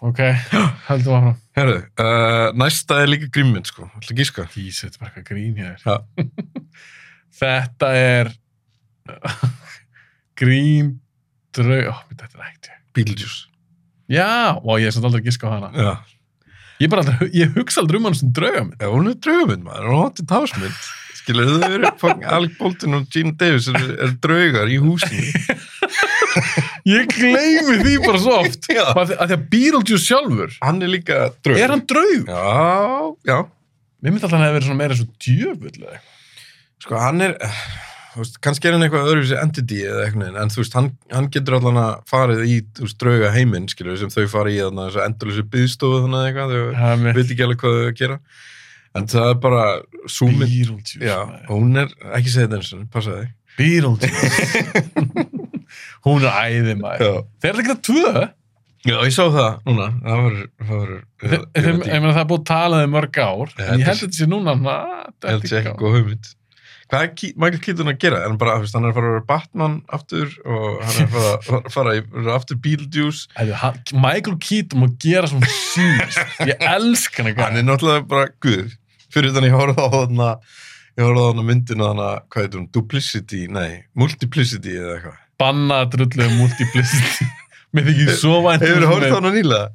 S5: Ok, heldum áfram.
S6: Herru, uh, næsta er líka grímmynd sko, ætla að gíska.
S5: Ísið, þetta er bara eitthvað grín hér.
S6: Já.
S5: þetta er grín draug... Ó, mér þetta er ekkert.
S6: Beetlejuice.
S5: Já, og ég er samt aldrei að giska á hana.
S6: Já,
S5: Ég, bara aldrei, ég hugsa aldrei um hana sem drauga minn.
S6: Já, hún er draugmynd maður, hún er hóttið tásmynd. Skilur, þau eru fucking Alec Bolton og Gene Davis er, er draugar í húsinu.
S5: Ég gleymi því bara svo oft.
S6: Já.
S5: Bara því- Af því að Beetlejuice sjálfur,
S6: Hann er líka draug.
S5: er hann draug?
S6: Já, já.
S5: Mér myndi alltaf hann að vera svona meira svo djöfull eða eitthvað.
S6: Sko, hann er, eh, þú veist, kannski er hann eitthvað öðruvísi entity eða eitthvað, neginn, en þú veist, hann, hann getur allan að farið í, þú veist, drauga heiminn, skilur, sem þau farið í þannig að þessu endurlösu byðstofu þannig eitthvað, þau
S5: Það með
S6: veit ekki alveg hvað þau að gera. En það er bara, sú mynd,
S5: Beetlejuice.
S6: já,
S5: maður.
S6: og hún er, ekki segið þetta eins og, passa þig.
S5: Beetlejuice. Hún er æði maður.
S6: Já.
S5: Þeir eru ekki það tvö.
S6: Já, ég sá það núna. Það verður, það verður,
S5: Þe-
S6: ég
S5: þeim-
S6: veit
S5: Ég meina það er búið að tala um mörg
S6: Ja,
S5: ár en ég
S6: þetta er-
S5: held að þetta sé núna na,
S6: Ég held
S5: þetta
S6: sé
S5: er
S6: ekki sko.
S5: ekki
S6: góð hugmynd. Hvað er Ke- Michael Keaton að gera? Er Hann, bara, þú veist, hann er að fara að vera Batman aftur og hann er að fara, fara- fara í, verður aftur Beetlejuice.
S5: Hefðu, hann- Michael Keaton má gera svona síðust ég elska hann
S6: Hann er
S5: eitthvað
S6: náttúrulega bara guð. Fyrir þannig ég horfði á þarna, ég horfði á þarna myndina þarna, hvað heitir hún, duplicity, nei, multiplicity eða eitthvað.
S5: banna drulluðum multiplicity mér þykir svo vænt um
S6: Hefur þú
S5: þessa
S6: horfði á
S5: mynd.
S6: hana nýlega?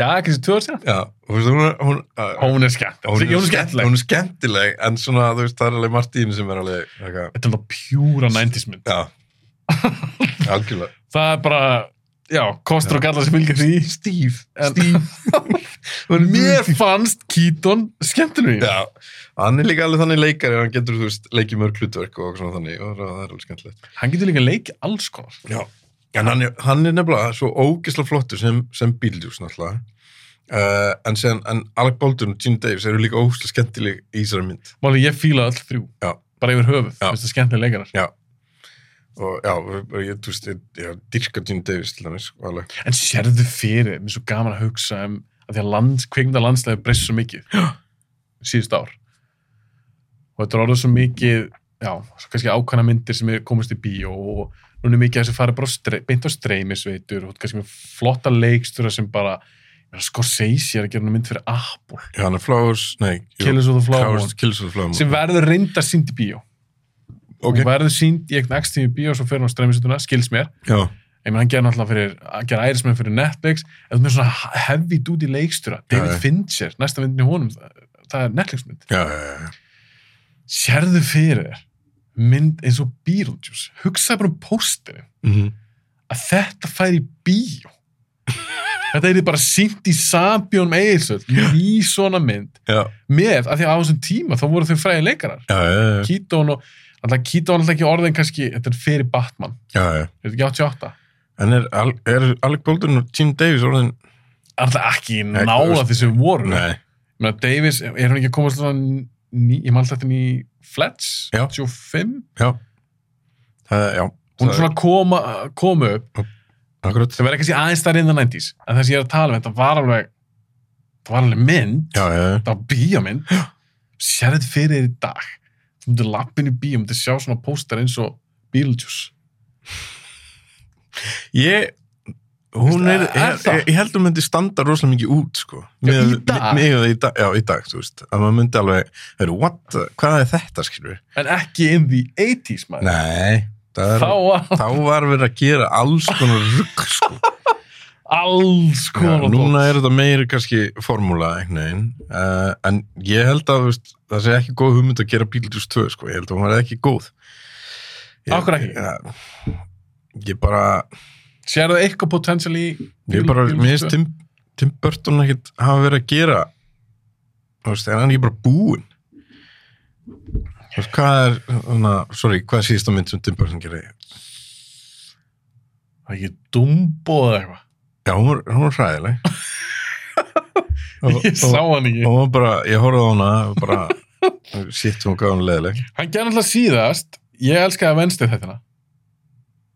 S5: já, kannski tvö ár síðan
S6: Já, og þú veist, hún, er- hún, uh,
S5: hún er skemmt, hún er skemmtleg
S6: Hún er skemmtileg, en svona, þú veist, það er alveg Martín sem er alveg, eitthvað,
S5: þetta er það pjúra 90s mynd
S6: já, algjörlega.
S5: það er bara, já, kostur og galla sem fylgir því
S6: Steve,
S5: En-
S6: Steve. hún er
S5: mér
S6: mjög
S5: fannst Keaton skemmtileg
S6: Já, hann er líka alveg þannig leikari hann getur, þú veist, leikið mörg hlutverk og svona þannig, og það er alveg skemmtilegt.
S5: hann getur líka leikið alls konar
S6: Já, en hann er, hann er nefnilega svo ógisla flottur sem, sem Bíldjús, náttúrulega. Uh, en, sen, en Alec Baldwin og Gene Davis eru líka ógisla skemmtileg í þessari mynd.
S5: Máli, ég fíla öll þrjú,
S6: Já.
S5: bara yfir höfuð
S6: Já.
S5: finnst það skemmtileg leikarar
S6: Já. Og já, ég, þú veist, ég, ég dyrka Gene Davis til dæmis, og alveg.
S5: En sérðu fyrir, mér er svo gaman að hugsa um að því að lands, kveikmynda landslega breyst svo mikið síðust ár og þetta er orðið svo mikið já, svo kannski ákvæmna myndir sem er komast í bíó og núna er mikið að þessu farið bara á stre- beint á streymisveitur og þú ert kannski með flotta leikstjóra sem bara ég meina, Scorsese er að gera hana mynd fyrir Apple
S6: Já, hann er Flowers, nei, jú,
S5: Killers of the Flower
S6: Flowers-
S5: Moon,
S6: Killers of the Flower Moon.
S5: sem verður reynda sínd í bíó
S6: Ok,
S5: hún verður sínd í eitthvað ekstími bíó og svo fyrir hún á streymisveituna, skils mér
S6: já,
S5: ég meina hann gerði náttúrulega fyrir hann gerði ærismenn fyrir Netflix eða með svona heavy duty leikstjóra David
S6: Já, já.
S5: Fincher, næsta myndin í honum það, það er Netflix mynd
S6: já, já, já, já.
S5: sérðu fyrir þér mynd eins og Beetlejuice hugsaði bara um pósterin
S6: Mm
S5: að þetta færi í bíó þetta er bara sínt í Sabjón Eilsöld í svona mynd
S6: já,
S5: með, af því að á þessum tíma þá voru þau fræði leikarar
S6: já, já, já,
S5: Keaton og, alltaf Keaton alltaf ekki orðin kannski þetta er fyrir Batman,
S6: já, já.
S5: þetta er ekki 88
S6: En er, Al- er Alec Baldwin og Gene Davis orðin?
S5: alltaf ekki
S6: Nei, þú
S5: nála
S6: veist-
S5: þessu voru
S6: Nei,
S5: Ég meina, Davis, er hún ekki að koma svona ný, ég maður þetta í Flats
S6: Já.
S5: 25,
S6: já. Það er, já.
S5: hún
S6: það
S5: er svona að koma, koma upp
S6: Akkurat.
S5: sem verður kannski aðeins þar inn á 90s en þess að ég er að tala um, þetta var alveg það var alveg mynd,
S6: Já, já, já.
S5: þetta var bíómynd sér þetta fyrir þér í dag þú myndir lappin í bíó, myndir sjá svona póster eins og Beetlejuice
S6: Ég, hún
S5: Veist,
S6: er,
S5: er
S6: er,
S5: það?
S6: ég held hún myndi standa rosalega mikið út, sko.
S5: Já, í
S6: Miðað-
S5: dag?
S6: mi- miðað í dag, já, í dag, þú veist. Að maður myndi alveg, heyrðu, what, the- hvað er þetta, skilur við?
S5: en ekki in the 80s maður
S6: Nei, það er,
S5: þá var
S6: þá var verið að gera alls konar rugg, sko.
S5: alls
S6: Já,
S5: konar
S6: núna er þetta meiri kannski formúla einhvern veginn, uh, en ég held að þú veist, það sé ekki góð hugmynd að gera Bíldjús 2, sko, ég held að hún var ekki góð Ég-
S5: Af hverju ekki?
S6: Ég, ég bara,
S5: sér þetta eitthvað potential í
S6: ég bara
S5: Beetlejuice
S6: mér finnst
S5: 2?
S6: Tim, Tim Burton ekkit hafa verið að gera þú veist, en hann er ekki bara búinn Þú veist, hvað er hana, sorry, hvað er síðasta mynd sem Tim Burton gerði?
S5: Það er ekki Dumbo eða eitthvað
S6: Já, hún var, hún var hræðileg Og-
S5: ég sá
S6: og-
S5: hann ekki
S6: og hún var bara, ég horfði á hana og bara, shit, hún gaf hún leðileg
S5: Hann gerði alltaf síðast, ég elskaði að venstu þetta. hérna.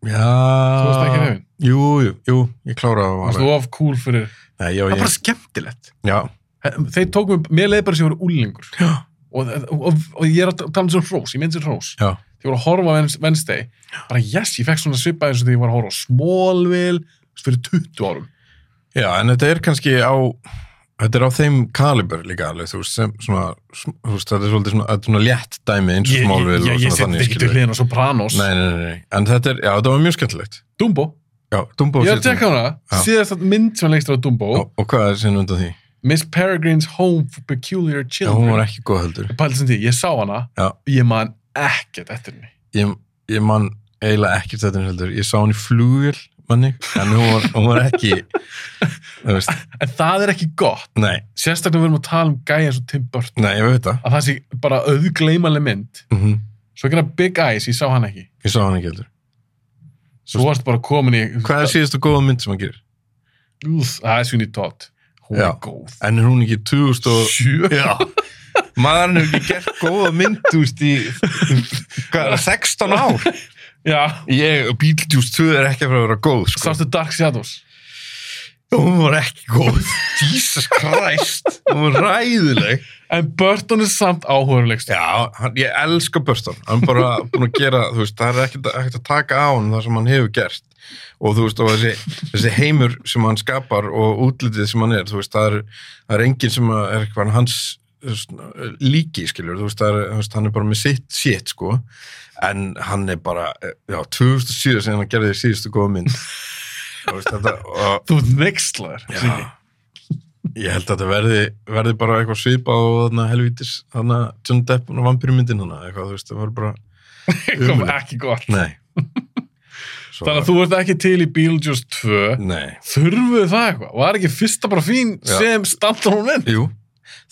S6: já,
S5: Þú varst ekki reyfin.
S6: jú, jú, jú, ég kláraði á
S5: Þú varst
S6: hana
S5: of cool fyrir...
S6: nei, já,
S5: Það var
S6: ég,
S5: bara skemmtilegt.
S6: já,
S5: Þeir tók mér, mér leið bara sem ég voru úlingur.
S6: já,
S5: Og, og, og ég er að tala um sem hrós, ég mynd sem hrós.
S6: já
S5: Þegar ég voru að horfa á Wednes- Wednesday, bara yes, ég fekk svona svipað eins og þegar ég var að horfa á Smallville þú veist, fyrir 20 árum.
S6: já, en þetta er kannski á þetta er á þeim kalibur líka alveg, þú veist, sem svona sm- þú veist, þetta er svolítið svona, þetta er svona létt dæmi eins og
S5: Ég,
S6: smálvil
S5: ég, ég, ég seti þetta ekki til
S6: nei,
S5: hliðin á Sopranos.
S6: nei, nei, nei, en þetta er, já, þetta var mjög skemmtilegt
S5: Dumbo.
S6: já, Dumbo
S5: Ég er
S6: síðasta
S5: að tekka hana,
S6: Já.
S5: síðast að mynd sem leikstur á Dumbo,
S6: mynd. og, og hvað er sinni undan því?
S5: Miss Peregrine's Home for Peculiar
S6: já, hún var
S5: Children.
S6: ekki góð heldur
S5: Pældi sem því, ég sá hana,
S6: Já.
S5: ég man ekkert eftir henni.
S6: ég, ég man eiginlega ekkert þetta heldur, ég sá hann í flugvél manni, en hún var, hún var ekki þú veist,
S5: En það er ekki gott,
S6: nei,
S5: sérstaklega við erum að tala um gæja eins og Tim Burton,
S6: nei, ég veit það
S5: að það sé bara auðgleymaleg mynd.
S6: mm
S5: Svo ekki hana Big Eyes, ég sá hann ekki.
S6: ég sá hann ekki heldur
S5: Svo varst bara komin í...
S6: hvað er síðasta góða mynd sem hann gerir?
S5: Úf, það er Sweeney Todd. Hún
S6: Já.
S5: er góð.
S6: en er hún ekki 2000 og
S5: Sjö?
S6: já, maðurinn hefur ekki gert góða mynd þú veist í hvað er það, 16 ár
S5: Já.
S6: ég, Beetlejuice 2 er ekki að fara að vera góð sko.
S5: Sástu Dark Shadows?
S6: og hún var ekki góð Jesus Christ, hún var ræðileg
S5: En Burton er samt áhugaverlegst.
S6: já, hann, ég elska Burton hann er bara búin að gera, þú veist, það er ekkert ekkert að taka á hann það sem hann hefur gert og þú veist, og þessi, þessi heimur sem hann skapar og útlitið sem hann er þú veist, það er, það er enginn sem að er eitthvað hans þú veist, líki, skiljur, þú veist, það er, þú veist, hann er bara með sitt sitt, sko en hann er bara, já, 2007 sem hann gerði síðustu góða mynd þú veist, þetta, og
S5: Þú ert nextlar.
S6: Já. Ég held að þetta verði, verði bara eitthvað svipað og þarna helvítis, þarna John Depp og vampýrmyndin hana, eitthvað, þú veist, það var bara,
S5: Kom ekki gott.
S6: nei. Svo,
S5: Þannig að þú ert ekki til í Beetlejuice 2.
S6: Nei,
S5: Þurfuðu það eitthvað? Var ekki fyrsta bara fín
S6: Já.
S5: sem standar hún inn?
S6: jú,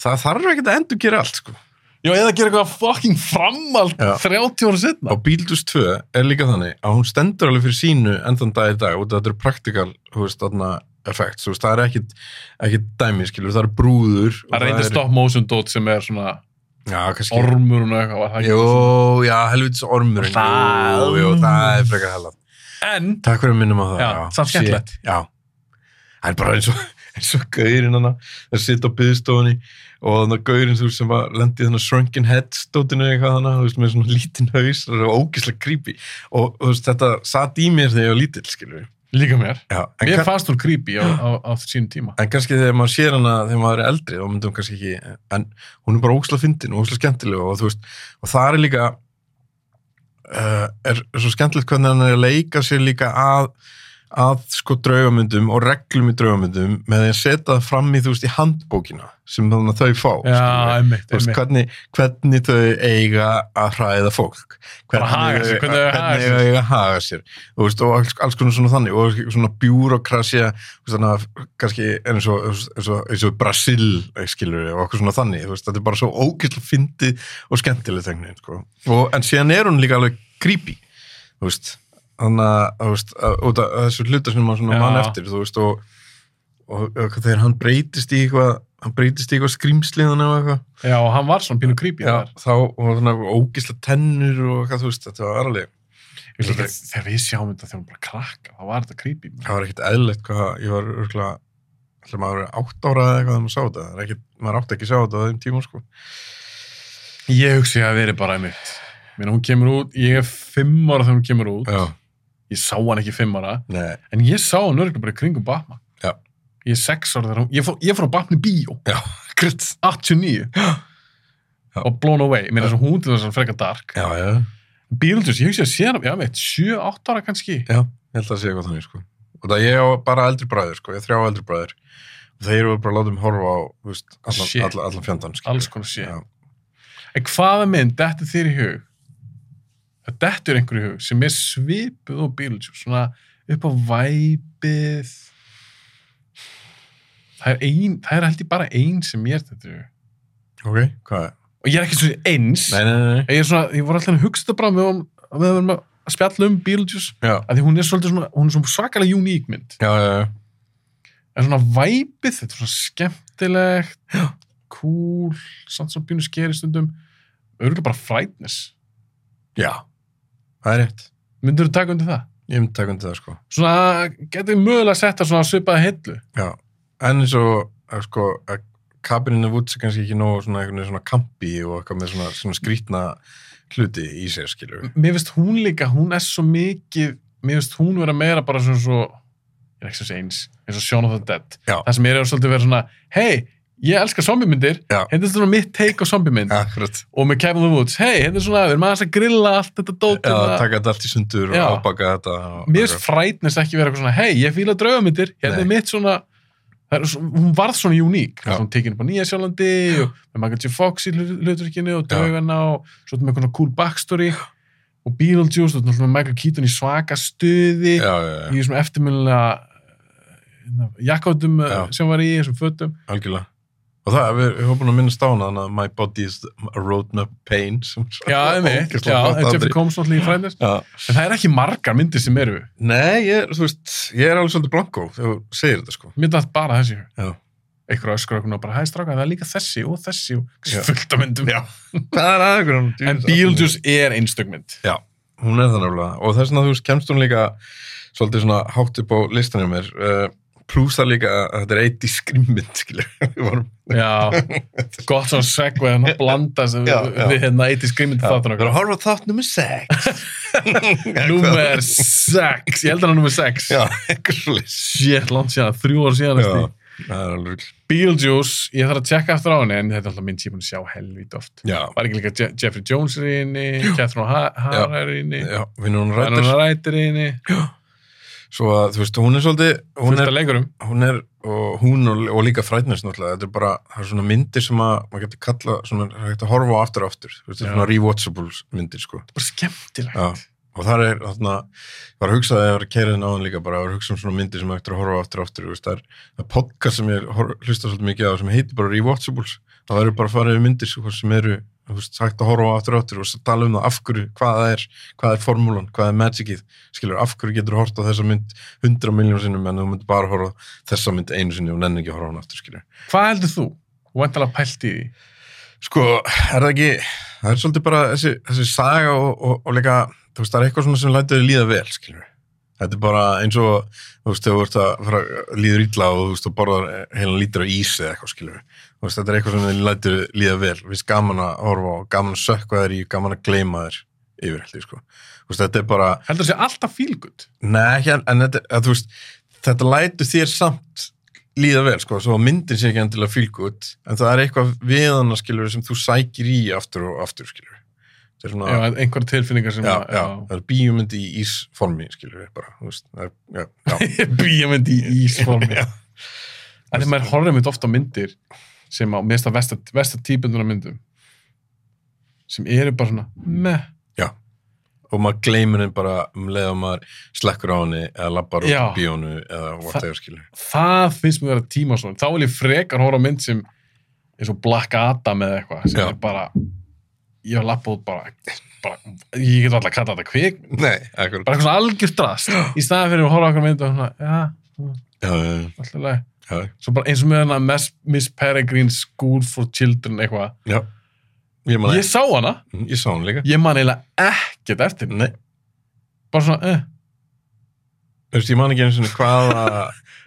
S6: það þarf ekki að endur gera allt, sko.
S5: Já, eða gera eitthvað fucking framald
S6: Já.
S5: 30 ára setna.
S6: Og Bíldus 2 er líka þannig að hún stendur alveg fyrir sínu endan dag í dag og þetta er praktikal, þú veist, þarna effekt, þú veist, það er ekkit, ekkit dæmi, skilur, það er brúður. og
S5: Það reyndir
S6: er-
S5: stop motion dot sem er svona
S6: Já, kannski.
S5: ormur og eitthvað. var það ekki?
S6: Jú, já, helvítis ormurinn.
S5: Það-
S6: Jú, jú, það er frekar hella.
S5: En,
S6: Takk fyrir að minnum á það.
S5: Já, samt
S6: shit,
S5: skemmtilegt.
S6: Já, það er bara eins og, eins og gaurinn hana, það sitta á byggstofunni og þannig að gaurinn þú veist, sem var lendi þannig shrunken head stótinu eða eitthvað þannig, þú veist, með svona lítinn haus, það var ógislega creepy og þú veist, þetta satt í mér þegar ég var lítill, skilur við.
S5: líka mér.
S6: Já, en,
S5: Mér
S6: kann,
S5: fannst hún creepy á, á, á sínum tíma.
S6: en kannski þegar maður sér hana þegar maður er eldri, þá myndum kannski ekki, en hún er bara ógislega fyndin og ógislega skemmtileg og þú veist, og það er líka, uh, er er svo skemmtilegt hvernig hann er að leika sér líka að að sko draugamyndum og reglum í draugamyndum með því að setja það fram í þú veist í handbókina sem þannig að þau fá skilurðu.
S5: Já, einmitt,
S6: Þú veist,
S5: einmitt.
S6: hvernig, hvernig þau eiga að hræða fólk hvernig,
S5: haga sér,
S6: þau-
S5: hvernig þau haga
S6: hvernig
S5: sér.
S6: þau eiga að haga sér Þú veist, og alls, alls konar svona þannig og svona bjúrokrasja þannig að kannski eins og, eins og, eins og Brasil skilur og okkur svona þannig þú veist, þetta er bara svo ógæslega fyndi og skemmtileg þengni sko. Og- en síðan er hún líka alveg creepy þú veist þannig að, þú veist, að, út af þessu hluta sem maður svona
S5: Já.
S6: mann eftir þú veist og, og, og þegar hann breytist í eitthvað hann breytist í eitthvað skrýmsliðan eða eitthvað
S5: Já, og hann var svona pínu creepy
S6: Já,
S5: þar.
S6: þá var svona ógisla tennur og hvað þú veist, þetta var alveg
S5: Ég líka, þegar við sjáum þetta þegar hún bara krakka, þá var þetta creepy.
S6: það var ekkert eðlilegt hvað, ég var örgulega ætla maður að vera átt ára eða eitthvað þegar maður sá þetta, það er ekkert, maður átti ekki að sjá þetta á þeim tíma sko.
S5: Ég hugsi að það veri bara einmitt. Mér hún kemur út, ég er fimm ára þegar hún kemur út. Ég sá hann ekki fimm ára,
S6: Nei,
S5: en ég sá hann örgulega bara í kringum Batman.
S6: Já.
S5: Ég er sex ára þegar hún, ég fór, ég fór á Batman í bíó,
S6: já, gritt
S5: 89.
S6: Já.
S5: Og Blown Away, mér er svo hún til þess að freka dark.
S6: Já, já,
S5: Beetlejuice, ég hugsi að sé hann, já veit, 7-8 ára kannski.
S6: já, ég held að það sé eitthvað þannig sko. og það ég á bara eldri bræður sko, ég á þrjá eldri bræður og þeir eru bara að láta mig horfa á þú veist, allan,
S5: Shit.
S6: allan, allan fjandann skilur.
S5: Alls konar sé.
S6: Já.
S5: En hvaða mynd dettur þér í hug? Það dettur einhverju í hug sem er svipuð og Beetlejuice, svona upp á væpið. Það er ein, það er held ég bara ein sem mér þetta í hug.
S6: Ok, hvað er?
S5: Og ég er ekki svo eins.
S6: Nei, nei, nei, nei.
S5: Ég er svona, ég voru alltaf að hugsa þetta bara með um, með að vera að spjalla um Beetlejuice.
S6: Já,
S5: Af því hún er svolítið svona, hún er svona svakalega uník mynd.
S6: já, já, já.
S5: En svona væpið, þetta er svona skemmtilegt, cool, samt sem bínu skeri stundum. Örgulega bara frætnes.
S6: já. það er rétt
S5: Myndur þú taka undir það?
S6: ég myndi taka undir það sko
S5: svona, getur við mögulega að setja svona svipaða hillu.
S6: Já, en eins og að sko, að kabininu vúts er kannski ekki nóg svona, einhvern veginn svona kampi og eitthvað með svona, svona skrýtna hluti í sér, skilur við.
S5: Mér finnst hún líka, hún er svo mikið, mér finnst hún vera meira bara svona svo, ég er ekki svo eins, eins og Shaun of the Dead.
S6: Já.
S5: Það sem mér er svolítið verið svona, hei, ég elska zombiemyndir,
S6: Já.
S5: hérna er svona mitt take á zombiemynd.
S6: Akkurat.
S5: Og með Kevin the Woods, hei, hérna er svona, við erum aðeins að grilla allt þetta dót.
S6: Já,
S5: hérna.
S6: taka þetta allt í sundur
S5: Já.
S6: og ábaka þetta. Og,
S5: Mér finnst frætnist ekki vera eitthvað svona, hei, ég fíla draugamyndir, hérna
S6: Nei.
S5: er mitt svona, það er svo- hún varð svona uník,
S6: Já.
S5: hún tekin upp á Nýja Sjálandi og með Michael J. Fox í hlut- hluturkinu og
S6: Já.
S5: draugana og svo ertu með eitthvað svona cool backstory og Beetlejuice, þú erum með Michael Keaton í svaka stuði,
S6: Já, já, já,
S5: í svona eftirmjölinlega jakkáttum eh,
S6: Já.
S5: sem var í þessum fötum.
S6: algjörlega. Og það, við, við höfum búin að minnast á hana, þannig að my body is a road map pain. sem-
S5: Já, einmitt,
S6: Ógeðslega
S5: já,
S6: flott
S5: en Jeffrey
S6: atriði.
S5: Combs náttúrulega í frætnist.
S6: Já.
S5: En það er ekki margar myndir sem eru,
S6: Nei, ég, er, þú veist, ég er alveg svolítið blanko þegar þú segir þetta, sko.
S5: mér dætt bara þessi.
S6: Já.
S5: Einhverja öskur okkur og bara, hæ, stráka, það er líka þessi og þessi og
S6: Já.
S5: fullt af myndum. Já.
S6: Hvað er aðeins?
S5: En Beetlejuice er einstökmynd.
S6: Já, hún er það nefnilega og þess vegna þú veist kemst hún líka svolítið svona hátt upp á listanum mér uh, Plús það líka að þetta er eitt í skrimmind, skilur. Við vorum,
S5: já, gott svona segveið hann að hérna blanda sem
S6: Já,
S5: við,
S6: já.
S5: við hérna eitt í skrimmið
S6: við
S5: þáttan
S6: erum
S5: okkar.
S6: að horfa á þátt nummer 6.
S5: Númer 6, ég held hann að númer 6.
S6: Já, eitthvað svo leys.
S5: Shit, langt síðan, þrjú ára síðan.
S6: Já,
S5: Já.
S6: það er alveg. rugl.
S5: Beetlejuice, ég þarf að tjekka eftir á henni en þetta er alltaf mynd tíma að sjá helvít oft
S6: Já,
S5: var ekki líka Je Jeffrey Jones er í henni Catherine Ha- Hara er í henni
S6: já, finnur hún
S5: Anna
S6: rættur.
S5: Rættir er í henni
S6: Svo að, þú veist, hún er svolítið, hún
S5: fullt
S6: er
S5: af leikurum
S6: hún er, og hún og, og líka frætnest náttúrulega, þetta er bara, það er svona myndir sem að, maður getur kalla, svona, það er hægt að horfa á aftur og aftur, þú veist, þetta
S5: Já.
S6: er svona rewatchables myndir, sko.
S5: bara skemmtilegt
S6: Já. Og þar er, þarna, ég var að hugsa að ég var að keira þinn áðan líka, bara, ég var að hugsa um svona myndir sem er hægt að horfa á aftur og aftur, þú veist, það er, það er podcast sem ég hor- hlusta svolítið mikið á, sem heitir bara rewatchables, það verður bara að fara yfir myndir, sko, sem eru, þú veist, hægt að horfa á aftur og aftur og tala um það af hverju, hvað það er, hvað er formúlan, hvað er magicið, skilur, af hverju getur þú hort á þessa mynd 100 miljón sinnum en þú myndir bara horfa á þessa mynd einu sinni og nenni ekki að horfa á hann aftur, skilur.
S5: hvað heldur þú? hún vant alveg pælt í því
S6: Sko, er það ekki, það er svolítið bara þessi, þessi saga og, og, og líka, þú veist, það er eitthvað svona sem lætur þér líða vel, skilur. Þetta er bara eins og, þú veist, þegar þú ert að fara að líður illa og þú veist, þú borðar heilan lítur á ís eða eitthvað, skilur. Þú veist, þetta er eitthvað sem þér lætur þér líða vel, þú veist, gaman að horfa á, gaman að sökka þér í, gaman að gleyma þér yfir, held ég, sko. Þú veist, þetta er bara,
S5: heldur það sé alltaf fílgut
S6: Nei, ekki, en- en þetta, að, þú veist, þetta lætur þér samt líða vel, sko, svo að myndin sé ekki endilega fylgut, en það er eitthvað við hana, skilur, sem þú sækir í aftur og aftur, skilur. Það er svona, já,
S5: einhverja tilfinningar sem
S6: já, það er bíumynd í ísformi, skilur, bara, þú veist, það er, já, já,
S5: bíjament í ísformi
S6: Já.
S5: en þegar maður horfður mitt ofta á myndir sem á mesta versta, versta tíbunduna myndum sem eru bara svona meh
S6: og maður gleymur henni bara um leið að maður slekkur á henni eða labbar út
S5: Já.
S6: á bíónu eða whatever, skilur.
S5: það finnst mér vera tíma svona þá vil ég frekar horfa á mynd sem eins og Black Adam eða eitthvað sem
S6: Já.
S5: er bara ég var lappa út bara, bara ég get alltaf að kalla þetta kvik
S6: Nei, ekkert.
S5: bara eitthvað svona algjört drast í staðan fyrir að horfa okkur mynd og svona já, svona,
S6: Já, já, já,
S5: alltaf leið
S6: já,
S5: svo bara eins og með hana Miss, Miss Peregrine School for Children eitthvað
S6: já. Ég man
S5: ég sá hana,
S6: ekki, ég sá hann líka.
S5: ég man eiginlega ekkert eftir henni
S6: Nei.
S5: bara svona, eh,
S6: Þú veist, ég man ekki eins og hvaða,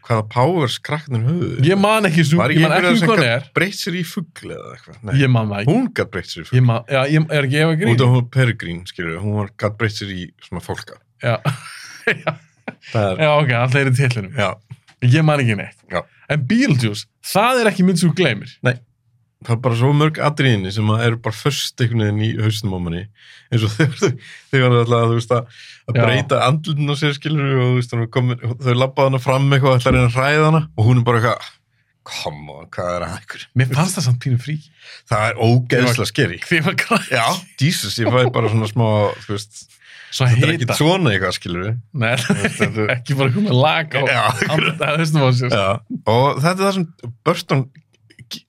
S6: hvaða powers krakknir höfðu.
S5: ég man ekki svo,
S6: Var
S5: ég
S6: ekki
S5: man ekki
S6: einhverjum sem
S5: hvað hann
S6: gat
S5: er
S6: breytt sér í fuggl eða eitthvað? Nei,
S5: ég man það ekki,
S6: hún gat breytt sér í fuggl.
S5: ég man, já, ég er ekki ef að
S6: Út
S5: grín
S6: af hún Peregrín, skilur, hún var gat breytt sér í svona fólka.
S5: já,
S6: Það er,
S5: já, ok, alltaf er í tillinu
S6: já,
S5: Ég man ekki neitt.
S6: Já.
S5: En Beetlejuice, það er ekki mynd sem þú gleymir.
S6: það er bara svo mörg atriðinni sem að eru bara först einhvern veginn í hausnum á manni. En svo þegar þau, þegar þau alltaf, þú veist, að, að
S5: Já.
S6: breyta andlunum á sér, skilur, og þú veist, hún er komin, þau labbaði hana fram eitthvað, ætlar henni að ræða hana, og hún er bara eitthvað, come on, hvað er að ykkur?
S5: Mér fannst það samt pínu frí.
S6: Það er ógeðslega skeri.
S5: Því var græn.
S6: Já, Jesus, ég fæði bara svona smá, þú veist,
S5: Svo
S6: Þetta er ekki
S5: hýta.
S6: svona eitthvað, skilur við.
S5: Nei,
S6: þetta er-
S5: ekki bara komið lag á
S6: Já.
S5: andra höstum á sér.
S6: Já. Og þetta er það sem Burton ge-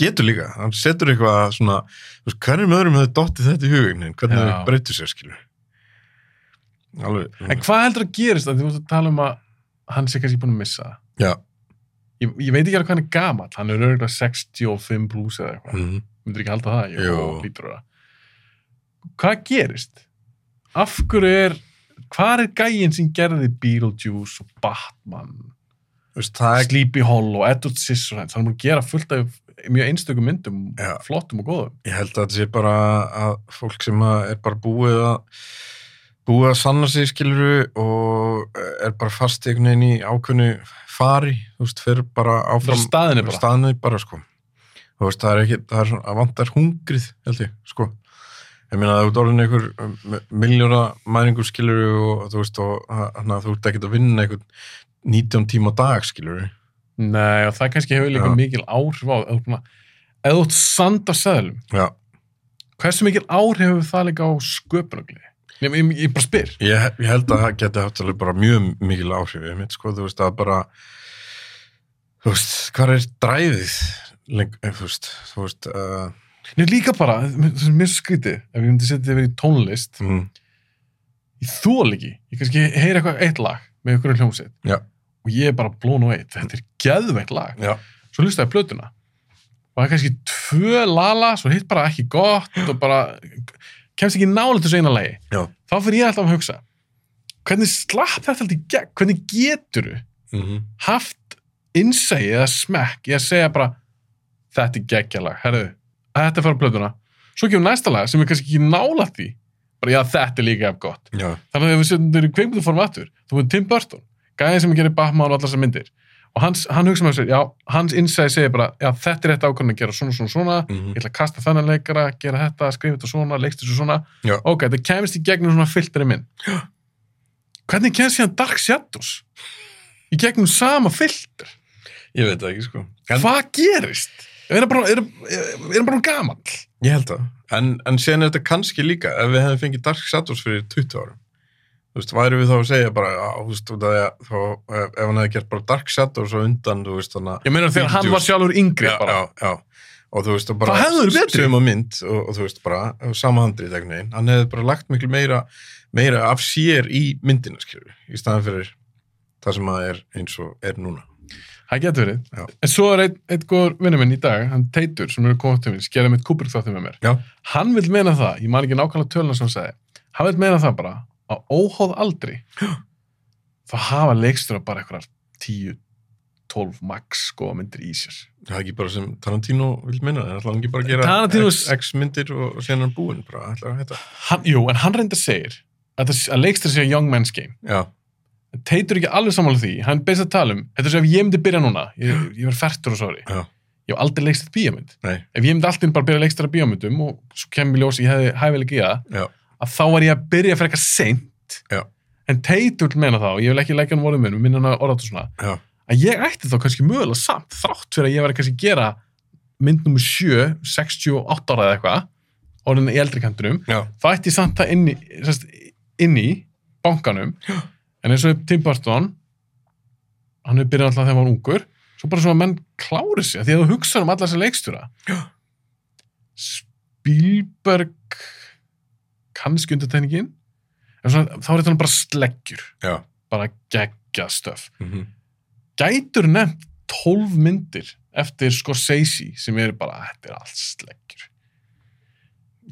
S6: getur líka. Hann setur eitthvað svona, þú veist, hverjum öðrum hefur dottið þetta í hugin, hvernig
S5: Já.
S6: þau breytir sér, skilur við. Alveg.
S5: En hvað heldur að gerist að þú veist að tala um að hann sé kannski búin að missa það?
S6: Já.
S5: Ég, ég veit ekki alveg hvað hann er gamall. Hann er örgulega 65 pluss eða eitthvað.
S6: Mm.
S5: Myndur ekki halda það? Jú.
S6: Jú.
S5: Lítur á það. Hvað gerist? Af hverju er... Hvað er gæinn sem gerði Beetlejuice og Batman
S6: Þú veist, það er
S5: Sleepy Hollow, Edward Scissorhands hann er búin að gera fullt af mjög einstökum myndum
S6: Já.
S5: flottum og góðum
S6: ég held að þetta sé bara að fólk sem að er bara búið að búið að sanna sig skiluru og er bara fast einhvern veginn í ákveðnu fari, þú veist, fyrir bara
S5: frá
S6: áfram
S5: staðinu bara
S6: staðnið bara sko þú veist það er ekki, það er svona að vantar hungrið held ég sko ég meina að þú ert orðin einhver um, miljóra mæringur skilur og þú veist og hana, þú ert ekkert að vinna einhvern 19 tíma á dag skilur
S5: Nei, og það kannski hefur líka
S6: Já.
S5: mikil áhrif á eða búin að eða þú ert sand á seðlum
S6: já,
S5: hversu mikil áhrif hefur það líka á sköpunagli ég, ég, ég bara spyr
S6: ég, ég held að það geti haft alveg bara mjög mikil áhrif ég mitt sko, þú veist að bara þú veist, hvað er dræfið leng, eh, þú veist, þú veist uh,
S5: Nei, líka bara, það er mér svo skrítið ef ég myndi setja þetta verið í tónlist
S6: mm,
S5: ég þól ekki, ég kannski heyri eitthvað eitt lag með ykkur hljómsveit
S6: Já.
S5: og ég er bara blón og eitt, þetta er geðveitt lag
S6: já,
S5: svo hlustaði ég á plötuna og það er kannski tvö lala svo hitt bara ekki gott og bara kemst ekki nálega þessu eina lagi
S6: Já.
S5: þá fyrir ég alltaf að hugsa hvernig slapp þetta alltaf í gegn hvernig getur
S6: mm -hmm.
S5: haft innsæi eða smekk í að segja bara þetta er geggjalag, herðu, þetta er fara plötuna svo kemur næsta lag sem er kannski ekki nála því bara já, þetta er líka ef gott
S6: já,
S5: þannig að ef við setjum þetta í kveikmyndu formatur þú veit Tim Burton, gæðin sem gerir Batman og allar sem myndir og hans, hann hugsa með sér já, hans innsæði segir bara, já, þetta er þetta ákvörðin að gera svona, svona, svona
S6: mhm,
S5: ég ætla að kasta þennan leikara, gera þetta, skrifa þetta svona, leikst þessu svona
S6: Já.
S5: ok, þetta kemist í gegnum svona filtri minn hvernig kemst hérna Dark Shadows í gegnum sama filtr
S6: ég veit það ekki sko en,
S5: hvað gerist? er það bara, er, er, er bara gamall
S6: ég held það, en, en síðan er þetta kannski líka ef við hefðum fengið Dark Shadows fyrir 20 árum þú veist, væri við þá að segja bara, já, þú veist, út af því að þá, ef, ef hann hefði gert bara Dark Shadows og undan, þú veist, þannig að
S5: ég meina þegar hann var sjálfur yngri
S6: já,
S5: bara,
S6: já, já. og þú veist og bara
S5: Það hefði verið betri.
S6: suma mynd og, og þú veist bara samahandrið einhvern veginn, hann hefði bara lagt miklu meira meira af sér í myndina skilur, í staðan fyrir það sem að er eins og er núna
S5: það getur verið
S6: Já.
S5: en svo er einn ein góður vinnur minn í dag, hann Teitur sem er komið til minn, skerði mitt Kubrick þáttum með mér
S6: já,
S5: hann vil meina það, ég man ekki nákvæmlega töluna sem hann sagði, hann vil meina það bara að óháð aldri þá hafa leikstur bara eitthvað 10, 12 max góða myndir í sér
S6: það er ekki bara sem Tarantino vil minna, það er alltaf ekki bara að gera
S5: Tarantino-
S6: X, X myndir og, og síðan er hann búinn bara, ætlar að hætta
S5: hann, jú, en hann reynda segir að, það- að leikstur sé young man's game
S6: já,
S5: en Teitur er ekki alveg sammála því, hann beins að tala um þetta er svo ef ég myndi byrja núna, ég, ég verð færtur og sorry,
S6: Já.
S5: ég hef aldrei leikstur bíómynd
S6: Nei.
S5: ef ég myndi alltaf bara byrja leikstur að bíómyndum og svo kemur í ljós að ég hefði hæfilega í það
S6: já,
S5: að þá var ég að byrja fyrir eitthvað seint
S6: Já.
S5: en Teitur meina þá, ég vil ekki leggja hann vorið minn minn hann að orða þetta svona
S6: já,
S5: að ég ætti þá kannski mögulega samt þrátt fyrir að ég var kannski að gera mynd nummer 7, 68 ára eða eitthvað orðin í eldri kantinum
S6: já,
S5: þá ætti ég samt það inn í, sest, inn í bankanum en eins og Tim Burton hann hefur byrjað alltaf þegar hann var ungur svo bara svona að menn klári sig af því að þú hugsa um alla þessa leikstjóra Spielberg kannski undir tegningin en svona, þá er þetta bara sleggjur
S6: já.
S5: bara geggja stöf
S6: mhm,
S5: gætur nefnt 12 myndir eftir Scorsese sem eru bara, þetta er allt sleggjur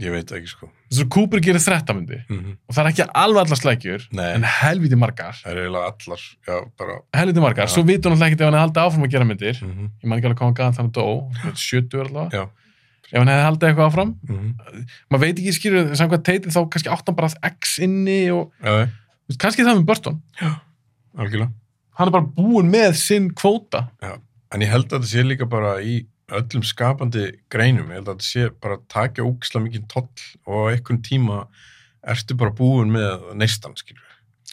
S6: ég veit ekki sko
S5: þess að Cooper gerir 13 myndir
S6: mhm.
S5: og það er ekki alveg allar slækjur
S6: Nei.
S5: en helviti margar
S6: það er eiginlega allar, já, bara
S5: helviti margar,
S6: Já.
S5: svo vitum hann ekki ef hann hefði haldið áfram að gera myndir
S6: mhm,
S5: ég man ekki alveg hvað hann gaf þannig dó hann er 70 allavega,
S6: já,
S5: ef hann hefði haldið eitthvað áfram
S6: mhm,
S5: maður veit ekki skýrur, samkvæmt teitið þá kannski átt hann bara að X inni og
S6: já, já,
S5: þú veist, kannski það með Burton
S6: algjörlega
S5: hann er bara búin með sinn kvóta
S6: En ég held að þetta sé líka bara í öllum skapandi greinum, ég held að þetta sé bara að taka ógislega mikið toll og á einhvern tíma ertu bara búin með neistan, skilur.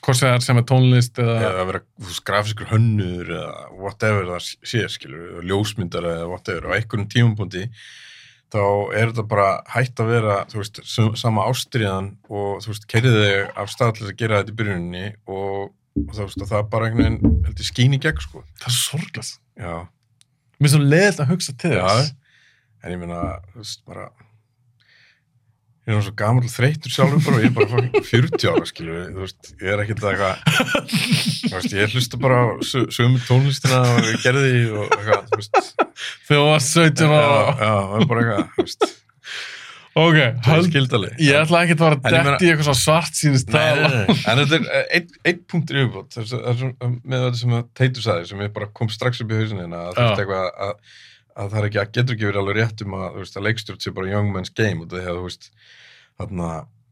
S5: hvort sem það er sem er tónlist eða
S6: Eða að vera þú veist, grafiskur hönnur eða whatever það sé, skilur, ljósmyndar eða whatever, á einhvern tímapunkti þá er þetta bara hætt að vera, þú veist, sum- sama ástriðan og þú veist, kerið þig af stað til þess að gera þetta í byrjuninni og, og þú veist, að það bara einhvern veginn heldur skín í gegn, sko.
S5: það er sorglast
S6: Já.
S5: mér er svo leðilt að hugsa til
S6: Já,
S5: þess
S6: en ég meina, þú veist, bara ég er nú svo gamall þreytur sjálfur bara og ég er bara fucking 40 ára, skilur við, þú veist, ég er ekkert eitthvað þú veist, ég hlusta bara á sö- sömu tónlistina og ég gerði og eitthvað, þú veist
S5: þegar þú varst
S6: já,
S5: 17 ára
S6: já, það er bara eitthvað, þú veist, það
S5: ok,
S6: er
S5: höld
S6: skildaleg
S5: ég ætla ekki að vera
S6: En ég meina-
S5: dætt í eitthvað svona svart sínist
S6: Nei, nei, nei, nei. en þetta er eh, einn ein punktur yfirbót það er svo- það er svo- með þetta sem að Teitur sagði sem ég bara kom strax upp í hausinina að, þú
S5: Já.
S6: veist, eitthvað að, að það er ekki að getur ekki verið alveg rétt um að, þú veist, að leikstjórn sé bara young men's game og það hefði, þú veist, þarna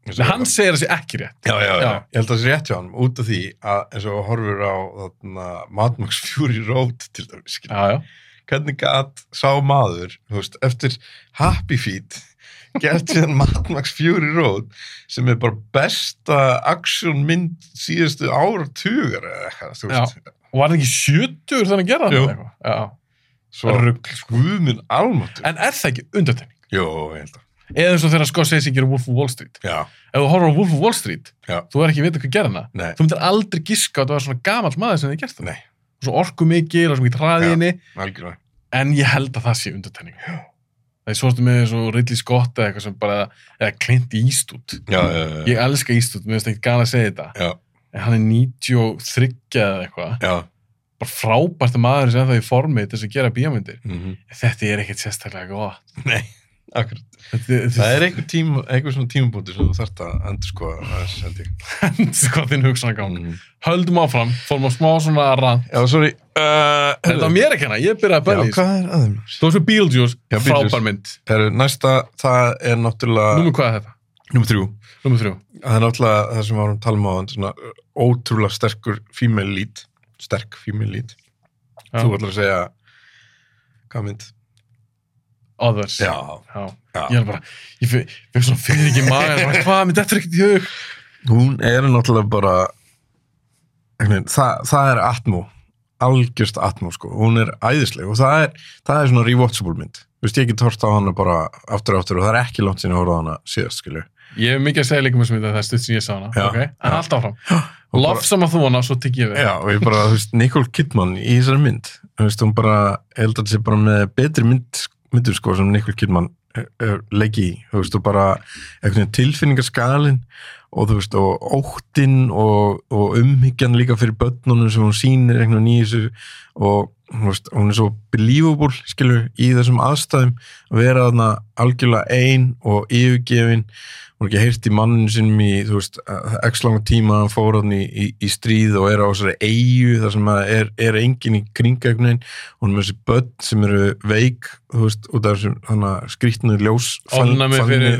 S6: eins og-
S5: hann segir þessi ekki rétt
S6: já, já, já,
S5: Já.
S6: ég held að það sé rétt hjá hann út af því að eins og horfur á þarna Mad Max Fury Road til dæmis, skilur
S5: já, já.
S6: hvernig gat sá maður þú veist, eftir Happy Feet gert síðan Mad Max Fury Road sem er bara besta actionmynd síðustu ára tugar eða eitthvað þú veist.
S5: og var hann ekki 70 þannig að gera
S6: Jú.
S5: það eitthvað? Já.
S6: svo
S5: Rugl, sko.
S6: guðminn almatur
S5: en er það ekki undartegning
S6: Jó, ég held að
S5: eða eins og þegar Scorsese gerir Wolf of Wall Street
S6: Já,
S5: ef þú horfður á Wolf of Wall Street
S6: Já.
S5: þú er ekki að vita hvað gerði hana
S6: nei,
S5: þú myndir aldrei giska að það var svona gamall maður sem þið gert það
S6: Nei.
S5: og svo orku mikil og svo mikið
S6: Já.
S5: hraðinni
S6: algjörlega
S5: en ég held að það sé undartegning það er svona með eins og Ridley Scott eða eitthvað sem bara eða Clint Eastwood
S6: Já, já, já,
S5: ég elska Eastwood, mér finnst ekki gana að segja þetta
S6: já,
S5: en hann er 93 eða eitthvað
S6: já
S5: bara frábært maður sem það í formi til þess að gera bíómyndir
S6: mhm.
S5: þetta er ekkert sérstaklega gott
S6: Nei, akkurat.
S5: Það
S6: Það er einhver, tím, einhver svona tímabúndi sem þú þarft að endur sko að sendi.
S5: hvað sko þinn hugsanargang. Höldum áfram, fórum á smá svona rand.
S6: Mhm. Já, sorry. Uh,
S5: Þetta var mér ekki hana, ég byrjaði að
S6: Já,
S5: bæla í þessu.
S6: hvað er aðeins?
S5: Þú veist með Beetlejuice,
S6: Já, Beetlejuice.
S5: frábær mynd.
S6: Heru, næsta, það er náttúrulega...
S5: Númer hvað er þetta?
S6: Númer þrjú.
S5: Númer þrjú.
S6: Það er náttúrulega það sem við varum að tala um á þann, svona uh, ótrúlega sterkur female lead. Sterk female lead.
S5: Já.
S6: Þú ætlar að segja... Hvað mynd?
S5: Others.
S6: Já.
S5: Já.
S6: Já.
S5: Ég er bara, ég fe- fekk svona fyrir ekki maður, bara hvað, mér dettur ekkert í hug.
S6: Hún er náttúrulega bara... einhvern veginn, Það, það er atmo. Algjörst atmo, sko. Hún er æðisleg og það er, það er svona rewatchable mynd. Þú veist, ég get hort á hana bara aftur og aftur og það er ekki langt sinni að horfa á hana síðast, skilju.
S5: Ég hef mikið að segja líka með sem þetta, það er stutt sem ég sá hana.
S6: Já.
S5: ok? En
S6: Já.
S5: allt áfram. Lof sem að þú hana, svo tek ég við.
S6: Já, og ég bara, þú veist, Nicole Kidman í þessari mynd, þú veist, hún bara ég held að sé bara með betri mynd myndur sko sem Nicole Kidman er- er leggi í, þú veist, og bara einhvern veginn tilfinningaskalin og þú veist, og óttinn og, og umhyggjan líka fyrir börnunum sem hún sýnir einhvern veginn í þessu og þú veist, hún er svo believable, skilur, í þessum aðstæðum að vera þarna algjörlega ein og yfirgefin hún er ekki heyrt í manninu sinum í þú veist, að- x langa tíma hann fór hann í, í, í stríð og er á þessari eigu þar sem að er, er engin í kringægnin hún er með þessi börn sem eru veik þú veist, út af þessum hana, skrýtnu ljós
S5: Ofnæmi fyrir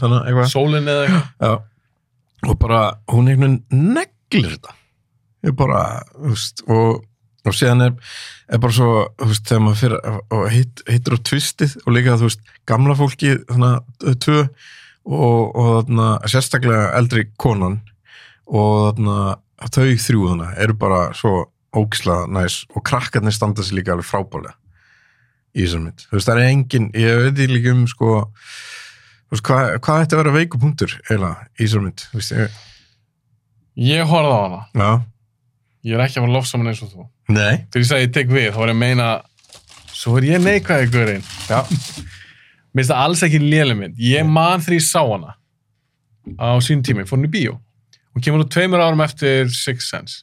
S6: þannig, eitthvað
S5: sólinni eða eitthvað.
S6: Já. og bara hún einhvern veginn neglir þetta ég bara, þú veist og, og síðan er, er bara svo þú veist, þegar maður fyrir og, og hitt, hittur á tvistið og líka þú veist gamla fólki, þannig að tvö og, og þarna, sérstaklega eldri konan og þarna, þau þrjú þarna eru bara svo ógisla næs og krakkarnir standa sér líka alveg frábálega í þessum mynd, þú veist, það er engin ég veit ég líka um sko þú veist, hvað, hvað ætti að vera veiku punktur eiginlega í þessum mynd, þú veist, ég,
S5: Ég horfði á hana.
S6: já
S5: Ég er ekki að fara lof saman eins og þú.
S6: Nei,
S5: þegar ég sagði ég tek við, þá var ég að meina svo er ég neikvæði guðurinn
S6: já,
S5: mér finnst það alls ekki léleg mynd ég man þegar ég sá hana á sín tími, fór hún í bíó hún kemur nú tveimur árum eftir Six Sense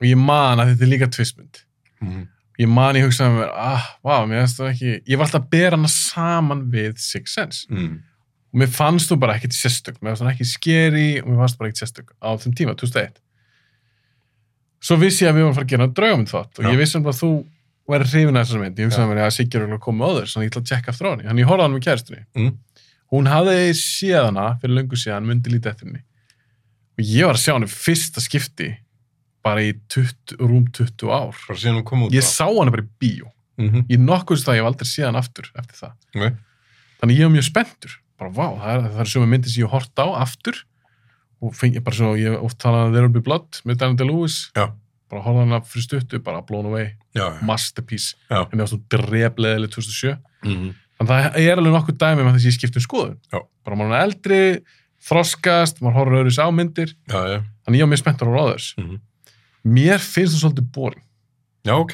S5: og ég man að þetta er líka tvistmynd
S6: Mhm.
S5: ég man ég hugsaði með mér ah, vá, mér finnst það ekki ég var alltaf að bera hana saman við Six Sense
S6: mm.
S5: og mér fannst þú bara ekkert sérstök mér fannst það ekki skeri og mér fannst bara ekkert sérstök á þeim tíma, 2001 svo vissi ég að við vorum að fara að gera draugamund þátt og
S6: Já.
S5: ég vissi um að þú væri hrifin af þessari mynd, ég hugsaði mér að Siggi er örugglega að koma áður, þannig ég ætla að tjekka aftur á henni þannig ég horfði á hann með kæristunni
S6: Mm.
S5: hún hafði séð hana fyrir löngu síðan myndi lítið eftir henni og ég var að sjá henni fyrsta skipti bara í 20, rúm 20 ár
S6: bara síðan hún kom út
S5: ég sá henni bara í bíó
S6: mm
S5: ég nokkuðst það að ég hef aldrei séðan aftur eftir það
S6: Nei.
S5: þannig ég var mjög spenntur bara vá, það er, það er sömu myndir sem ég hef hort á aftur og fengi bara svo ég hef oft talað að There Will Be Blood með Daniel Day-Lewis
S6: Já.
S5: bara horfða hana fyrir stuttu, bara blown away
S6: Já,
S5: masterpiece,
S6: Já.
S5: en ég var svo drefleðileg 2007,
S6: mm -hmm.
S5: þannig að það er alveg nokkuð dæmi með þess að ég skipti um skoðun
S6: Já.
S5: bara maður er eldri, þroskast maður horfður öðru sámyndir,
S6: já, já.
S5: þannig ég var mjög spenntur á ráðurs
S6: Mhm.
S5: mér finnst það svolítið boring
S6: já, ok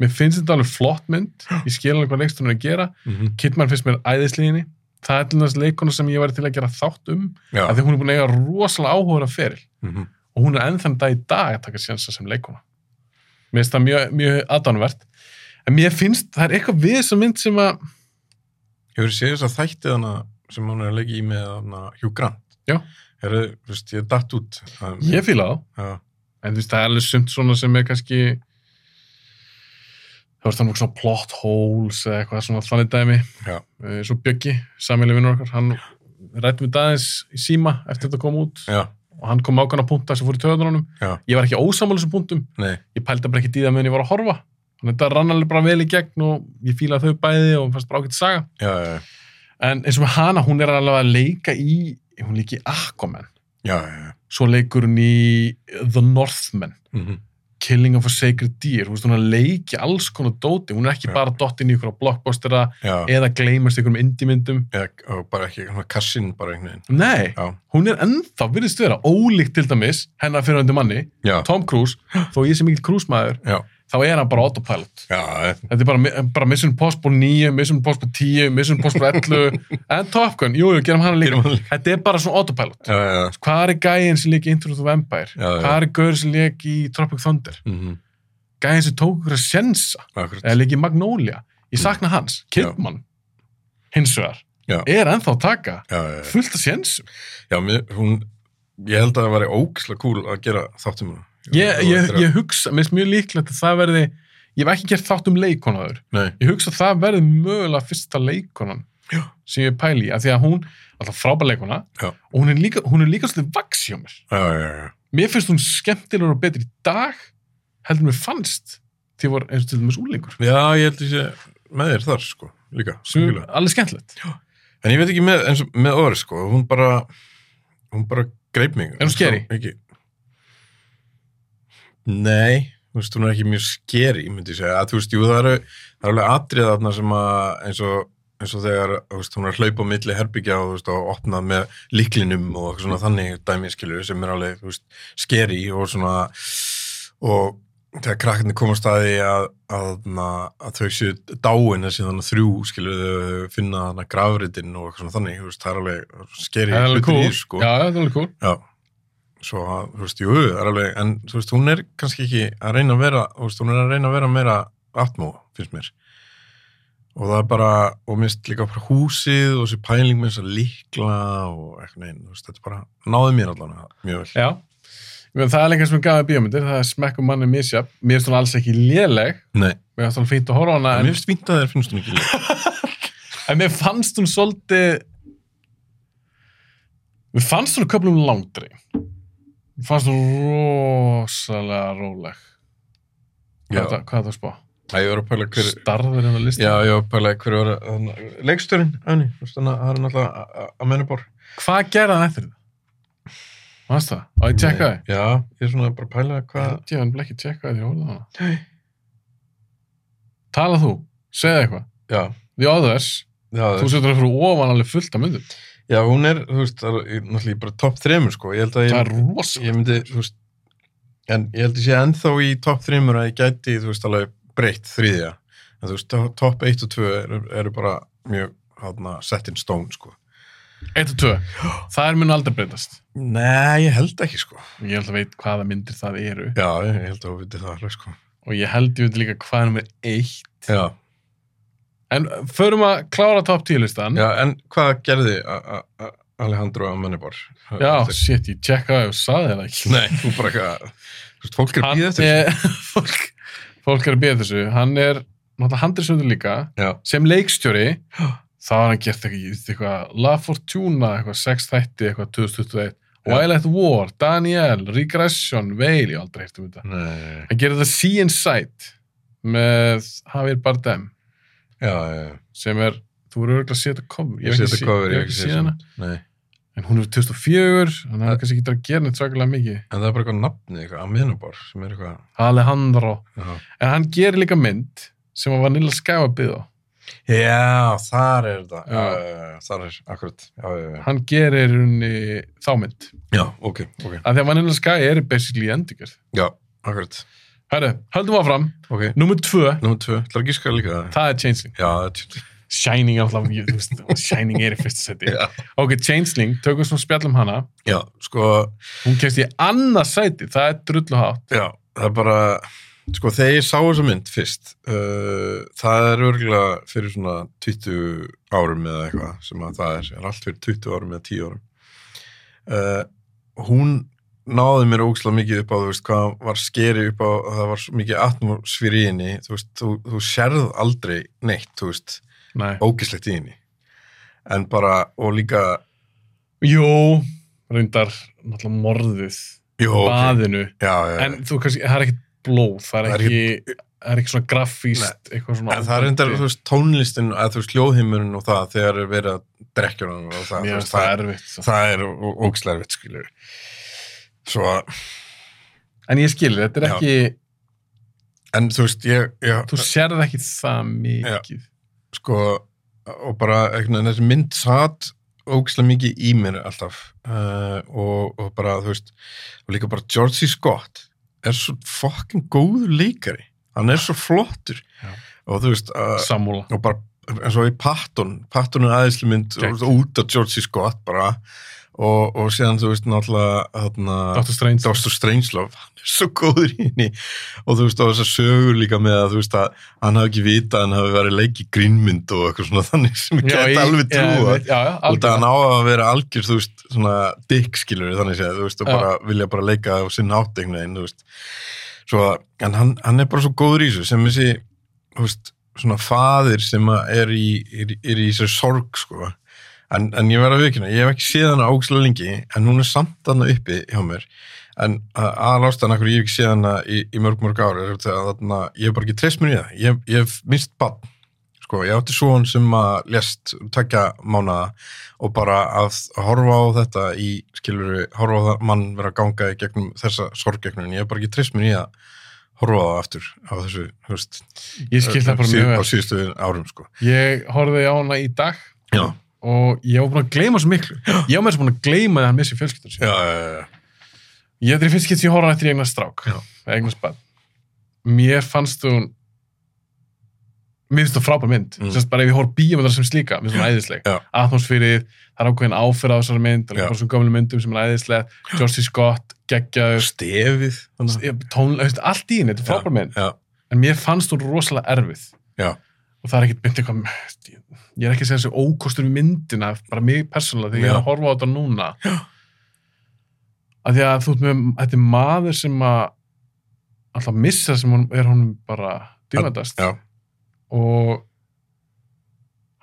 S5: mér finnst þetta alveg flott mynd ég skil alveg hvað leikstunum er að gera
S6: mm -hmm.
S5: Kidman finnst mér æðisliðinni það er til næst leikona sem ég væri til að gera þátt um
S6: Já,
S5: af því hún er búin að eiga rosalega áhuga að feril
S6: mm -hmm.
S5: og hún er ennþann dag í dag að taka sjansa sem leikona mér finnst það mjög, mjög aðdánvert en mér finnst, það er eitthvað við þessa mynd sem að
S6: hefur séð þess að þætti hana sem hún er að leggja í með hana Hugh Grant
S5: Já.
S6: Heru, veist, ég er datt út Það-
S5: ég fíla þá
S6: já,
S5: en þú veist, það er alveg sumt svona sem er kannski það var þannig svona plot holes eða eitthvað svona þannig dæmi
S6: Já.
S5: Eh, svo Bjöggi, samíli vinnur okkar hann rætti mig dagins í síma eftir þetta kom út
S6: já,
S5: og hann kom ákvæmna punktar sem fór í töðunum
S6: Já.
S5: ég var ekki ósamála þessum punktum
S6: nei
S5: ég pældi bara ekki dýða meðan ég var að horfa þannig að þetta rann alveg bara vel í gegn og ég fílaði þau bæði og fannst bara ágætt saga
S6: já, já, já,
S5: en eins og með hana, hún er alveg að leika í hún leiki í Aquaman
S6: já, já.
S5: svo leikur hún í The Northman
S6: Mm -hmm.
S5: Killing of a Sacred Deer hún, veist, hún er að leiki alls konar dóti hún er ekki
S6: Já.
S5: bara dott inn í ykkur á blockbustera
S6: já.
S5: eða gleymast ykkur um indimyndum
S6: Eða, og bara ekki hana, kassin bara einhvern veginn
S5: nei,
S6: já,
S5: hún er ennþá virðist vera ólíkt til dæmis hennar fyrirhandi manni,
S6: já,
S5: Tom Cruise þó ég sem mikill Cruise maður,
S6: já,
S5: þá er hann bara autopilot
S6: já, já,
S5: Þetta er bara, bara Mission Impossible 9, Mission Impossible 10, Mission Impossible 11 en Top Gun, jú, jú, gerum hana líka
S6: Gerum hana líka.
S5: Þetta er bara svona autopilot
S6: já, já, já.
S5: Hvað er gæinn sem leik í Intro to Vampire?
S6: Já, já.
S5: Hvað er gæinn sem leik í Tropic Thunder?
S6: Mm -hmm.
S5: Gæinn sem tók ykkur að sjensa
S6: Akkurat,
S5: eða leik í Magnolia Ég sakna hans, Kidman hins vegar
S6: Já.
S5: er ennþá að taka
S6: já, já, já.
S5: fullt af sjensum
S6: já mér, hún, ég held að það væri ógislega kúl að gera um þáttum hún.
S5: ég, ég, ég hugsa, mér finnst mjög líklegt að það verði ég hef ekki gert þátt um leikonaður
S6: Nei,
S5: ég hugsa að það verði mögulega fyrsta leikonan
S6: Já.
S5: sem ég pæli í, af því að hún alltaf frábæð leikona
S6: Já.
S5: og hún er líka, hún er líka svolítið vaks hjá mér
S6: já, já, já, já.
S5: mér finnst hún skemmtilegur og betri í dag heldur mér fannst því ég var eins og til dæmis úrleikur
S6: Já, ég held að ég sé með þér þar, sko, líka.
S5: sem er
S6: algjörlega.
S5: alveg skemmtilegt
S6: En ég veit ekki með, eins og með orð, sko, hún bara, hún bara greip mig.
S5: Er hún scary?
S6: Ekki. Nei, þú veist, hún er ekki mjög skeri, myndi ég segja. Að, þú veist, jú, það eru, það eru alveg atrið þarna sem að, eins og, eins og þegar, þú veist, hún er að hlaupa á milli herbyggja og, þú veist, og opna með liklinum og eitthvað svona þannig dæmiskilur sem er alveg, þú veist, skeri og svona, og þegar krakkarnir koma á staði að, að, að, að þau séu dáin þessi þannig þrjú skilur þau finna þannig grafritin og eitthvað svona þannig þú veist, það er alveg skeri
S5: það er alveg cool,
S6: sko.
S5: já, það er alveg cool
S6: Já, svo að, þú veist, jú, það er alveg, en þú veist, hún er kannski ekki að reyna að vera, þú veist, hún er að reyna að vera meira atmó, finnst mér. Og það er bara, og minnst líka bara húsið og þessi pæling með þess að líkla og eitthvað neginn, þú veist, þetta bara náði mér allan mjög vel.
S5: Já, Ég meina, það er líka sem gafið bíómyndir, það er smekkum manni misjaf. Mér finnst hún alls ekki léleg,
S6: Nei,
S5: mér finnst hún fínt að horfa á hana,
S6: en
S5: en,
S6: mér finnst fínt að þér finnst hún ekki líka.
S5: en mér fannst hún svolítið, mér fannst hún köplum langdri. Mér fannst hún rosalega róleg. Hvað
S6: Já.
S5: er það- hvað er það að spá?
S6: Það ég var að pæla hver,
S5: Starður hérna hennar listi?
S6: já, ég var að pæla hver var að, leikstörinn, öfni, þú veist, þannig að það er náttúrulega að- að- að mennubor.
S5: Hvað gerði hann eftir það? Fannst það? Á, ég tjekka það.
S6: Já, ég er svona bara að pæla hvað,
S5: Ég hann ekki tjekka það því að horfa á hana. Tala þú, segð eitthvað.
S6: já,
S5: The Others,
S6: já,
S5: þú setur það fyrir ofan alveg fullt af myndum.
S6: Já, hún er, þú veist, það er í- náttúrulega í bara topp þremur, sko. Ég held að
S5: Það er
S6: ég,
S5: rosalega.
S6: ég myndi, þú veist, en ég held að ég sé ennþá í topp þremur að ég gæti, þú veist, alveg breytt þriðja. En þú veist, to- topp 1 og 2 eru, eru bara mjög, hátna, set in stone, sko.
S5: Eitt og tvö. Það er mun aldrei breytast.
S6: Nei, ég held ekki, sko.
S5: Ég held að veit hvaða myndir það eru
S6: Já, ég ég held að hún viti það alveg, sko.
S5: og ég held ég veit líka hvað er nummer eitt.
S6: Já,
S5: En förum að klára top 10 listan.
S6: já en hvað gerði a- a- a- Alejandro Amenibor?
S5: Já, shit, ég tjekkaði og saði það ekki.
S6: Nei, þú bara eitthvað, þú veist, fólk er að
S5: Hann
S6: býða eftir. þessu.
S5: er, fólk, fólk er að býða þessu. Hann er, náttúrulega handrisundur líka,
S6: Já,
S5: sem leikstjóri, þá har hann gert eitthvað, eitthvað La Fortuna, eitthvað 6 þætti, eitthvað 2021,
S6: Já.
S5: Wild at War, Daniel, Regression, Veil, ég hef aldrei hefði um þetta.
S6: nei,
S5: Hann gerir þetta Sea Inside með Javier Bardem
S6: já, já, já.
S5: sem er, þú eru örgulega að setja cover
S6: Ég sé þetta cover, ég hef ekki
S5: sé
S6: séð
S5: hana
S6: þetta. Nei.
S5: en hún er 2004, hann
S6: Það-
S5: hefur kannski ekki að gera neitt svakalega mikið
S6: En það er bara eitthvað nafni, eitthvað Amenabar, sem er eitthvað...
S5: Alejandro,
S6: Já,
S5: en hann gerir líka mynd sem að Vanilla Sky var byggð á
S6: já þar er það.
S5: Já.
S6: Já, já, já, þar er, akkurat. Já, já, já.
S5: hann gerir unni þá mynd
S6: Já, ok, ok.
S5: af því að Vanilla Sky er basically endurgerð
S6: Já, akkurat.
S5: Herru, höldum áfram,
S6: Ok,
S5: nummer tvö
S6: nummer tvö. Það er ekki skæða líka það.
S5: það er Changeling,
S6: Já, það er tjótt.
S5: Shining er alltaf ég- þú veist, Shining er í fyrsta seti
S6: Já.
S5: ok, Changeling, tökum svona spjallum hana
S6: Já, sko,
S5: hún kemst í annað sæti, það er drulluhátt
S6: já, það er bara... Sko, þegar ég sá þessa mynd fyrst, uh, það er örgulega fyrir svona 20 árum eða eitthvað sem að það er, er allt fyrir 20 árum eða 10 árum. Uh, hún náði mér ógislega mikið upp á, þú veist, hvað var skeri upp á, að það var svo mikið atmosfýr í henni, þú veist, þú, þú sérð aldrei neitt, þú veist,
S5: Nei.
S6: ógislegt í henni. En bara, og líka,
S5: Jú, reyndar náttúrulega morðið,
S6: jú, ok,
S5: baðinu
S6: já, já,
S5: en þú kannski, það er ekkit blóð
S6: Eh.
S5: það
S6: Það
S5: er
S6: er
S5: ekki, það er ekki svona grafíst eitthvað svona
S6: en það er reyndar, þú veist, tónlistin, að þú veist, hljóðhimurinn og það, þegar er verið að drekkja hann og það,
S5: mér
S6: þú
S5: finnst
S6: veist,
S5: það
S6: það,
S5: erfitt sko. svo.
S6: það er ó- ógislega erfitt, skilur. Svo að,
S5: en ég skilur, þetta er
S6: Já.
S5: ekki
S6: en þú veist, ég, ég
S5: þú sérð ekki það mikið
S6: sko og bara einhvern veginn þessi mynd satt ógislega mikið í mér alltaf uh, og, og bara þú veist og líka bara George C. Scott er svo fucking góður leikari hann er svo flottur
S5: Já.
S6: og þú veist uh,
S5: samúla
S6: og bara eins og í Patton Patton er aðeinsli mynd
S5: Gegn.
S6: út af George C. Scott bara og, og síðan þú veist náttúrulega þarna,
S5: Dr. Strange
S6: Dr. Strangelove, hann er svo góður í henni og þú veist á þess að sögur líka með að þú veist að hann hafi ekki vita hann hafi verið leik í grínmynd og eitthvað svona þannig sem ég
S5: Já,
S6: get
S5: í-
S6: alveg trúa
S5: já, já,
S6: og það hann
S5: algjörlega.
S6: á að vera algjör þú veist svona dick skilur þannig séð þú veist og
S5: Já.
S6: bara vilja bara leika á sinna átt einhvern veginn þú veist svo að en hann, hann er bara svo góður í þessu sem þessi þú veist svona faðir sem að er í, er, er í þessu sorg sko en, en ég verð að vikina, ég hef ekki séð hana ógislega lengi en hún er samt hana uppi hjá mér en aðlástaðan akkur ég hef ekki séð hana í, í mörg mörg ár er þegar þarna, ég hef bara ekki treyst mér í það ég, ég hef mist bann sko, ég átti svo hann sem að lest takja mánaða og bara að horfa á þetta í skiluru, horfa á það mann vera að ganga í gegnum þessa sorggegnun, ég hef bara ekki treyst mér í að horfa á það aftur á þessu, þú veist,
S5: Ég skil það bara
S6: síð-
S5: mjög
S6: á
S5: vel.
S6: síðustu árum sko.
S5: Ég horfði á hana í dag
S6: já,
S5: og ég var búin að gleyma svo miklu. Ég var með þess búin að gleyma að hann missi fjölskyldur
S6: já,
S5: sín.
S6: já, já.
S5: Ég þetta er fyrst getur ég horfði á hana eftir eignar strák,
S6: Já.
S5: eignar spann. Mér fannst hún, mér finnst þú frábær mynd.
S6: Mm.
S5: Mm. Sérst bara ef ég horf bíómyndar sem slíka, mér finnst hún æðisleg.
S6: Já.
S5: Atmosfýrið, það er ákveðin áferð á þessari mynd, það
S6: Já.
S5: er bara svona gömlu myndum sem er æðisleg. George C. Scott, geggjaður,
S6: stefið þannig.
S5: tónlega, allt í henni, þetta er frábær mynd.
S6: já,
S5: en mér fannst hún rosalega erfið
S6: Já.
S5: og það er ekkert mynd eitthvað ég er ekki að segja þessi ókostur við myndina bara mig persónulega þegar ég er
S6: Já.
S5: að horfa á þetta núna Já. að því að þú ert með þetta er maður sem að alltaf missa sem hún, er hún bara dýmandast
S6: já,
S5: og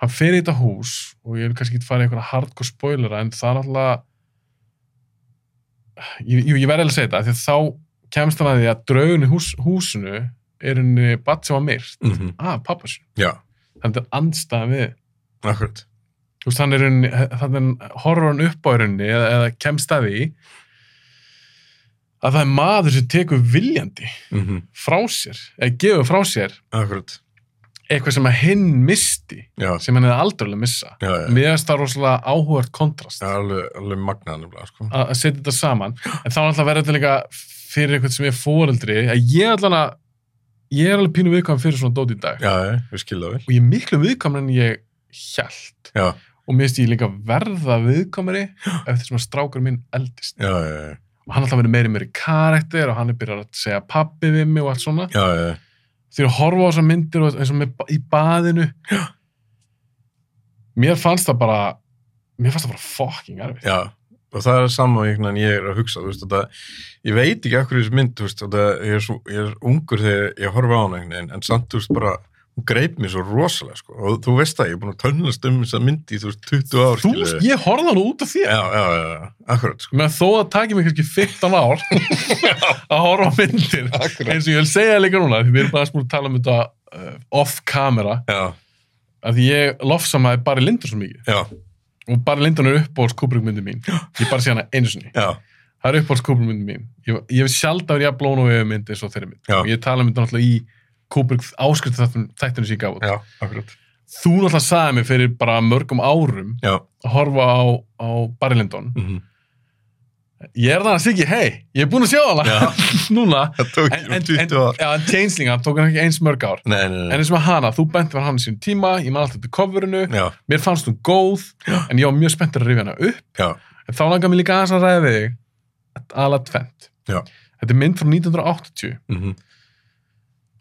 S5: hann fer í þetta hús og ég vil kannski ekki fara í einhverja hardcore spoilera en það er alltaf jú, jú, ég verði að segja þetta af því að þá kemst hann að því að draugunni hús, húsinu er henni bat sem var myrt
S6: mm
S5: að pappa sinu,
S6: já,
S5: þannig að andstæðan við
S6: akkurat
S5: þú veist, hann er henni, þannig að horfur hann upp á henni eða, eða kemst að því að það er maður sem tekur viljandi
S6: mm
S5: frá sér, eða gefur frá sér
S6: akkurat,
S5: eitthvað sem að hinn misti
S6: já,
S5: sem hann hefði aldrei vilja missa
S6: já, já,
S5: mér finnst það rosalega áhugart kontrast
S6: já alveg, alveg magnað nefnilega sko.
S5: að að setja þetta saman en þá er alltaf verður þetta líka fyrir eitthvað sem er fóreldri að ég allan að ég er alveg pínu viðkvæm fyrir svona dót í dag
S6: já, já, við skilum það vel
S5: og ég er miklu viðkvæm en ég hjælt
S6: já,
S5: og mér finnst ég líka verða viðkvæmari eftir sem að strákur minn eldist
S6: já, já, já,
S5: og hann er alltaf verið meiri meiri karakter og hann er byrjar að segja pappi við mig og allt svona
S6: já, já, já.
S5: því að horfa á þessar myndir og eins og með, í baðinu mér fannst það bara mér fannst það bara fucking erfitt
S6: já. og það er sama einhvern veginn ég er að hugsa þú veist, þetta, ég veit ekki akkur þessu mynd þú veist, þetta, ég, er svo, ég er ungur þegar ég horfa á hana einhvern veginn en samt þú veist bara hún greip mér svo rosalega sko. og þú veist það, ég er búin að tönnast um þess að myndi í þú veist 20 ár
S5: Þú,
S6: skilurðu.
S5: ég horfði hann út af þér.
S6: já, já, já, já, akkurat sko.
S5: Með þó að taki mig kannski 15 ár að horfa á myndir.
S6: Akkurat.
S5: Eins og ég vil segja líka núna, því við erum bara smúl að tala um þetta uh, off-camera,
S6: já,
S5: að því ég lofsamaði Barry Lyndon svo mikið.
S6: já,
S5: Og Barry Lyndon er uppbóðs kúbrugmyndi mín. Ég bara sé hana einu sinni.
S6: já,
S5: Það er uppbóðs kúbrugmyndi mín. Ég, ég hef sjálf að vera jafn og við myndi eins og þeirri mynd.
S6: Já.
S5: Og ég tala um þetta náttúrulega í kúbrug áskrifta þættinu sem ég gaf út.
S6: já, akkurat
S5: Þú náttúrulega sagði mig fyrir bara mörgum árum
S6: já,
S5: að horfa á, á Barry Lyndon.
S6: mm
S5: Ég er þannig að Siggi, hei, ég er búin að sjá hana núna.
S6: það tók
S5: En,
S6: en,
S5: en, en,
S6: 20 ár
S5: já, en Changelingan tók hann ekki eins mörg ár.
S6: nei, nei,
S5: En
S6: nei,
S5: eins og með hana, þú benti var hann í sín tíma, ég man alltaf til coverinu,
S6: já,
S5: mér fannst hún góð, en ég var mjög spenntur að rifja hana upp.
S6: já,
S5: En þá langar mér líka aðeins að ræða við þig, ala tvent.
S6: Já.
S5: Þetta er mynd frá 1980.
S6: mm -hmm.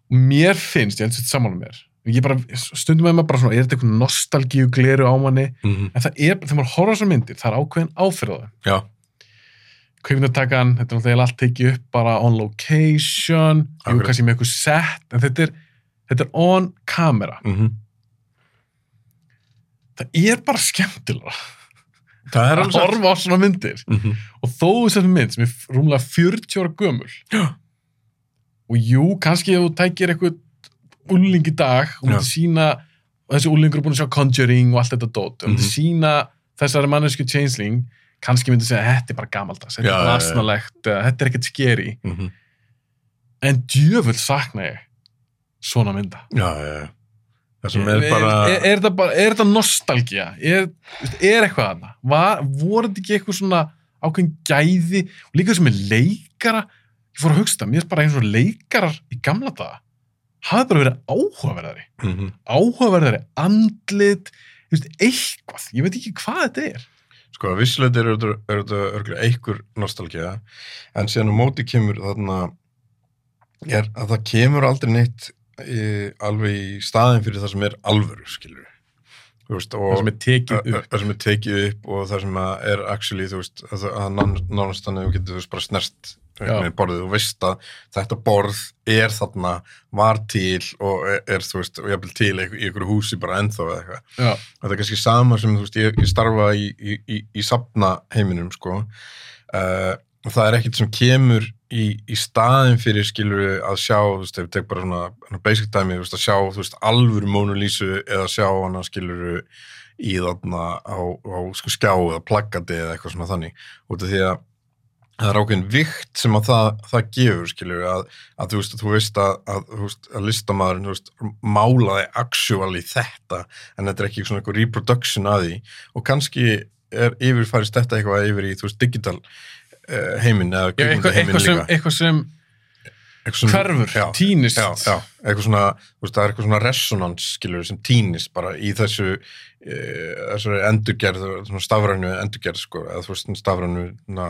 S5: og Mér finnst, ég held sér sammála með mér, ég bara, stundum með maður bara svona, er þetta eitthvað nostalgíu gleru á manni? En það er, þegar maður horfa svo myndir, það er ákveðin áfyrðað.
S6: mhm, já,
S5: kvikmyndatakan, þetta er náttúrulega allt tekið upp bara on location, jú,
S6: Akkurat.
S5: kannski með eitthvað set, en þetta er, þetta er on camera.
S6: mm
S5: Það er bara skemmtilega
S6: það er
S5: að
S6: alveg
S5: horfa á svona myndir
S6: mm -hmm.
S5: og þó þessar mynd sem er rúmlega 40 ára gömul
S6: Já.
S5: og jú, kannski ef þú tækir eitthvað úling í dag og
S6: Já.
S5: myndir sína, og þessi úlingur er búin að sjá Conjuring og allt þetta dót, og myndir
S6: Mhm.
S5: sína þessari mannesku changeling, kannski myndir segja, þetta er bara gamaldags, þetta
S6: Já,
S5: er
S6: já, já.
S5: bara asnalegt, eða þetta er ekkert skeri.
S6: mm -hmm.
S5: en djöfull sakna ég svona mynda
S6: já, já, já það sem er bara
S5: er, er, það bara, er það nostalgía er, veist, er eitthvað þarna Var- voru þetta ekki eitthvað svona ákveðin gæði og líka sem er leikara ég fór að hugsa það, mér er bara eins og leikarar í gamla daga hafði bara verið áhugaverðari
S6: Mhm.
S5: áhugaverðari, andlit þú veist, eitthvað, ég veit ekki hvað þetta er
S6: sko, vissilegt er þetta er þetta örgulega einhver nostalgía en síðan á móti kemur þarna er að það kemur aldrei neitt í, alveg í staðin fyrir það sem er alvöru, skilur þú veist, og
S5: það sem er tekið upp
S6: það sem er tekið upp og það sem að er actually, þú veist, að, að nán- nánast þannig að þú getur þú veist bara snert einhvern veginn borðið, þú veist að þetta borð er þarna, var til og e, er, er þú veist, og jafnvel til í einhver- í einhverju húsi bara ennþá eða eitthvað
S5: já,
S6: þetta er kannski sama sem þú veist, ég, ég starfa í, í, í, í sapna heiminum sko. uh, og það er ekkert sem kemur í, í staðin fyrir skilur að sjá, þú veist, ef við tek bara svona, svona basic dæmi, þú veist, að sjá þú veist, alvöru Mona Lisa eða sjá hana skilur í þarna á, á sko, skjá eða plaggati eða eitthvað svona þannig, út af því að það er ákveðin vikt sem að það, það gefur skilur að, að þú veist að þú veist að, að, þú veist, að listamaðurinn þú veist, málaði actually þetta en þetta er ekki svona eitthvað reproduction að því og kannski er yfirfærist þetta eitthvað yfir í þú veist digital eh, heiminn eða
S5: já eitthvað,
S6: kvikmyndaheiminn
S5: eitthvað, sem,
S6: líka.
S5: eitthvað sem
S6: Eitthvað sem
S5: hverfur,
S6: já,
S5: týnist.
S6: já, já, eitthvað svona, þú veist, það er eitthvað svona resonans skilur sem týnist bara í þessu e, þessari endurgerð svona stafrænu endurgerð sko eða þú veist stafrænu na,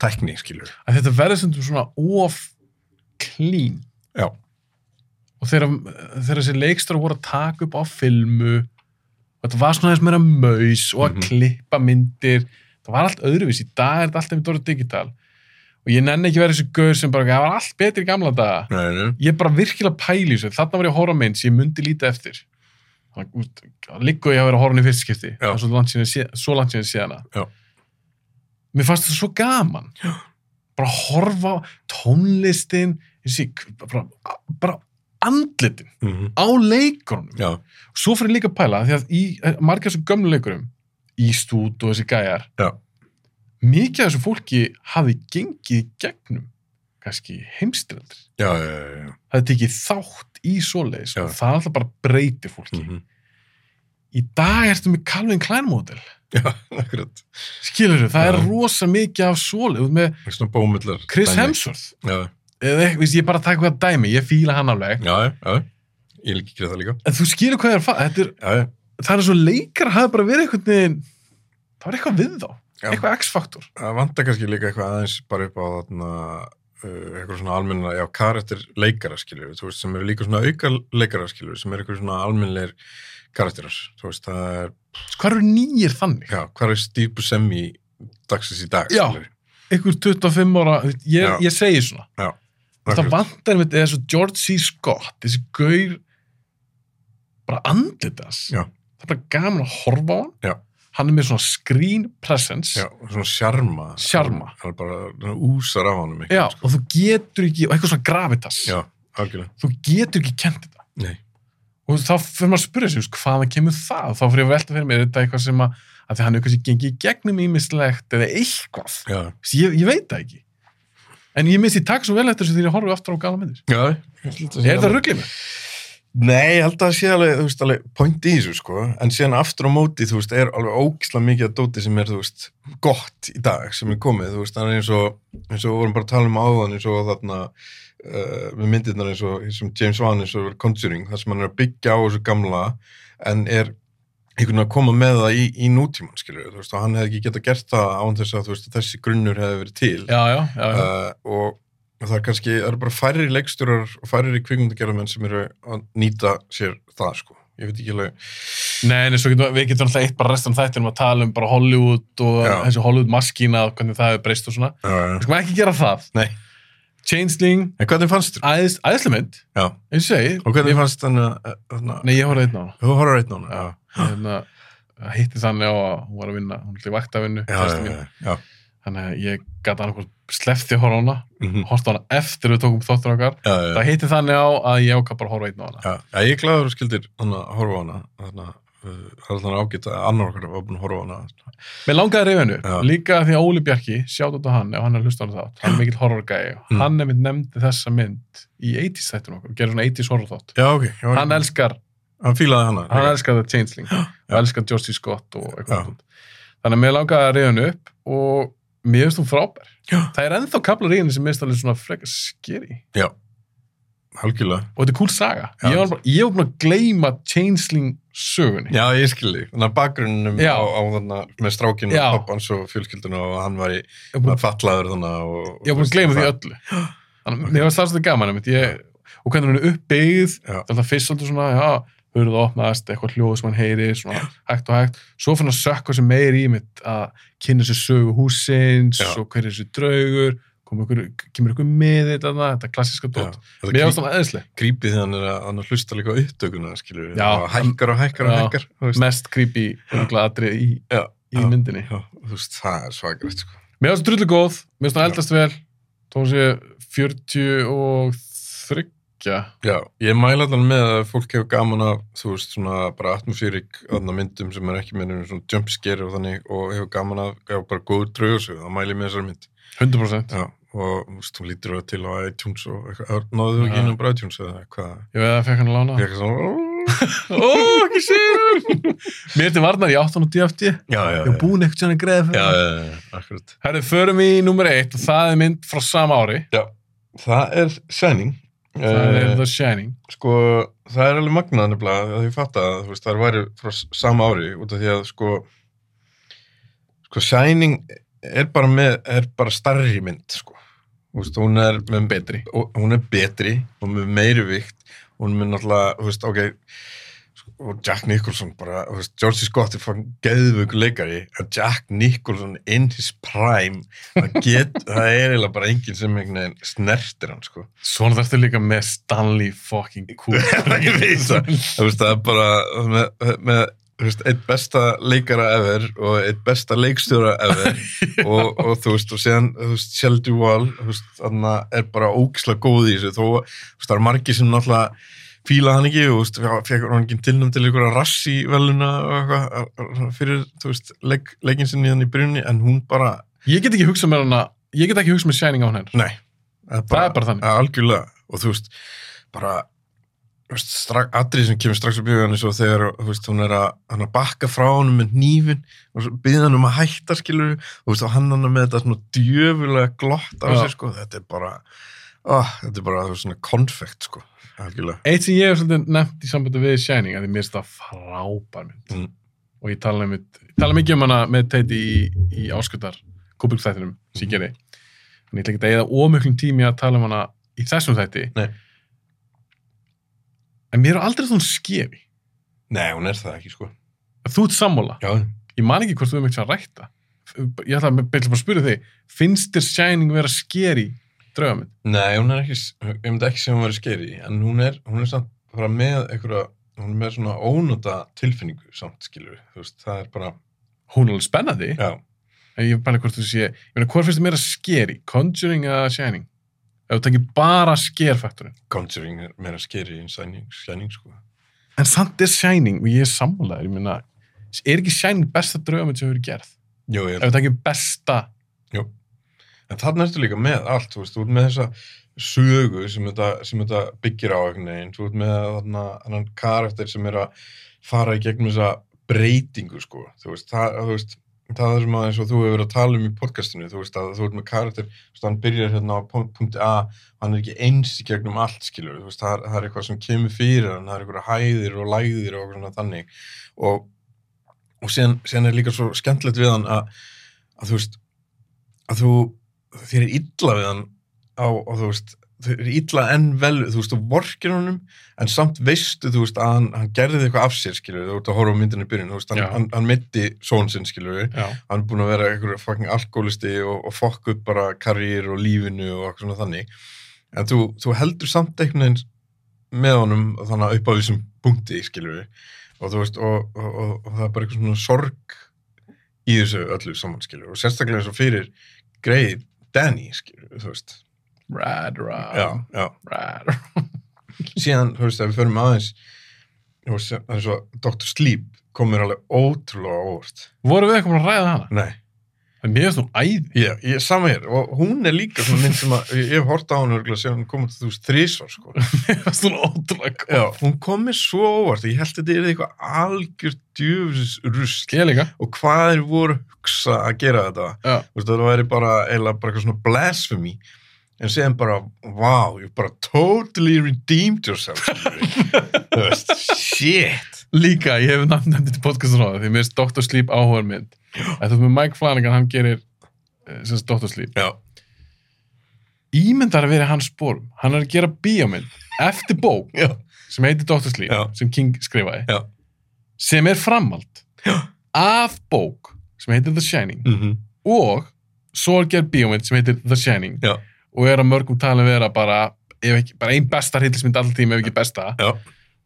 S6: tækni skilur
S5: að þetta verður sem svona of clean
S6: já,
S5: og þegar, þegar þessi leikstara voru að taka upp á filmu þetta var svona þess meira maus og að
S6: Mhm.
S5: klippa myndir það var allt öðruvís, í dag er þetta allt einmitt orðið digital og ég nenni ekki verið þessi gaur sem bara, það var allt betri í gamla daga
S6: nei, nei.
S5: ég er bara virkilega pæli þessu, þarna var ég að horfa á mynd sem ég myndi lítið eftir líku ég að vera að horfa á hana í fyrst skipti
S6: Já.
S5: það er svo langt síðan ég sé- svo langt síðan síðana
S6: Já.
S5: mér fannst þetta svo gaman Já. bara að horfa á tónlistin þessi, bara, bara andlitin
S6: Mm
S5: á leikurunum
S6: já,
S5: svo fyrir líka að pæla því að í eh, margir þessu gömlu leikurum Ístút og þessi gæjar
S6: Já.
S5: mikið af þessu fólki hafi gengið í gegnum kannski heimstyraldir
S6: já, já, já, já.
S5: það er tekið þátt í svoleiðis
S6: Já.
S5: og það alltaf bara breytir fólki
S6: Mhm.
S5: í dag ertu með Calvin Klein model
S6: já, akkurat
S5: skilur þau, það
S6: Já.
S5: er rosa mikið af svoleið Þú ert með
S6: Eitthvað svona bómullar
S5: Chris
S6: dæmi.
S5: Hemsworth
S6: já,
S5: eða eitthvað, veist, ég er bara að taka hvað dæmi, ég fíla hann alveg
S6: já, já, já. ég líki ekki það líka
S5: en þú skilur hvað ég er að fara þetta er,
S6: já, já,
S5: það er svo leikar hafa bara verið einhvern veginn það var eitthvað við þá,
S6: Já.
S5: eitthvað X-faktor
S6: það vantar kannski líka eitthvað aðeins bara upp á þarna uh, eitthvað svona almenna, já, karakter leikara skiljur, þú veist, sem eru líka svona auka leikara skiljur, sem eru eitthvað svona almenleir karakterar, þú veist, það er
S5: hvað eru nýjir þannig?
S6: já, hvað er Steve Buscemi dagsins í dag,
S5: Já.
S6: skilurðu?
S5: einhver 25 ára, þú veist,
S6: Já.
S5: ég, ég segi svona það
S6: Akkurat.
S5: vantar með þessu George C. Scott þessi gaur bara andlit þess
S6: Já.
S5: það er bara gaman að horfa á hann
S6: Já.
S5: hann er með svona screen presence
S6: já, svona sjarma
S5: Sjarma.
S6: hann er bara hann úsar á honum ekki,
S5: Já, og þú getur ekki og eitthvað svona gravitas
S6: já, algjörlega
S5: þú getur ekki kent þetta
S6: Nei.
S5: og þá fyrir maður að spyrja sig þú veist, hvaðan kemur það þá fyrir ég að velta fyrir mér er þetta eitthvað sem að, að því hann er kannski gengið í gegnum ímislegt eða eitthvað,
S6: já,
S5: Þessi, ég, ég veit það ekki en ég misti takk svo vel eftir þessu þegar ég horfði aftur á gala myndir
S6: já
S5: er þetta ruglið mér?
S6: Nei, ég held að það sé alveg, þú veist, alveg point í þessu, sko, en síðan aftur á móti, þú veist, er alveg ógislega mikið að dóti sem er, þú veist, gott í dag sem er komið, þú veist, það er eins og eins og við vorum bara að tala um áðan eins og þarna uh, með myndirnar eins og eins og James Wan eins og Conjuring, þar sem hann er að byggja á þessu gamla en er einhvern veginn að koma með það í, í nútímann, skilur, þú veist, og hann hefði ekki getað gert það án þess að, þú veist, þessi grunnur hefði verið til
S5: Já, já, já, já.
S6: uh, og það er kannski, það eru bara færri leikstjórar og færri kvikmyndagerðamenn sem eru að nýta sér það sko ég veit ekki alveg,
S5: Nei, en svo getum, við getum alltaf eitt bara restan þættir um að tala um bara Hollywood og
S6: Já.
S5: þessi Hollywood maskína og hvernig það hefur breyst og svona. Við
S6: uh,
S5: skulum ekki gera það.
S6: nei,
S5: Changeling,
S6: en hvernig fannst þér?
S5: æðis, æðislega mynd,
S6: Já,
S5: eins og ég segi.
S6: og hvernig fannst þannig að, þannig
S5: Nei, ég horfði einn á hana.
S6: þú horfður eitt núna, já
S5: Hérna, hitti þannig á að hún var að vinna, hún er vaktavinnu,
S6: Já, já, já, já.
S5: þannig að ég gæti annarkvort slefti að horfa á hana,
S6: Mhm.
S5: horfði á hana eftir við tókum þóttur okkar.
S6: Já, já, já.
S5: Það hitti þannig á að ég ákvað bara að horfa einn á hana.
S6: Já, já, ég er glæður að þú skildir hann að horfa á hana þannig að uh, það er þannig ágætt að annar okkar var búin að horfa á hana
S5: Mér langaði reyfinu,
S6: Já.
S5: líka því að Óli Bjarki, sjátt út á hann, ef hann er hlustan þátt, hann er mikill horrorgæði,
S6: Mm.
S5: hann er mitt nefndi þessa mynd í 80s þættin okkur, gerir svona 80s horror þátt.
S6: Já, ok, já,
S5: Hann elskar,
S6: hann fílaði hana
S5: hann
S6: líka.
S5: elskar The Changeling, og elskar George C. Scott og
S6: Já.
S5: eitthvað. svona. Þannig að mér langaði að reyfinu upp og mér finnst hún frábær.
S6: Já.
S5: Það er ennþá kaplar í henni sem minnst alveg svona frekar skeri.
S6: Já, algjörlega.
S5: og þetta er cool saga
S6: Já.
S5: ég var bara, ég var búin að gleyma Changeling sögunni
S6: Já, ég skilji. Þannig að bakgrunnum
S5: Já.
S6: á, á þarna með strákinu
S5: Já.
S6: og pappans og fjölskyldinu og hann var í
S5: ég var búin að,
S6: fallaður þannig og...
S5: ég var búin að gleyma því öllu þannig að mér var starfstöð gaman einmitt. ég, og hvernig hún er uppbyggð
S6: Já.
S5: þannig að fyrst svolítið svona, já hurð opnaðast, eitthvað hljóð sem hann heyrir svona hægt og hægt, svo fann hann sökka sem meir í mitt að kynna sér sögu húsins
S6: Já.
S5: og hver er þessi draugur kom ykkur, kemur ykkur með þetta, þetta klassiska
S6: Já,
S5: dót
S6: þetta
S5: mér
S6: er
S5: var svona aðeinslega
S6: grípið þegar hann er að, hann er að hlusta líka á upptökuna, skilur
S5: Já.
S6: og hækkar og hækkar og
S5: Já.
S6: hækkar, þú veist.
S5: mest creepy örugglega atriði í,
S6: Já,
S5: í
S6: já.
S5: myndinni
S6: Já, þú veist, það er svakrætt, sko.
S5: Mér finnst drullu góð, mér finnst það eldast vel þó hún sé 43
S6: Já, ég mæla allan með að fólk hefur gaman af, þú veist, svona bara atmosfýrik aðna myndum sem er ekki með nefnum svona jumpscare og þannig og hefur gaman af, já, bara góður draugasög, það mæli ég með þessari mynd.
S5: 100%
S6: Já, og þú veist, hún lítur það til á iTunes og eitthvað, náðu þú ekki
S5: Já.
S6: inn á bara iTunes eða hvað,
S5: Ég veið að það fekk hann að
S6: ég
S5: lána
S6: ekki svona,
S5: Ó, ekki sér Mér til varnar, ég átt hann á DFT Ég
S6: já, já,
S5: er búin eitthvað sem að greiða
S6: já,
S5: fyrir
S6: já, já, akkurat.
S5: Herðu, förum í nummer eitt og það er mynd frá sama ári
S6: Já, það er Shining.
S5: Það er
S6: Eh,
S5: The Shining
S6: sko, það er alveg magnað nefnilega að ég fatta að þú veist, það væri frá s- sama ári út af því að sko, sko Shining er bara, með, er bara starri mynd sko. Þú veist, hún er með betri og, hún er betri og með meiri vikt hún er með náttúrulega þú veist, okay, sko, og Jack Nicholson bara, þú veist, George Scott er fann geðvöku leikari að Jack Nicholson in his prime það, get, það er eiginlega bara enginn sem einhvern veginn snertir hann sko.
S5: Svona þarftu líka með Stanley fucking Kubrick
S6: ég veit það Þú veist, það er bara með, með þú veist, eitt besta leikara ever og eitt besta leikstjóra ever og, og þú veist, og síðan þú veist, Sheldy Wall, þú veist, þarna er bara ógislega góð í þessu, þó þú veist, það er margi sem náttúrulega fíla hann ekki og þú veist, fekk hann ekki tilnum til einhverja rassi veluna og eitthvað fyrir, þú veist, leik, leikin sinni hann í brunni, en hún bara,
S5: Ég get ekki hugsað mér hana Ég get ekki hugsað mér Shining á hennar
S6: nei það
S5: er bara þannig.
S6: algjörlega, og þú veist, bara þú veist, strak, atrið sem kemur strax á bjöðan eins og þegar þú veist, hún er að, hann að bakka frá honum með nýfin og svo býða hann um að hætta skilur og veist, og hann hann er með þetta svona djöfulega glott á
S5: Já.
S6: sér sko, þetta er bara oh, þetta er bara þú veist, svona konfekt sko, algjörlega
S5: Eitt sem ég hef svolítið nefnt í sambandi við Shining að því mér finnst það frábær mynd
S6: Mm.
S5: og ég tala, einmitt, tala mikið um hana með Teddy í, í áskjöldar kúbulkþættinum sem ég gerði en ég ætla ekki að eða ómöklum tími að tala um hana í þessum þætti
S6: Nei.
S5: en mér er aldrei svona skefi
S6: Nei, hún er það ekki sko
S5: að þú ert sammála,
S6: Já,
S5: ég man ekki hvort þú hefum ekki að rækta ég ætla að byrja bara að spyrja þig finnst þér Shining vera skeri draugamynd?
S6: Nei, hún er ekki, ég myndi ekki segja hún verið skeri, en hún er, hún er samt bara með einhverja, hún er með svona ónota tilfinningu samt, skilur við, þú veist, það er bara,
S5: Hún er alveg spennandi
S6: já,
S5: En ég pæla hvort þú sé, ég meina, hvort finnst þið meira skeri? Conjuring eða Shining? Ef þú tekir bara skerfaktorinn.
S6: Conjuring er meira skeri en Shining, Shining, sko.
S5: En samt er Shining, og ég er sammálaður, ég meina, er ekki Shining besta draugamönd sem hefur verið gerð?
S6: Jú, ég
S5: Ef þú tekir besta,
S6: Jú. En þarna ertu líka með allt, þú veist, þú ert með þessa sögu sem þetta, sem þetta byggir á einhvern veginn, þú ert með þarna annan karakter sem er að fara í gegnum þessa breytingu, sko, þú veist, það, þú veist, það er sem að eins og þú hefur verið að tala um í podcastinu, þú veist, að þú ert með karakter, þú veist, hann byrjar hérna á punkt- punkti A, hann er ekki eins í gegnum allt, skilur, þú veist, það er, það er eitthvað sem kemur fyrir hann, það er eitthvað hæðir og læðir og eitthvað svona þannig og, og síðan, síðan er líka svo skemmtilegt við hann að, að þú veist, að þú þér er illa við hann á, og þú veist, þér er illa en vel þú veist, þú vorkir honum en samt veistu, þú veist, að hann, hann gerði eitthvað af sér, skilur, þú ert að horfa á myndinu í byrjun þú veist, hann,
S5: Já.
S6: hann, hann mitti són sinn, skilur
S5: já,
S6: hann er búin að vera einhverjum fucking alkoholisti og, og fokk upp bara karriér og lífinu og eitthvað svona þannig en þú, þú heldur samt einhvern veginn með honum þannig að upp á þessum punkti skilur við og þú veist og, og, og, og það er bara eitthvað svona sorg í þessu öllu saman skilur við. og sérstaklega eins og fyrir greið Danny skilur við, þú veist
S5: rad, rad,
S6: já, já
S5: rad, rad.
S6: síðan, þú veist, ef við förum aðeins þú veist, eins og Dr. Sleep komur alveg ótrúlega á óvart
S5: Vorum við eitthvað búin að ræða hana?
S6: nei
S5: En mér finnst hún æði.
S6: Já, ég, sama hér, og hún er líka svona mynd sem að, ég ég hef hort á hún örgulega síðan hún komið til þú veist þrísvar, sko.
S5: Mér finnst hún ótrúlega góð.
S6: Já, hún komið svo óvart, ég held að þetta er eitthvað algjör djöfis rusl
S5: Ég líka.
S6: og hvað er voru að hugsa að gera þetta,
S5: Já.
S6: þú veist, það væri bara, eiginlega bara eitthvað svona blasphemy en séðan bara, wow, you bara totally redeemed yourself skilurðu. þú veist, shit
S5: Líka, ég hef nafn nefndið til podcastin á það því mér finnst Dr. Sleep áhugaður mynd Þetta er með Mike Flanagan, hann gerir eh, sem sagt Dr. Sleep
S6: já,
S5: Ímyndar að vera í hans spórum, hann er að gera bíómynd eftir bók
S6: já,
S5: sem heitir Dr. Sleep
S6: Já.
S5: sem King skrifaði
S6: Já.
S5: sem er framhald
S6: Já.
S5: af bók sem heitir The Shining
S6: mm -hmm.
S5: og svo er gerð bíómynd sem heitir The Shining
S6: Já.
S5: og er að mörgum talin vera bara, ef ekki, bara ein besta hryllismynd alltaf tíma ef ekki besta
S6: já.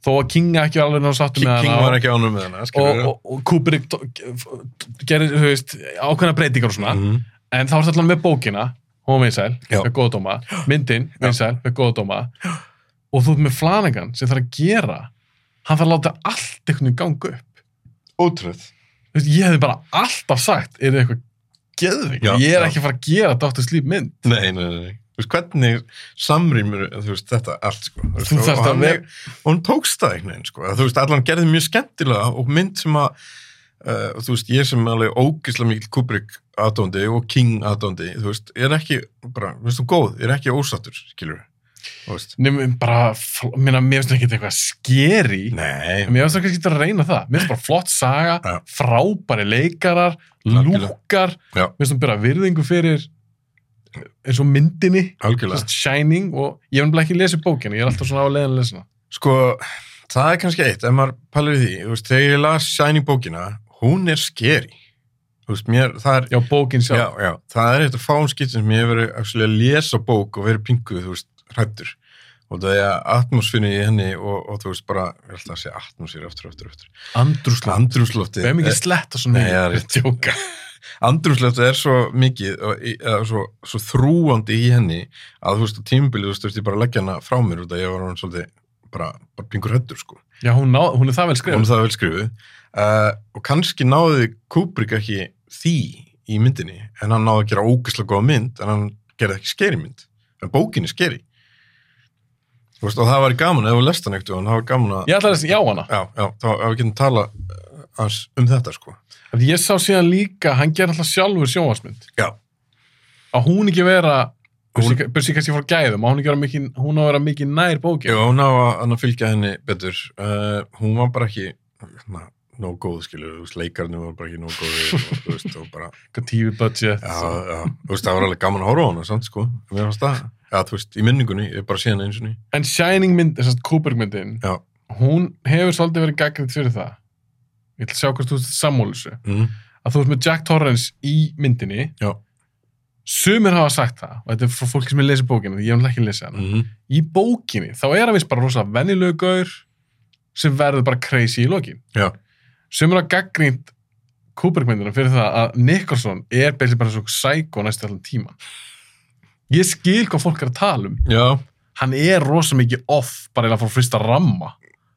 S5: þó að King ekki var alveg náðu sáttum
S6: King,
S5: með
S6: King
S5: hana
S6: var ekki ánum með hana
S5: og,
S6: skilurðu.
S5: og, og Kubrick tó- gerir, þú veist, ákveðna breytingar og svona,
S6: Mhm.
S5: en þá er þetta allan með bókina hún var vinsæl,
S6: Já.
S5: með góða dóma myndin, vinsæl, með góða dóma og þú ert með Flanagan sem þarf að gera hann þarf að láta allt einhvern veginn ganga upp
S6: ótrúð
S5: Þú veist, ég hefði bara alltaf sagt, er það eitthvað geðvig,
S6: Já,
S5: ég er
S6: já.
S5: ekki að fara að gera Dr. Sleep mynd
S6: Nei, nei, nei, nei. Þú veist, hvernig samrýmur þú veist, þetta allt, sko.
S5: Þú
S6: og,
S5: þarft
S6: og
S5: að
S6: hann,
S5: ver-
S6: er- og hún tókst það einhvern veginn, sko. Þú veist, allan gerði mjög skemmtilega og mynd sem að, uh, þú veist, ég sem er alveg ógislega mikil Kubrick aðdóndi og King aðdóndi, þú veist, er ekki, bara, veist þú, góð, er ekki ósattur, skilur þú veist.
S5: nefnum bara, fl- minna, mér finnst ekki eitthvað skeri
S6: Nei,
S5: Mér finnst það kannski að reyna það. Mér finnst bara flott saga,
S6: Já.
S5: frábæri leikarar,
S6: Algjörlega.
S5: lúkar,
S6: Já.
S5: mér finnst það bara virðingu fyrir eins og myndinni,
S6: algjörlega.
S5: Just Shining og ég hef nefnilega ekki lesið bókina, ég er alltaf svona á leiðin að lesa hana.
S6: Sko, það er kannski eitt, ef maður palir því, þú veist, þegar ég las Shining bókina, hún er skeri. Þú veist, mér, það er
S5: Já, bókin sjálf.
S6: Já, já, það er eitt af fáum skiptum sem ég hef verið actually, að lesa bók og verið pinguð, þú veist, hrættur. Og það er atmosfínu í henni og, og þú veist bara, ég ætla að segja atmosfínu aftur, aftur, aftur.
S5: Andrúsland.
S6: Andrúmsloftið,
S5: Við hefum ekki sletta svona
S6: Nei, það er rétt.
S5: tjóka.
S6: andrúmsloftið er svo mikið og í- eða svo, svo þrúandi í henni að þú veist, á tímabilið, þú veist, þurfti ég bara að leggja hana frá mér út að ég var hann svolítið bara, bara pingur hrættur, sko.
S5: Já, hún, ná, hún er það vel
S6: Hún er
S5: skrifað.
S6: það vel skrifuð. Uh, og kannski náði Kubrick ekki því í myndinni, en hann náði að gera ógeðslega góða mynd, en hann gerði ekki skeri mynd. En bókin er skeri. Þú veist, og það var gaman, ef við lest hann eitthvað, það var gaman að...
S5: Ég ætla að lesa já hana.
S6: Já, já, þá ef við getum tala hans um þetta, sko.
S5: Af því Ég sá síðan líka, hann ger alltaf sjálfur sjónvarsmynd.
S6: Já.
S5: Að hún ekki vera,
S6: Hún-
S5: börsi kannski frá gæðum, að hún, ekki vera mikið, hún á að vera mikið nær bókin.
S6: Já, hún á að hann að fylgja henni betur. Uh, hún var bara ekki, na, nóg góð, skilur, þú veist, leikarnir var bara ekki nóg góð og, þú veist, og bara
S5: Eitthvað TV budget.
S6: Já,
S5: og-
S6: já, þú veist, það var alveg gaman að horfa á hana, samt, sko, mér fannst það, já, þú veist, í minningunni, ég bara sé hana eins og ný,
S5: En Shining mynd, þess að Kubrick myndin,
S6: Já.
S5: hún hefur svolítið verið gaggrind fyrir það. Ég ætla að sjá hvort þú ert sammólusu.
S6: mm.
S5: Að þú ert með Jack Torrance í myndinni.
S6: Já.
S5: Sumir hafa sagt það, og þetta er frá fólki sem er lesið bókina, því ég hef náttúrulega ekki lesið hana.
S6: Mm.
S5: Í bókinni, þá er hann vist bara rosa venjulegu gaur sem verður bara crazy í lokin.
S6: Já.
S5: Sumir hafa gaggrind Kubrick myndina fyrir það að Nicholson er basically bara svo psycho næstu allan tíman. Ég skil hvað fólk er að tala um
S6: já,
S5: hann er rosa mikið off bara eða frá fyrsta ramma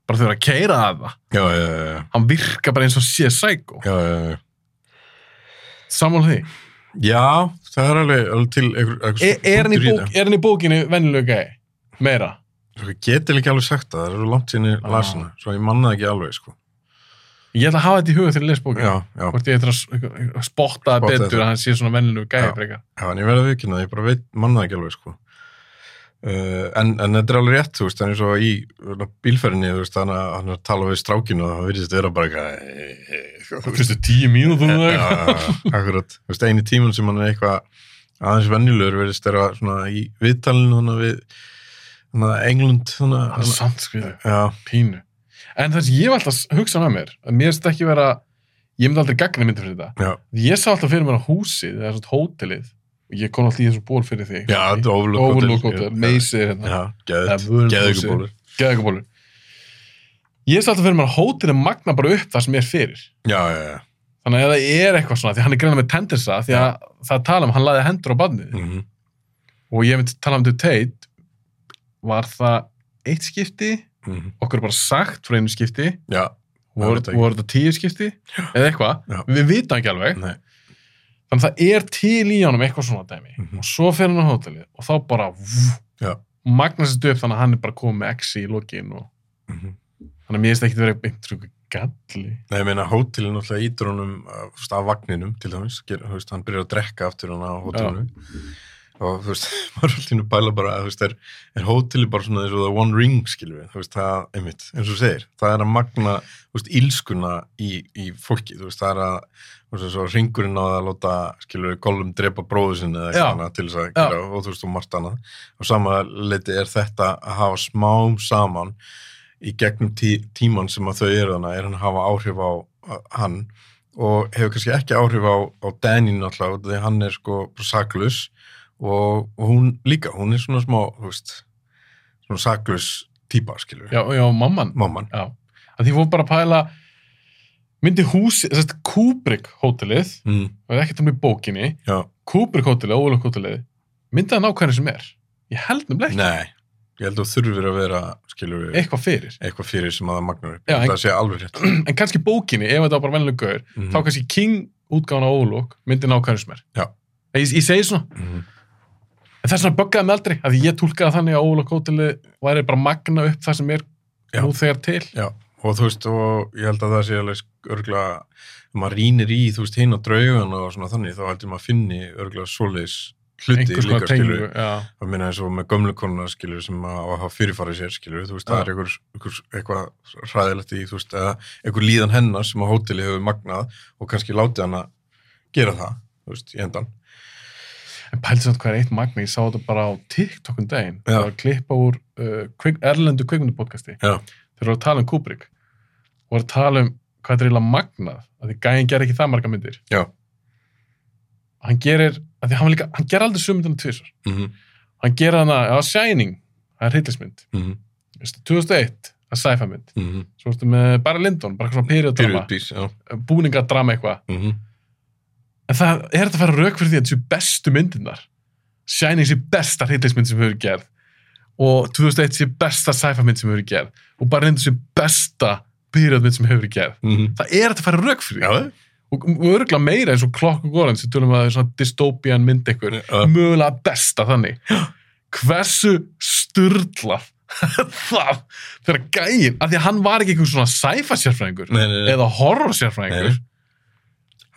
S5: bara þau eru að keira að það
S6: já, já, já, já,
S5: hann virka bara eins og sé psycho
S6: já, já, já,
S5: sammála því
S6: já, það er alveg, alveg til einhver, einhver
S5: E- er, er, hann í bók, er hann í bókinu venjulega gæi meira
S6: Ég geti ekki alveg sagt það, það eru langt sinni ah. lasina, svo ég manna það ekki alveg, sko,
S5: ég ætla að hafa þetta í huga þegar ég les bókinu
S6: já, já,
S5: hvort ég ætla að s- spotta það
S6: Spotta
S5: betur
S6: þetta.
S5: að hann sé svona venjulega
S6: Já.
S5: gæi frekar
S6: já, en ég verði að vikina, ég bara veit, manna það ekki alveg, sko. Uh, en, en þetta er alveg rétt, þú veist, en eins og í hérna, bílferðinni, þú veist, hann að hann er að tala við strákinu og það virðist vera bara eitthvað,
S5: þú finnst þú Eh, tíu mínútum
S6: Já, já, já, akkurat, þú veist, eini tíman sem hann er eitthvað aðeins venjulegur verðist þeirra svona í viðtalinu hana við hana England hana,
S5: hann er samt skriðu
S6: já,
S5: pínu en þess ég var alltaf að hugsa með mér að mér finnst ekki vera ég myndi aldrei gagna myndi fyrir þetta
S6: já,
S5: ég sá alltaf fyrir mér að húsið eða svona hótelið og ég kom alltaf í þessu ból fyrir þig
S6: já, þetta er overlook
S5: Overlook Hotel, Macy er hérna
S6: já,
S5: Það er
S6: geðið,
S5: völvúsið.
S6: geðugubólur
S5: Geðugabólur Ég sé alltaf fyrir mér að hótinu magna bara upp það sem er fyrir
S6: já, já, já,
S5: Þannig að ef það er eitthvað svona, því hann er greinlega með tendensa því að það tala um, hann laði hendur á badnið
S6: mhm,
S5: og ég myndi tala um til Tate var það eitt skipti
S6: mhm,
S5: okkur er bara sagt frá einu skipti
S6: já
S5: voru
S6: veit ekki.
S5: voru þetta tíu skipti eða
S6: Já.
S5: eitthvað, við vitum ekki alveg
S6: nei,
S5: þannig að það er til í honum eitthvað svona dæmi
S6: Mhm.
S5: og svo fer hann á hótelið og þá bara
S6: Já.
S5: magnast þetta upp þannig að hann er bara komið með exi í lokin og
S6: mhm.
S5: þannig að mér finnst ekki verið eitthvað galli
S6: Nei, ég meina, hótelin náttúrulega ítur honum af vagninum, til dæmis, ger- þú veist, hann byrjar að drekka aftur hann á hérna hótelinu og þú veist, maður er alltaf inn að pæla bara að þú veist, er, er hóteli bara svona eins og það one ring skilur við, þú veist, það, einmitt eins og þú segir, það er að magna, þú veist, ílskuna í, í fólki, þú veist, það er að þú veist, svo ringurinn á það að láta skilur við, Gollum drepa bróðu sinni eða
S5: Já.
S6: eitthvað annað til þess að gera og þú veist, og margt annað og sama leiti er þetta að hafa smám saman í gegnum tí, tíman sem að þau eru þannig, er hann að hafa áhrif á á hann og hefur kannski ekki áhrif á, á Danny náttúrulega, því hann er sko saklus og, og hún líka, hún er svona smá, þú veist svona saklus típa, skilur
S5: já, já, mamman
S6: mamman,
S5: já. að því fór bara að pæla myndi hús, þess að Kubrick hótelið,
S6: mm,
S5: og ekki tala um í bókinni
S6: já,
S5: Kubrick hótelið, óvölu hótelið myndi það ná hvernig sem er ég held nefnilega
S6: nei ég held að þú þurfir að vera, skilur
S5: ekki eitthvað fyrir
S6: eitthvað fyrir sem að það magnar upp
S5: Já,
S6: já,
S5: en-
S6: það sé alveg rétt Mhm, mm
S5: en kannski bókinni, ef þetta var bara venlega gaur þá kannski King útgána ólokk myndi ná hvernig sem er
S6: Já.
S5: En ég, ég segi svona,
S6: Mhm.
S5: en það er svona böggaði mig aldrei að því ég túlkaði þannig að ólokk hótelið væri bara að magna upp það sem er
S6: Já.
S5: nú þegar til
S6: Já, og þú veist, og ég held að það sé alveg örgla, maður rínir í, þú veist, hinn á draugun og svona þannig, þá heldur maður að finni örgla svoleiðis hluti
S5: einhvers konar
S6: líka, skilur,
S5: tengingu já.
S6: að minna eins og með gömlu konuna, skilur, sem að að hafa fyrirfarið sér, skilur, þú veist, það
S5: Já.
S6: er einhver, einhver, eitthvað hræðilegt í, þú veist, eða einhver líðan hennar sem að hóteli hefur magnað og kannski látið hann að gera það, þú veist, í endan.
S5: En pældi samt hvað er eitt magna, ég sá þetta bara á TikTok um daginn,
S6: Já.
S5: það var að klippa úr uh, kvik, erlendu kveikmyndupodcasti
S6: Já.
S5: þeir voru að tala um Kubrick og voru að tala um hvað þetta er eiginlega magnað að því gæinn gerir ekki það marga myndir
S6: Já.
S5: hann gerir, að því hann, var líka, hann gerir aldrei sömu myndina tvisar
S6: Mm -hmm.
S5: hann gerir hana, já, Shining, það er heitlismynd
S6: Mm -hmm.
S5: 2001, það er sci-fi mynd
S6: Mm -hmm.
S5: svo ertu með bara Lindon, bara eitthvað svona periodrama
S6: já.
S5: búningadrama eitthvað
S6: Mm
S5: en það er þetta að fara rauk fyrir því að þetta séu bestu myndirnar Shining sé besta hryllingsmynd sem hefur verið gerð og 2001 sé besta sci-fi mynd sem hefur verið gerð og bara reyndur sé besta byrjadmynd sem hefur verið gerð það er þetta að fara rauk fyrir því
S6: mhm. Já,
S5: og örgulega meira eins og klokk og góðan sem tölum að það er svona dystopian mynd einhver
S6: Já.
S5: mögulega besta þannig hversu sturdlað það þegar gæinn af því að hann var ekki einhver svona sci-fi sérfræðingur
S6: Nei, nei, nei.
S5: eða horror sérfræðingur
S6: Nei.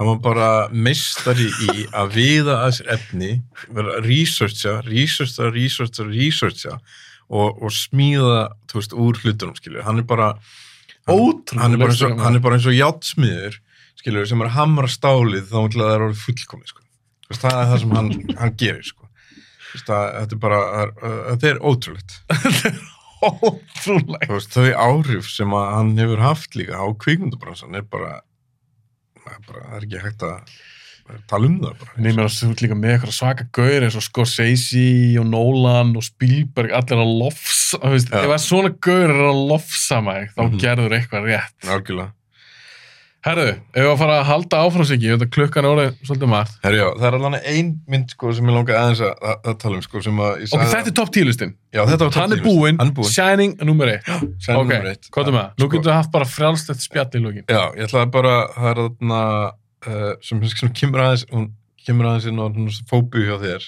S6: hann var bara meistari í að viða að sér efni vera að researcha, researcha, researcha, researcha og, og smíða þú veist, úr hlutunum skilur. hann er bara hann,
S5: Ótrúlega
S6: hann, er bara eins og,
S5: leikstjóri,
S6: hann er bara eins og játsmiður skilur, sem er að hamra stálið þá ætla það er orðið fullkomið sko. Þú veist, það er það sem hann, hann gerir sko. Þú veist, það, þetta er bara það er- þetta er ótrúlegt
S5: ótrúlega
S6: Þú veist, þau áhrif sem að hann hefur haft líka á kvikmyndabransan er bara, það er bara það er ekki hægt að tala um það bara.
S5: Nei, mér að þú ert líka með eitthvað svaka gaur eins og Scorsese og Nolan og Spielberg, allir er að lofsa þú veist,
S6: Já.
S5: ef að svona gaur er að lofsa mig þá
S6: Mhm.
S5: gerður eitthvað rétt
S6: Algjörlega.
S5: Herru, ef við að fara að halda áfram sig ekki, þetta klukkan er orðið svolítið margt
S6: Herri, já, það er alveg ein mynd sko, sem ég langaði aðeins að, að, að tala um sko, sem að ég
S5: Ok,
S6: sagði
S5: þetta er topp tílistin,
S6: já, þetta var
S5: hann er
S6: topp tíu,
S5: búinn
S6: hann er búinn
S5: Shining er nummer eitt
S6: Sæl
S5: Ok,
S6: númer eitt.
S5: hvað er með það? Nú
S6: Sko-
S5: getur við haft bara frjálslegt spjall í lókin
S6: Já, ég ætlaði bara, það er þarna uh, sem, sem kemur aðeins hún kemur aðeins inn á fóbu hjá þér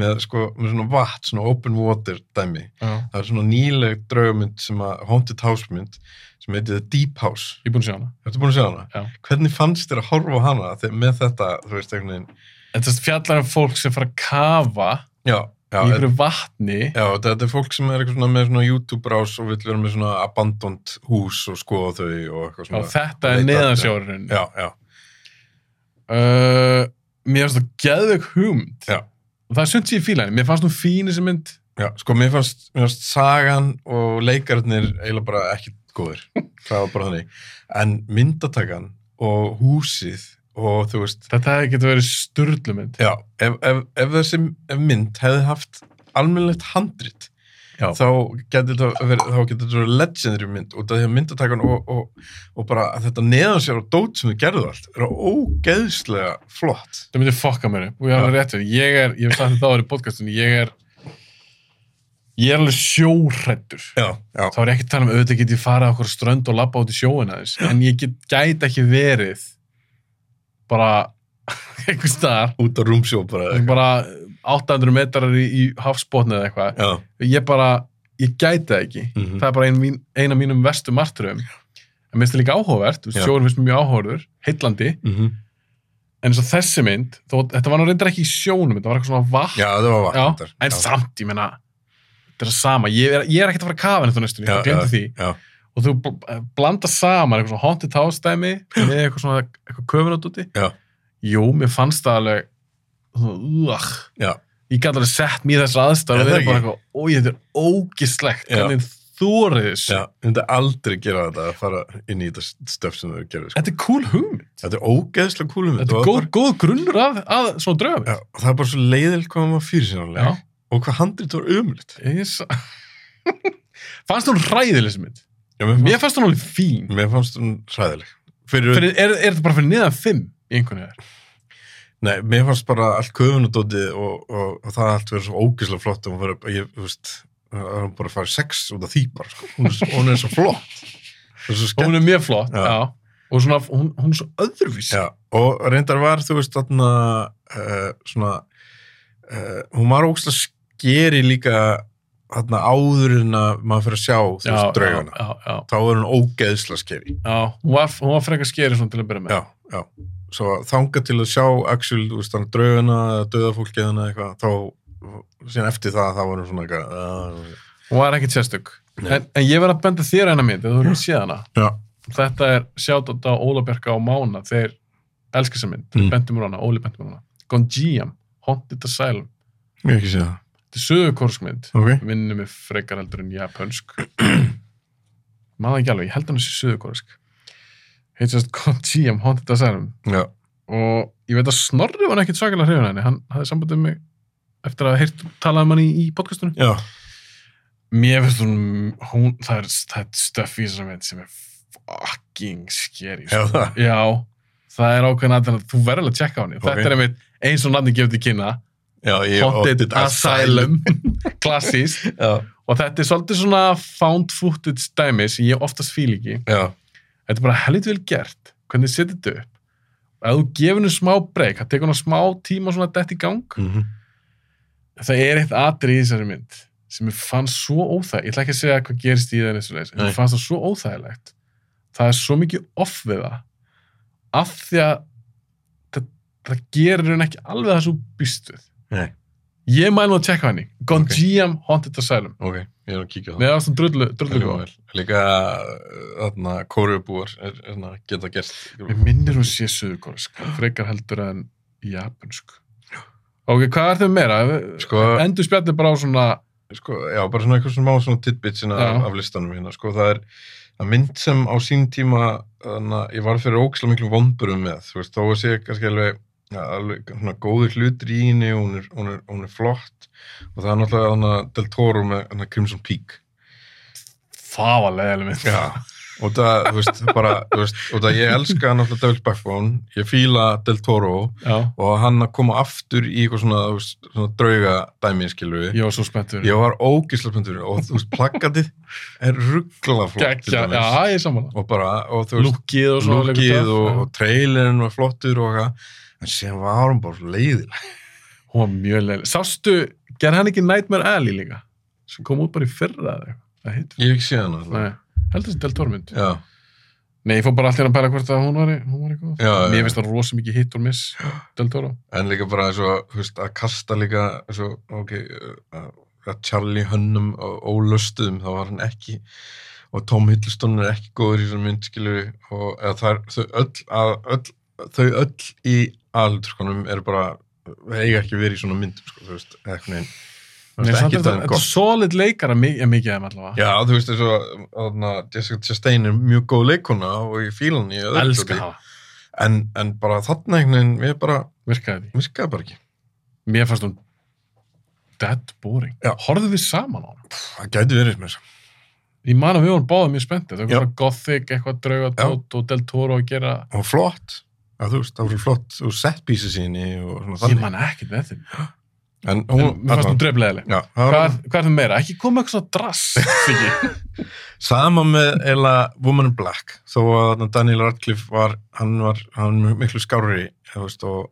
S6: með, sko, með svona vatn, svona open water dæmi.
S5: Ég
S6: Það er svona nýleg draugmynd sem að, haunted house mynd sem heitir The Deep House
S5: er búinn að sjá hana
S6: Ertu búin að sjá hana?
S5: Já.
S6: Hvernig fannst þér að horfa á hana þegar, með þetta, þú veist, einhvern veginn?
S5: Þetta er fjallar um fólk sem fara að kafa
S6: Já, já,
S5: í einhverju vatni
S6: já þetta er fólk sem er eitthvað svona með svona YouTube-rás og vill vera með svona abandoned hús og skoða þau og eitthvað
S5: og
S6: svona.
S5: þetta er
S6: Leita-
S5: neðansjórun
S6: Já, já,
S5: uh, mér finnst það geðveik hugmynd
S6: Já.
S5: og það er sumt sér í fílæni, mér fannst hún fín þessi mynd
S6: já. Sko, mér fannst, mér fannst sagan og leikarnir eiginlega bara ekki góðir. það var bara þannig. En myndatakan og húsið og þú veist,
S5: þetta hefði getur verið sturlu mynd
S6: Já, ef, ef, ef þessi ef mynd hefði haft almennlegt handrit
S5: Já.
S6: þá getur þetta verið, þá getur þetta verið legendary mynd út af því að myndatakan og, og, og bara að þetta neðan sér á dót sem þau gerðu allt er ógeðslega flott
S5: það myndi fokka mér upp og ég er alveg rétt fyrir ég er, ég hef sagt þetta áður í podcastinu ég er ég er alveg sjórættur
S6: Já, já,
S5: þá er ég ekki að tala um auðvitað get ég farið á okkur strönd og labba út í sjóin aðeins en ég get, gæti ekki verið bara einhvers staðar
S6: út á rúmsjó bara eða
S5: bara 800 metrar í, í hafsbótni eða eitthvað
S6: eitthvað.
S5: ég bara, ég gæti það ekki
S6: Mhm.
S5: það er bara ein, mín, ein af mínum vestu martröðum en mér finnst það líka áhugavert
S6: Já.
S5: sjórin finnst mér mjög áhugaverður, heitlandi
S6: Já, mm -hmm.
S5: en eins og þessi mynd, þó, þetta var nú reyndar ekki í sjónum, þetta var eitthvað svona vatn
S6: Já, það var
S5: Já,
S6: vatn.
S5: en samt, ég meina þetta er það sama, ég er, ég er ekkert að fara að kafa henni þá næstunni, ég glemdi því
S6: Já,
S5: og þú bl- eh, blandar saman eitthvað svona haunted house dæmi með eitthvað svona eitthvað köfunat úti
S6: já,
S5: jú, mér fannst það alveg svona, uh,
S6: já.
S5: ég gæti alveg sett mér í þessar
S6: Er
S5: aðstæður
S6: það
S5: og það er bara
S6: ekki?
S5: eitthvað, ói, þetta er ógislegt
S6: Já.
S5: hvernig þórið þessu
S6: Já, ég myndi aldrei gera þetta að fara inn í þetta stöf sem þau gerðu. Sko.
S5: þetta er cool hugmynd,
S6: Þetta er ógeðslega kúlum.
S5: þetta er góð, góð grunnur að, að svona dröfum
S6: Já, og það er bara svo leiðil hvað hann var fyrir sérlega. Og hvað handrit var umlitt.
S5: fannst hún ræðileg þessi mynd
S6: Já, mér
S5: mér
S6: fannst,
S5: fannst hún alveg fín
S6: mér fannst hún sæðileg. Fyrir,
S5: fyrir, er, er þetta bara fyrir niðan fimm í einhvern veginn
S6: Nei, mér fannst bara allt köfunadóti og, og, og það allt verið svo ógeðslega flott og hún verið, ég, þú veist, það er bara að fara í sex út af því bara, sko. Hún er, svo- hún er svo flott. Það er svo skemmt.
S5: hún er mjög flott
S6: Já.
S5: já. og svona, hún, hún er svo öðruvís
S6: Já, og reyndar var, þú veist, þarna, uh, svona, uh, hún var ógstlega skeri líka þarna áður en að maður fyrir að sjá, þú veist, draugana.
S5: já, já,
S6: Þá er hún ógeðslega skeri.
S5: já. Hún, var, hún var frekar skeri svona til að byrja með
S6: Já, já. Svo þanga til að sjá Axel, þú veist, hann draugana, döðafólkiðana eitthvað, þá síðan eftir það, það var hún svona eitthvað, uh,
S5: hún var ekkit sérstök en, en ég verð að benda þér á eina mynd ef þú hefur séð hana
S6: já,
S5: þetta er sjátt á Óla Bjarka og Mána þeir elska þessa mynd, þeir
S6: Mm.
S5: mm. bentum úr hana, Óli bentum úr hana Gonjiam, Haunted Asylum
S6: ég hef ekki séð það.
S5: þetta er söðukorskmynd
S6: Ok.
S5: vinnum við frekar heldur en japansk maður ekki alveg, ég held hann þessi söðukorsk heit sérst Gonjiam, Haunted Asylum
S6: Já,
S5: og ég veit að Snorri var ekkit svakalega hrifun af henni, hann hafði samband um mig eftir að heyrt talað um hann í, í podcastunum
S6: já,
S5: mér finnst hún, hún það er, það er stöff í þessar mynd sem er fucking scary
S6: já,
S5: sko.
S6: það.
S5: Já, það er ákveðin aðeins þú verður alveg að tjekka á henni.
S6: Ok.
S5: Þetta er einmitt eins og nafni gefur til kynna,
S6: Já, ég
S5: Haunted Asylum, klassískt,
S6: Já,
S5: og þetta er svolítið svona found footage dæmi sem ég oftast fíl ekki.
S6: já,
S5: Þetta er bara helvit vel gert, hvernig þið setja þetta upp. Og ef þú gefur henni smá breyk, það tekur henni smá tíma svona dætt í gang,
S6: mhm,
S5: það er eitt atri í þessari mynd sem ég fann svo óþæg ég ætla ekki að segja hvað gerist í það eins og leis en
S6: Nei.
S5: ég fannst það svo óþægilegt það er svo mikið off við það af því að það, það gerir henni ekki alveg það svo býst við
S6: Nei.
S5: ég mæl nú að tjekka henni Gonjiam Haunted Asylum
S6: ok, ég er að kíkja á það.
S5: með um það sem drullu,
S6: Það
S5: drullu
S6: hljómar vel. Líka, uh, þarna, kóriubúar er, er, er, geta gert.
S5: mér minnir hún sé suðukorsk frekar heldur en japansk ok, hvað er þau meira?
S6: Sko,
S5: endur spjarnir bara á svona
S6: sko, já, bara svona eitthvað svona má svona tidbits hérna
S5: Já.
S6: af, af listanum hérna, sko, það er það er mynd sem á sín tíma þannig að ég var fyrir ókslega miklum vonburum með, þú veist, þó að sé kannski alveg, ja, alveg svona góður hlutur í henni og hún er, hún er, hún er flott og það er náttúrulega þannig að Del Toro með hana, Crimson Peak
S5: fáalega element
S6: Já, og það, þú veist, bara þú veist, og það ég elska náttúrulega David Backbone ég fíla Del Toro
S5: Já.
S6: og hann að koma aftur í eitthvað svona, þú veist, svona drauga dæmi, skilur við
S5: ég var svo spenntur
S6: Ég var ógislega spenntur og þú veist, plakatið er ruggla flott til
S5: Gekkja,
S6: dæmis.
S5: já, ég er sammála.
S6: og bara, og þú veist,
S5: Lúkið og svona.
S6: lukkið og, og trailerin var flottur og eitthvað, en síðan var hún bara svo leiðileg.
S5: Hún var mjög leilig. Sástu, gerði hann ekki Nightmare Alley líka? Sem kom út bara í fyrra eða eitthvað. Það heitir.
S6: Ég hef ekki séð hana alltaf.
S5: Nei, heldur þessi Del Toro mynd.
S6: Já,
S5: Nei, ég fór bara alltaf að pæla hvort að hún var, hún var eitthvað.
S6: já, já.
S5: Mér finnst það rosa mikið hit og miss, Del Toro.
S6: En líka bara svo, þú veist, að kasta líka svo, ok, uh, að Charlie Hunnum og ólöstuðum, þá var hann ekki og Tom Hiddleston er ekki góður í svona mynd, skilur við, og eða það er, þau öll, að, öll, þau öll í aðluturkonum eru bara eiga ekki verið í svona myndum, sko, þú veist, eða eitthvað neginn, þú
S5: Nei,
S6: veist, ekki
S5: samt er
S6: það
S5: þetta
S6: er
S5: þetta er
S6: gott.
S5: solid leikara mikið, mikið af þeim allavega.
S6: Já, þú veist, þess að, þarna, Jessica Chastain er mjög góð leikona og ég fíla hann í öðru
S5: Elska
S6: hluti.
S5: hafa.
S6: En, en bara þarna einhvern veginn, við bara,
S5: Virkaði því.
S6: virkaði bara ekki.
S5: Mér fannst hún dead boring.
S6: Já.
S5: Horfðu við saman á hana?
S6: Það gæti verið með þess
S5: Ég man að við vorum báðið mjög spenntið. Það var
S6: Já.
S5: eitthvað svona gothic, eitthvað draugatótt og Del Toro að gera.
S6: og flott já, þú veist, það voru flott og set pieces í henni og svona
S5: Ég
S6: þannig
S5: man ekkert með þeim.
S6: en
S5: En
S6: hún,
S5: Mér fannst hún drefleðileg.
S6: já, það
S5: Hvað,
S6: var
S5: hvað er það meira? Ekki koma eitthvað svona drass, Siggi.
S6: sama með eila Woman in Black þó að þarna Daniel Radcliffe var hann var, hann var miklu skárri þú veist, og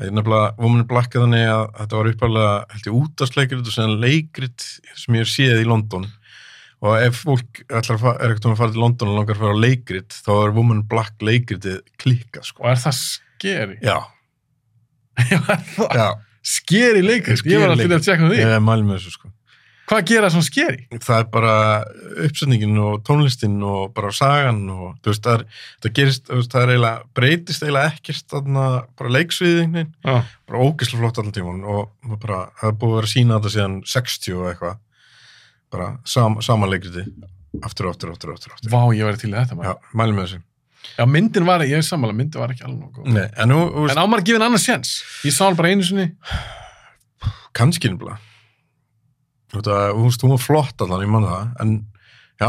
S6: ég nefnilega Woman in Black er þannig að þetta var uppalega held ég útastleikrit og sen leikrit sem ég hef séð í London og ef fólk ætlar að fara, er ekkert um að fara til London og langar að fara á leikrit þá er Woman in Black leikritið klikkað sko.
S5: Og er það skeri?
S6: já, Já,
S5: skeri leikrið, ég var að finna að tjekka á því
S6: ég mæli með þessu sko.
S5: hvað gera svona skeri?
S6: Það er bara uppsetningin og tónlistin og bara sagan og þú veist, það, er, það gerist, þú veist, það er eiginlega, breytist eiginlega ekkert þarna bara leiksviðið einhvern veginn,
S5: Já.
S6: bara ógislega flott allan tíman og það bara, það er búið að vera að sína þetta síðan 60 og eitthvað, bara sam, sama leikriti, aftur, og aftur, og aftur, og aftur, og aftur.
S5: Vá, ég væri til í þetta maður.
S6: Já, mæli með þessu.
S5: Já, myndin var, ég er sammála, myndin var ekki alveg nógu góð.
S6: Nei, en nú, þú veist,
S5: En ámar gefið annan séns. Ég sá hann bara einu sinni.
S6: kannski nefnilega þú veist að, þú veist, hún var flott allan, ég man það en, já,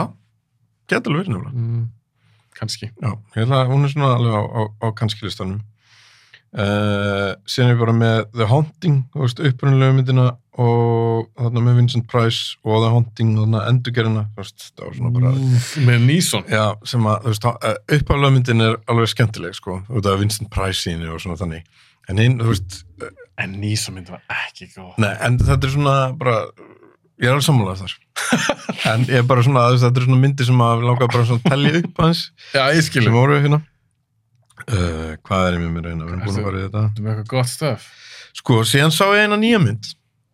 S6: geta alveg verið nefnilega
S5: Mm, kannski.
S6: já, ég ætla að hún er svona alveg á, á, á kannski listanum uh, síðan er ég bara með The Haunting, þú veist, upprunalegu myndina og þarna með Vincent Price og The Haunting, þarna endurgerina þú veist, það var svona bara
S5: Mm. Með Níson.
S6: já, sem að, þú veist, uppálega myndin er alveg skemmtileg, sko, þú veist að Vincent Price sínu og svona þannig en hinn, þú veist,
S5: En Níson myndin var ekki góð.
S6: Nei, en þetta er svona bara, ég er alveg sammálað þar en ég er bara svona þú veist, þetta er svona myndi sem að langa bara svona að telja upp hans
S5: Já, ég skilur.
S6: sem voru hérna uh, hvað er ég með mér hérna, við erum búin að fara í þetta
S5: Þetta með eitthvað gott stöf.
S6: sko, síðan sá ég eina nýja mynd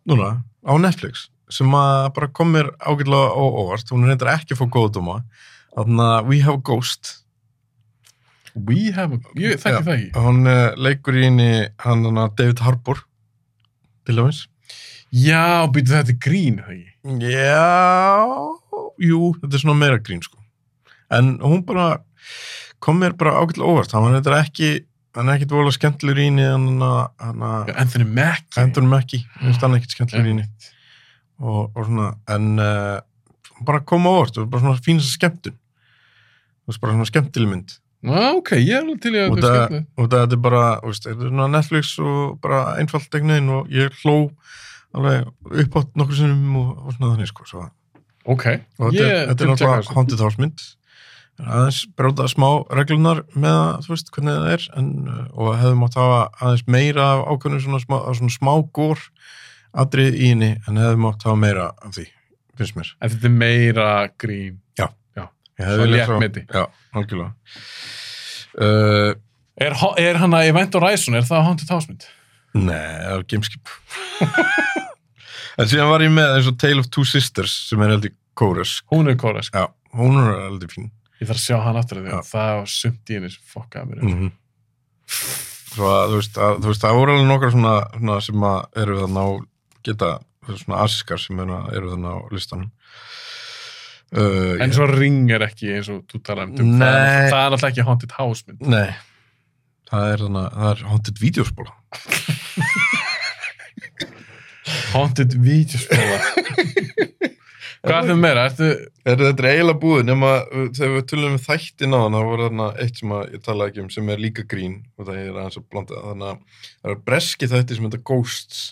S6: núna, á Netflix sem að bara kom mér ágætlega á óvart hún reyndar ekki að fá góðdóma þannig að We Have a Ghost
S5: We have a... Ég þekki
S6: Já.
S5: það ekki.
S6: hún uh, leikur í henni hann hann David Harbour til dæmis
S5: Já, býtu þetta er grín, það ekki.
S6: Já, jú, þetta er svona meira grín sko. En hún bara kom mér bara ágætlega óvart. Hann var þetta ekki, hann er ekkit vola skemmtilegur í henni, hann hann að
S5: Já, Anthony Mackie.
S6: hendur hann ekki, mér finnst hann ekkit skemmtilegur í henni.
S5: Einmitt.
S6: Og, og svona, en uh, hún bara kom á óvart, það var bara svona fínasta skemmtun. Þú veist, bara svona skemmtileg mynd.
S5: Ná, ok, ég er alveg til í að
S6: Og
S5: þetta er
S6: það-
S5: skemmtilegt.
S6: Og þetta er bara, þú veist, þetta er svona Netflix og bara einfalt egnin og ég hló alveg uppátt nokkur sinnum og, og svona þannig sko, svo að
S5: Ok,
S6: og þetta,
S5: ég
S6: er- þetta er náttúrulega haunted house mynd En aðeins bróta smá reglunar með það, þú veist, hvernig það er en, uh, og hefðum átt að hafa aðeins meira af ákveðnum svona smá, af svona smá gór atrið í henni, en hefðum átt að hafa meira af því, finnst mér
S5: En þetta er meira grín.
S6: Ég
S5: Svo
S6: hefði viljað
S5: létt
S6: sjá-
S5: meti.
S6: Já, algjörlega uh,
S5: Er, ho- er hann að Event Horizon, er það Haunted House mynd?
S6: Nei, það var gameskip En síðan var ég með eins og Tale of Two Sisters sem er heldur Kóres
S5: Hún er kóra, sko.
S6: Já, hún er heldur fín
S5: Ég þarf að sjá hann aftur að því.
S6: Já.
S5: Það var sumt í henni sem fokkaði mér. upp.
S6: mm svo að þú veist, að, þú veist það voru alveg nokkar svona, svona sem að eru þarna á geta svona asiskar sem eru, eru þarna á listanum uh,
S5: En
S6: ég-
S5: svo ring er ekki eins og þú talaði um
S6: Nei.
S5: það er, náttúrulega- það er alltaf ekki Haunted House mynd
S6: nei, það er þarna það er haunted videospóla
S5: Haunted Vídeospóla Hvað er þau meira? Ertu,
S6: er þetta eiginlega búið nema uh, þegar við tölum um þættin á þannig það voru þarna eitt sem að ég talaði ekki um sem er líka grín og það er aðeins að blanda þannig að það er breski þætti sem þetta Ghosts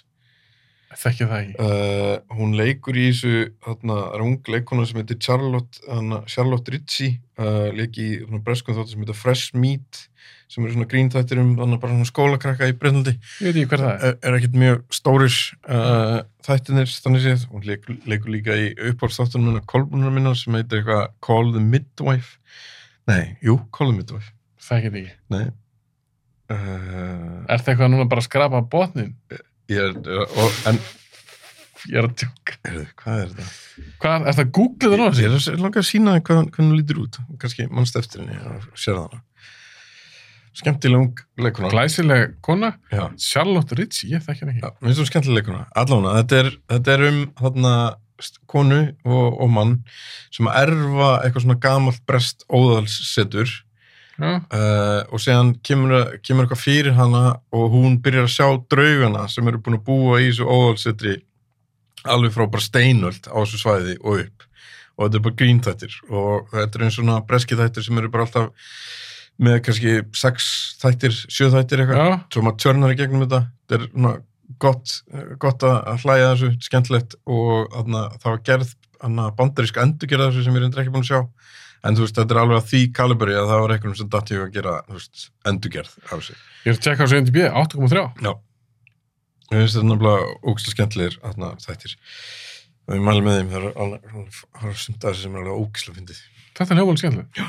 S5: þekki það ekki
S6: Uh, hún leikur í þessu þarna, það er ung leikona sem heitir Charlotte, hana, Charlotte Ritchie uh, leik í svona, breskum þáttu sem heitir Fresh Meat sem eru svona gríntættir um þannig bara svona skólakrakka í Breitlandi
S5: Ég veit ekki hver það er
S6: er, er ekkert mjög stóris uh, þættinir þannig séð hún leikur, leikur líka í uppáðstáttunum minna kolbunar minna sem heitir eitthvað Call the Midwife nei, jú, Call the Midwife
S5: Þekki það ekki
S6: nei uh,
S5: Er það eitthvað núna bara að skrapa botnin?
S6: ég er, er og, en,
S5: Ég er að tjóka
S6: heyrðu, hvað er þetta?
S5: Hvað, er það að googla það
S6: Ég
S5: núna?
S6: er að langa að sína hvað, hvernig hún lítur út kannski mannst eftir henni og sér það hana skemmtileg ung leikuna
S5: Glæsileg kona
S6: já,
S5: Charlotte Ritchie, ég þekki það
S6: já,
S5: ekki
S6: minnst þú skemmtileg leikuna allána, þetta er, þetta er um þarna, st- konu og, og mann sem að erfa eitthvað svona gamalt brest óðalssetur
S5: Já,
S6: uh, og síðan kemur, kemur eitthvað fyrir hana og hún byrjar að sjá draugana sem eru búin að búa í þessu óðalsetri alveg frá bara steinöld á þessu svæði og upp og þetta er bara gríntættir og þetta er eins og svona breski þættir sem eru bara alltaf með kannski sex þættir, sjö þættir eitthvað
S5: já,
S6: svo maður tjörnar í gegnum þetta þetta er svona gott, gott að að hlæja að þessu, skemmtilegt og þarna, það var gerð þarna, bandarísk endurgerð af þessu sem ég er reyndar ekki búin að sjá en þú veist, þetta er alveg að því kalibri að það var einhvern sem datt ég að gera þú veist, endurgerð af þessu
S5: ég er að tjekka á þessu NDB 8.3
S6: Mér finnst þetta náttúrulega ógæslega skemmtilegir þarna, þættir og ég mæli með þeim það er alveg það er sumt af þessu sem er alveg ógæslega fyndið
S5: Þetta er hljóðból skemmtileg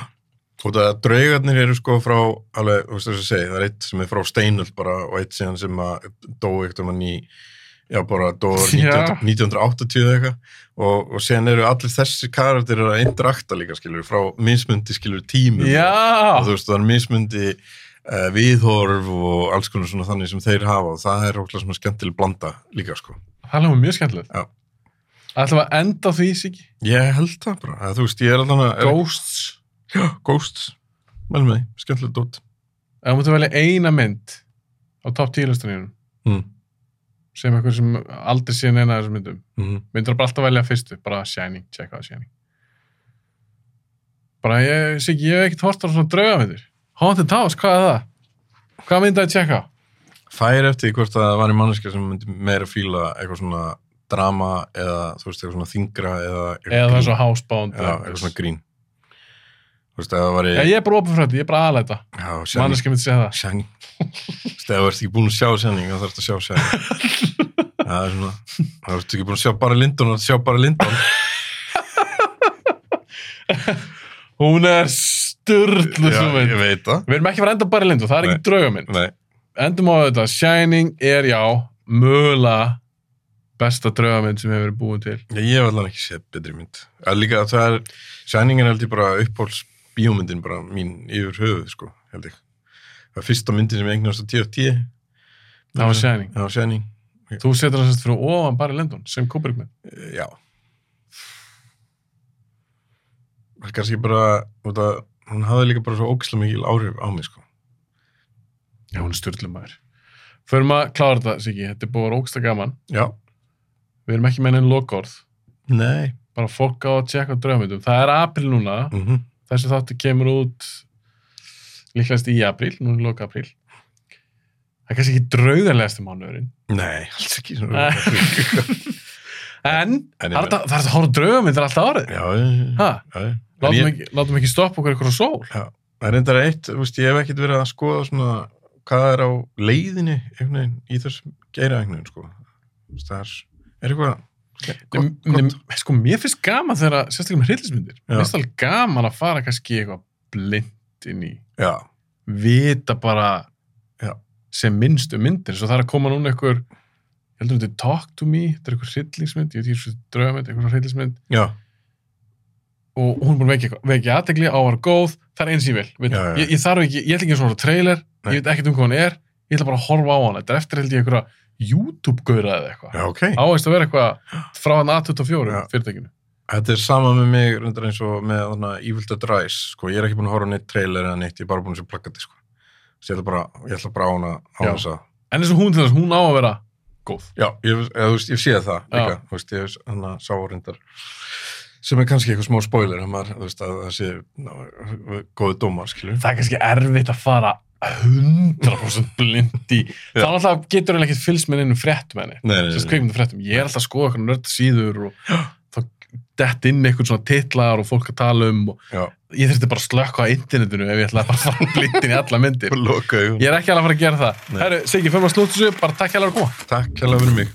S6: Út af að draugarnir eru sko frá, alveg, þú veist þess að segja, það er eitt sem er frá steinul bara og eitt síðan sem að dói ekkert um að ný, já bara dói
S5: Já.
S6: 1900 1980 eða eitthvað og, og síðan eru allir þessi karakter að interakta líka skilur, frá mismundi skilur tímum og
S5: Já,
S6: þú veist það er mismundi uh, viðhorf og alls konar svona þannig sem þeir hafa og það er ótrúlega svona skemmtileg blanda líka sko.
S5: það er alveg mjög skemmtilegt.
S6: Já.
S5: Ætlum við að enda á því, Siggi?
S6: Ég held það bara, að, þú veist ég er allan að
S5: Ghosts.
S6: Já, Ghosts, mælum með því, skemmtileg dót
S5: Ef þú mútið velja eina mynd á top 10 listanínum
S6: mm.
S5: sem eitthvað sem aldrei sé neina af þessum myndum.
S6: Mm.
S5: Myndur bara alltaf velja fyrstu, bara Shining, checka það Shining. Bara ég, Siggi, ég hef ekkert hort á svona draugamyndir. Haunted House, hvað er það? Hvað myndaði að checka?
S6: Fær eftir því hvort að það var í manneska sem myndi meira fíla eitthvað svona drama eða þú veist eitthvað svona þingra eða eitthvað,
S5: Eða það er
S6: grín.
S5: svo Housebound.
S6: Já,
S5: eða
S6: eitthvað svona grín Þú veist, eða það var í
S5: Já, ég er bara opið fyrir þetta, ég er bara aðlæta.
S6: Já,
S5: Manneski myndi segja það.
S6: Shining Þegar þú ert ekki búin að sjá Shining þá þarfst að sjá Shining Það er svona Það ert ekki búin að sjá bara Lindon þá þarfst að sjá bara Lindon
S5: Hún er sturdlu
S6: Já,
S5: svo mynd.
S6: ég veit það
S5: Við erum ekki að fara að enda bara í lindu, það er
S6: Nei.
S5: ekki draugamynd.
S6: Nei,
S5: Endum á þetta, Shining er já, mögulega besta draugamynd sem hefur verið búin til.
S6: ég hef allan ekki séð betri mynd að Líka að það er Shining er held ég bara uppháls bíómyndin bara mín yfir höfuð sko, held ég Það er fyrsta myndin sem ég eignast á 10 og 10
S5: Það var Shining.
S6: Það var Shining,
S5: Þú setur það sérst fyrir ofan bara í lindun, sem Kubrickmynd.
S6: Eh, já Það er kannski bara út að hún hafði líka bara svo ógislega mikil áhrif á mig sko
S5: Já, hún er sturdlu maður. Förum að klára þetta, Siggi, þetta er búið að róksta gaman.
S6: Já,
S5: Við erum ekki með enn lokorð.
S6: nei
S5: Bara fólk á að tjekka á draugamyndum. Það er april núna,
S6: mm
S5: þessi þáttu kemur út líklegast í apríl, nú er loka apríl það er kannski ekki draugarlegasti mánuðurinn
S6: Nei, alls ekki
S5: Nei.
S6: svona.
S5: en,
S6: En ég
S5: það er hægt að- það er hægt að horfa draugamyndir alltaf árið
S6: Já, já,
S5: ha,
S6: já, já. En
S5: látum,
S6: ég-
S5: ekki, látum ekki stoppa okkur eitthvað sól
S6: Já, það er reyndar eitt, þú veist, ég hef ekkert verið að skoða svona hvað er á leiðinni einhvern veginn í þessum geira einhvern veginn, sko. Þú veist, Það er, er eitthvað gott,
S5: Nei,
S6: gott.
S5: nei, sko, mér finnst gaman þegar að- sérstaklega með hryllismyndir
S6: Já.
S5: mér finnst alveg gaman að fara kannski í eitthvað blind inn í
S6: Já,
S5: vita bara
S6: Já.
S5: sem minnstu myndir svo það er að koma núna einhver ég heldur þetta er Talk to me, þetta er einhver hryllismynd ég veit ekki þessu draugamynd, einhver hryllismynd
S6: já,
S5: og hún er búin að vekja, vekja aðtegli á að vera góð, það er eins ég vil já,
S6: Já, já, já.
S5: Ég, ég þarf ekki, ég ætla ekki að svona trailer
S6: Nei.
S5: ég veit ekkert um hvað hann er, ég ætla bara að horfa á hann þetta er eftir held ég einhverja YouTube-gaura eða eitthvað,
S6: já, ok.
S5: áherslu að vera eitthvað frá hann A24
S6: Já.
S5: fyrirtækinu
S6: Þetta er sama með mig reyndar eins og með þarna Evil Dead Rise, sko. Ég er ekki búin að horfa á neitt trailer eða neitt, ég er bara búin að sjá plakati, sko. Svo ég ætla bara, ég ætla bara á hana á
S5: Já.
S6: þess að
S5: en eins og hún til þess, hún á að vera góð
S6: Já, ég, eða, þú veist, ég sé það líka,
S5: Já.
S6: þú veist, ég hann að sá reyndar sem er kannski eitthvað smá spoiler að maður, þú veist, að það sé ná, góðu dómar, skilur.
S5: það er kannski erfitt að fara 100% blind í þá alltaf getur hann ekkert fylgst með einu fréttum henni
S6: Nei, nei,
S5: sérst kveikmyndu fréttum, ég er alltaf að skoða eitthvað nörda síður og þá dett inn eitthvað svona titlar og fólk að tala um og
S6: Já,
S5: ég þurfti bara að slökka á internetinu ef ég ætlaði bara að fara blindin í alla myndir
S6: lokaðu.
S5: ég er ekki alveg að fara að gera það
S6: Nei.
S5: Herru, Siggi, fyrir maður að slúta þessu, bara takk hérlega fyrir að koma
S6: Takk hérlega fyrir mig.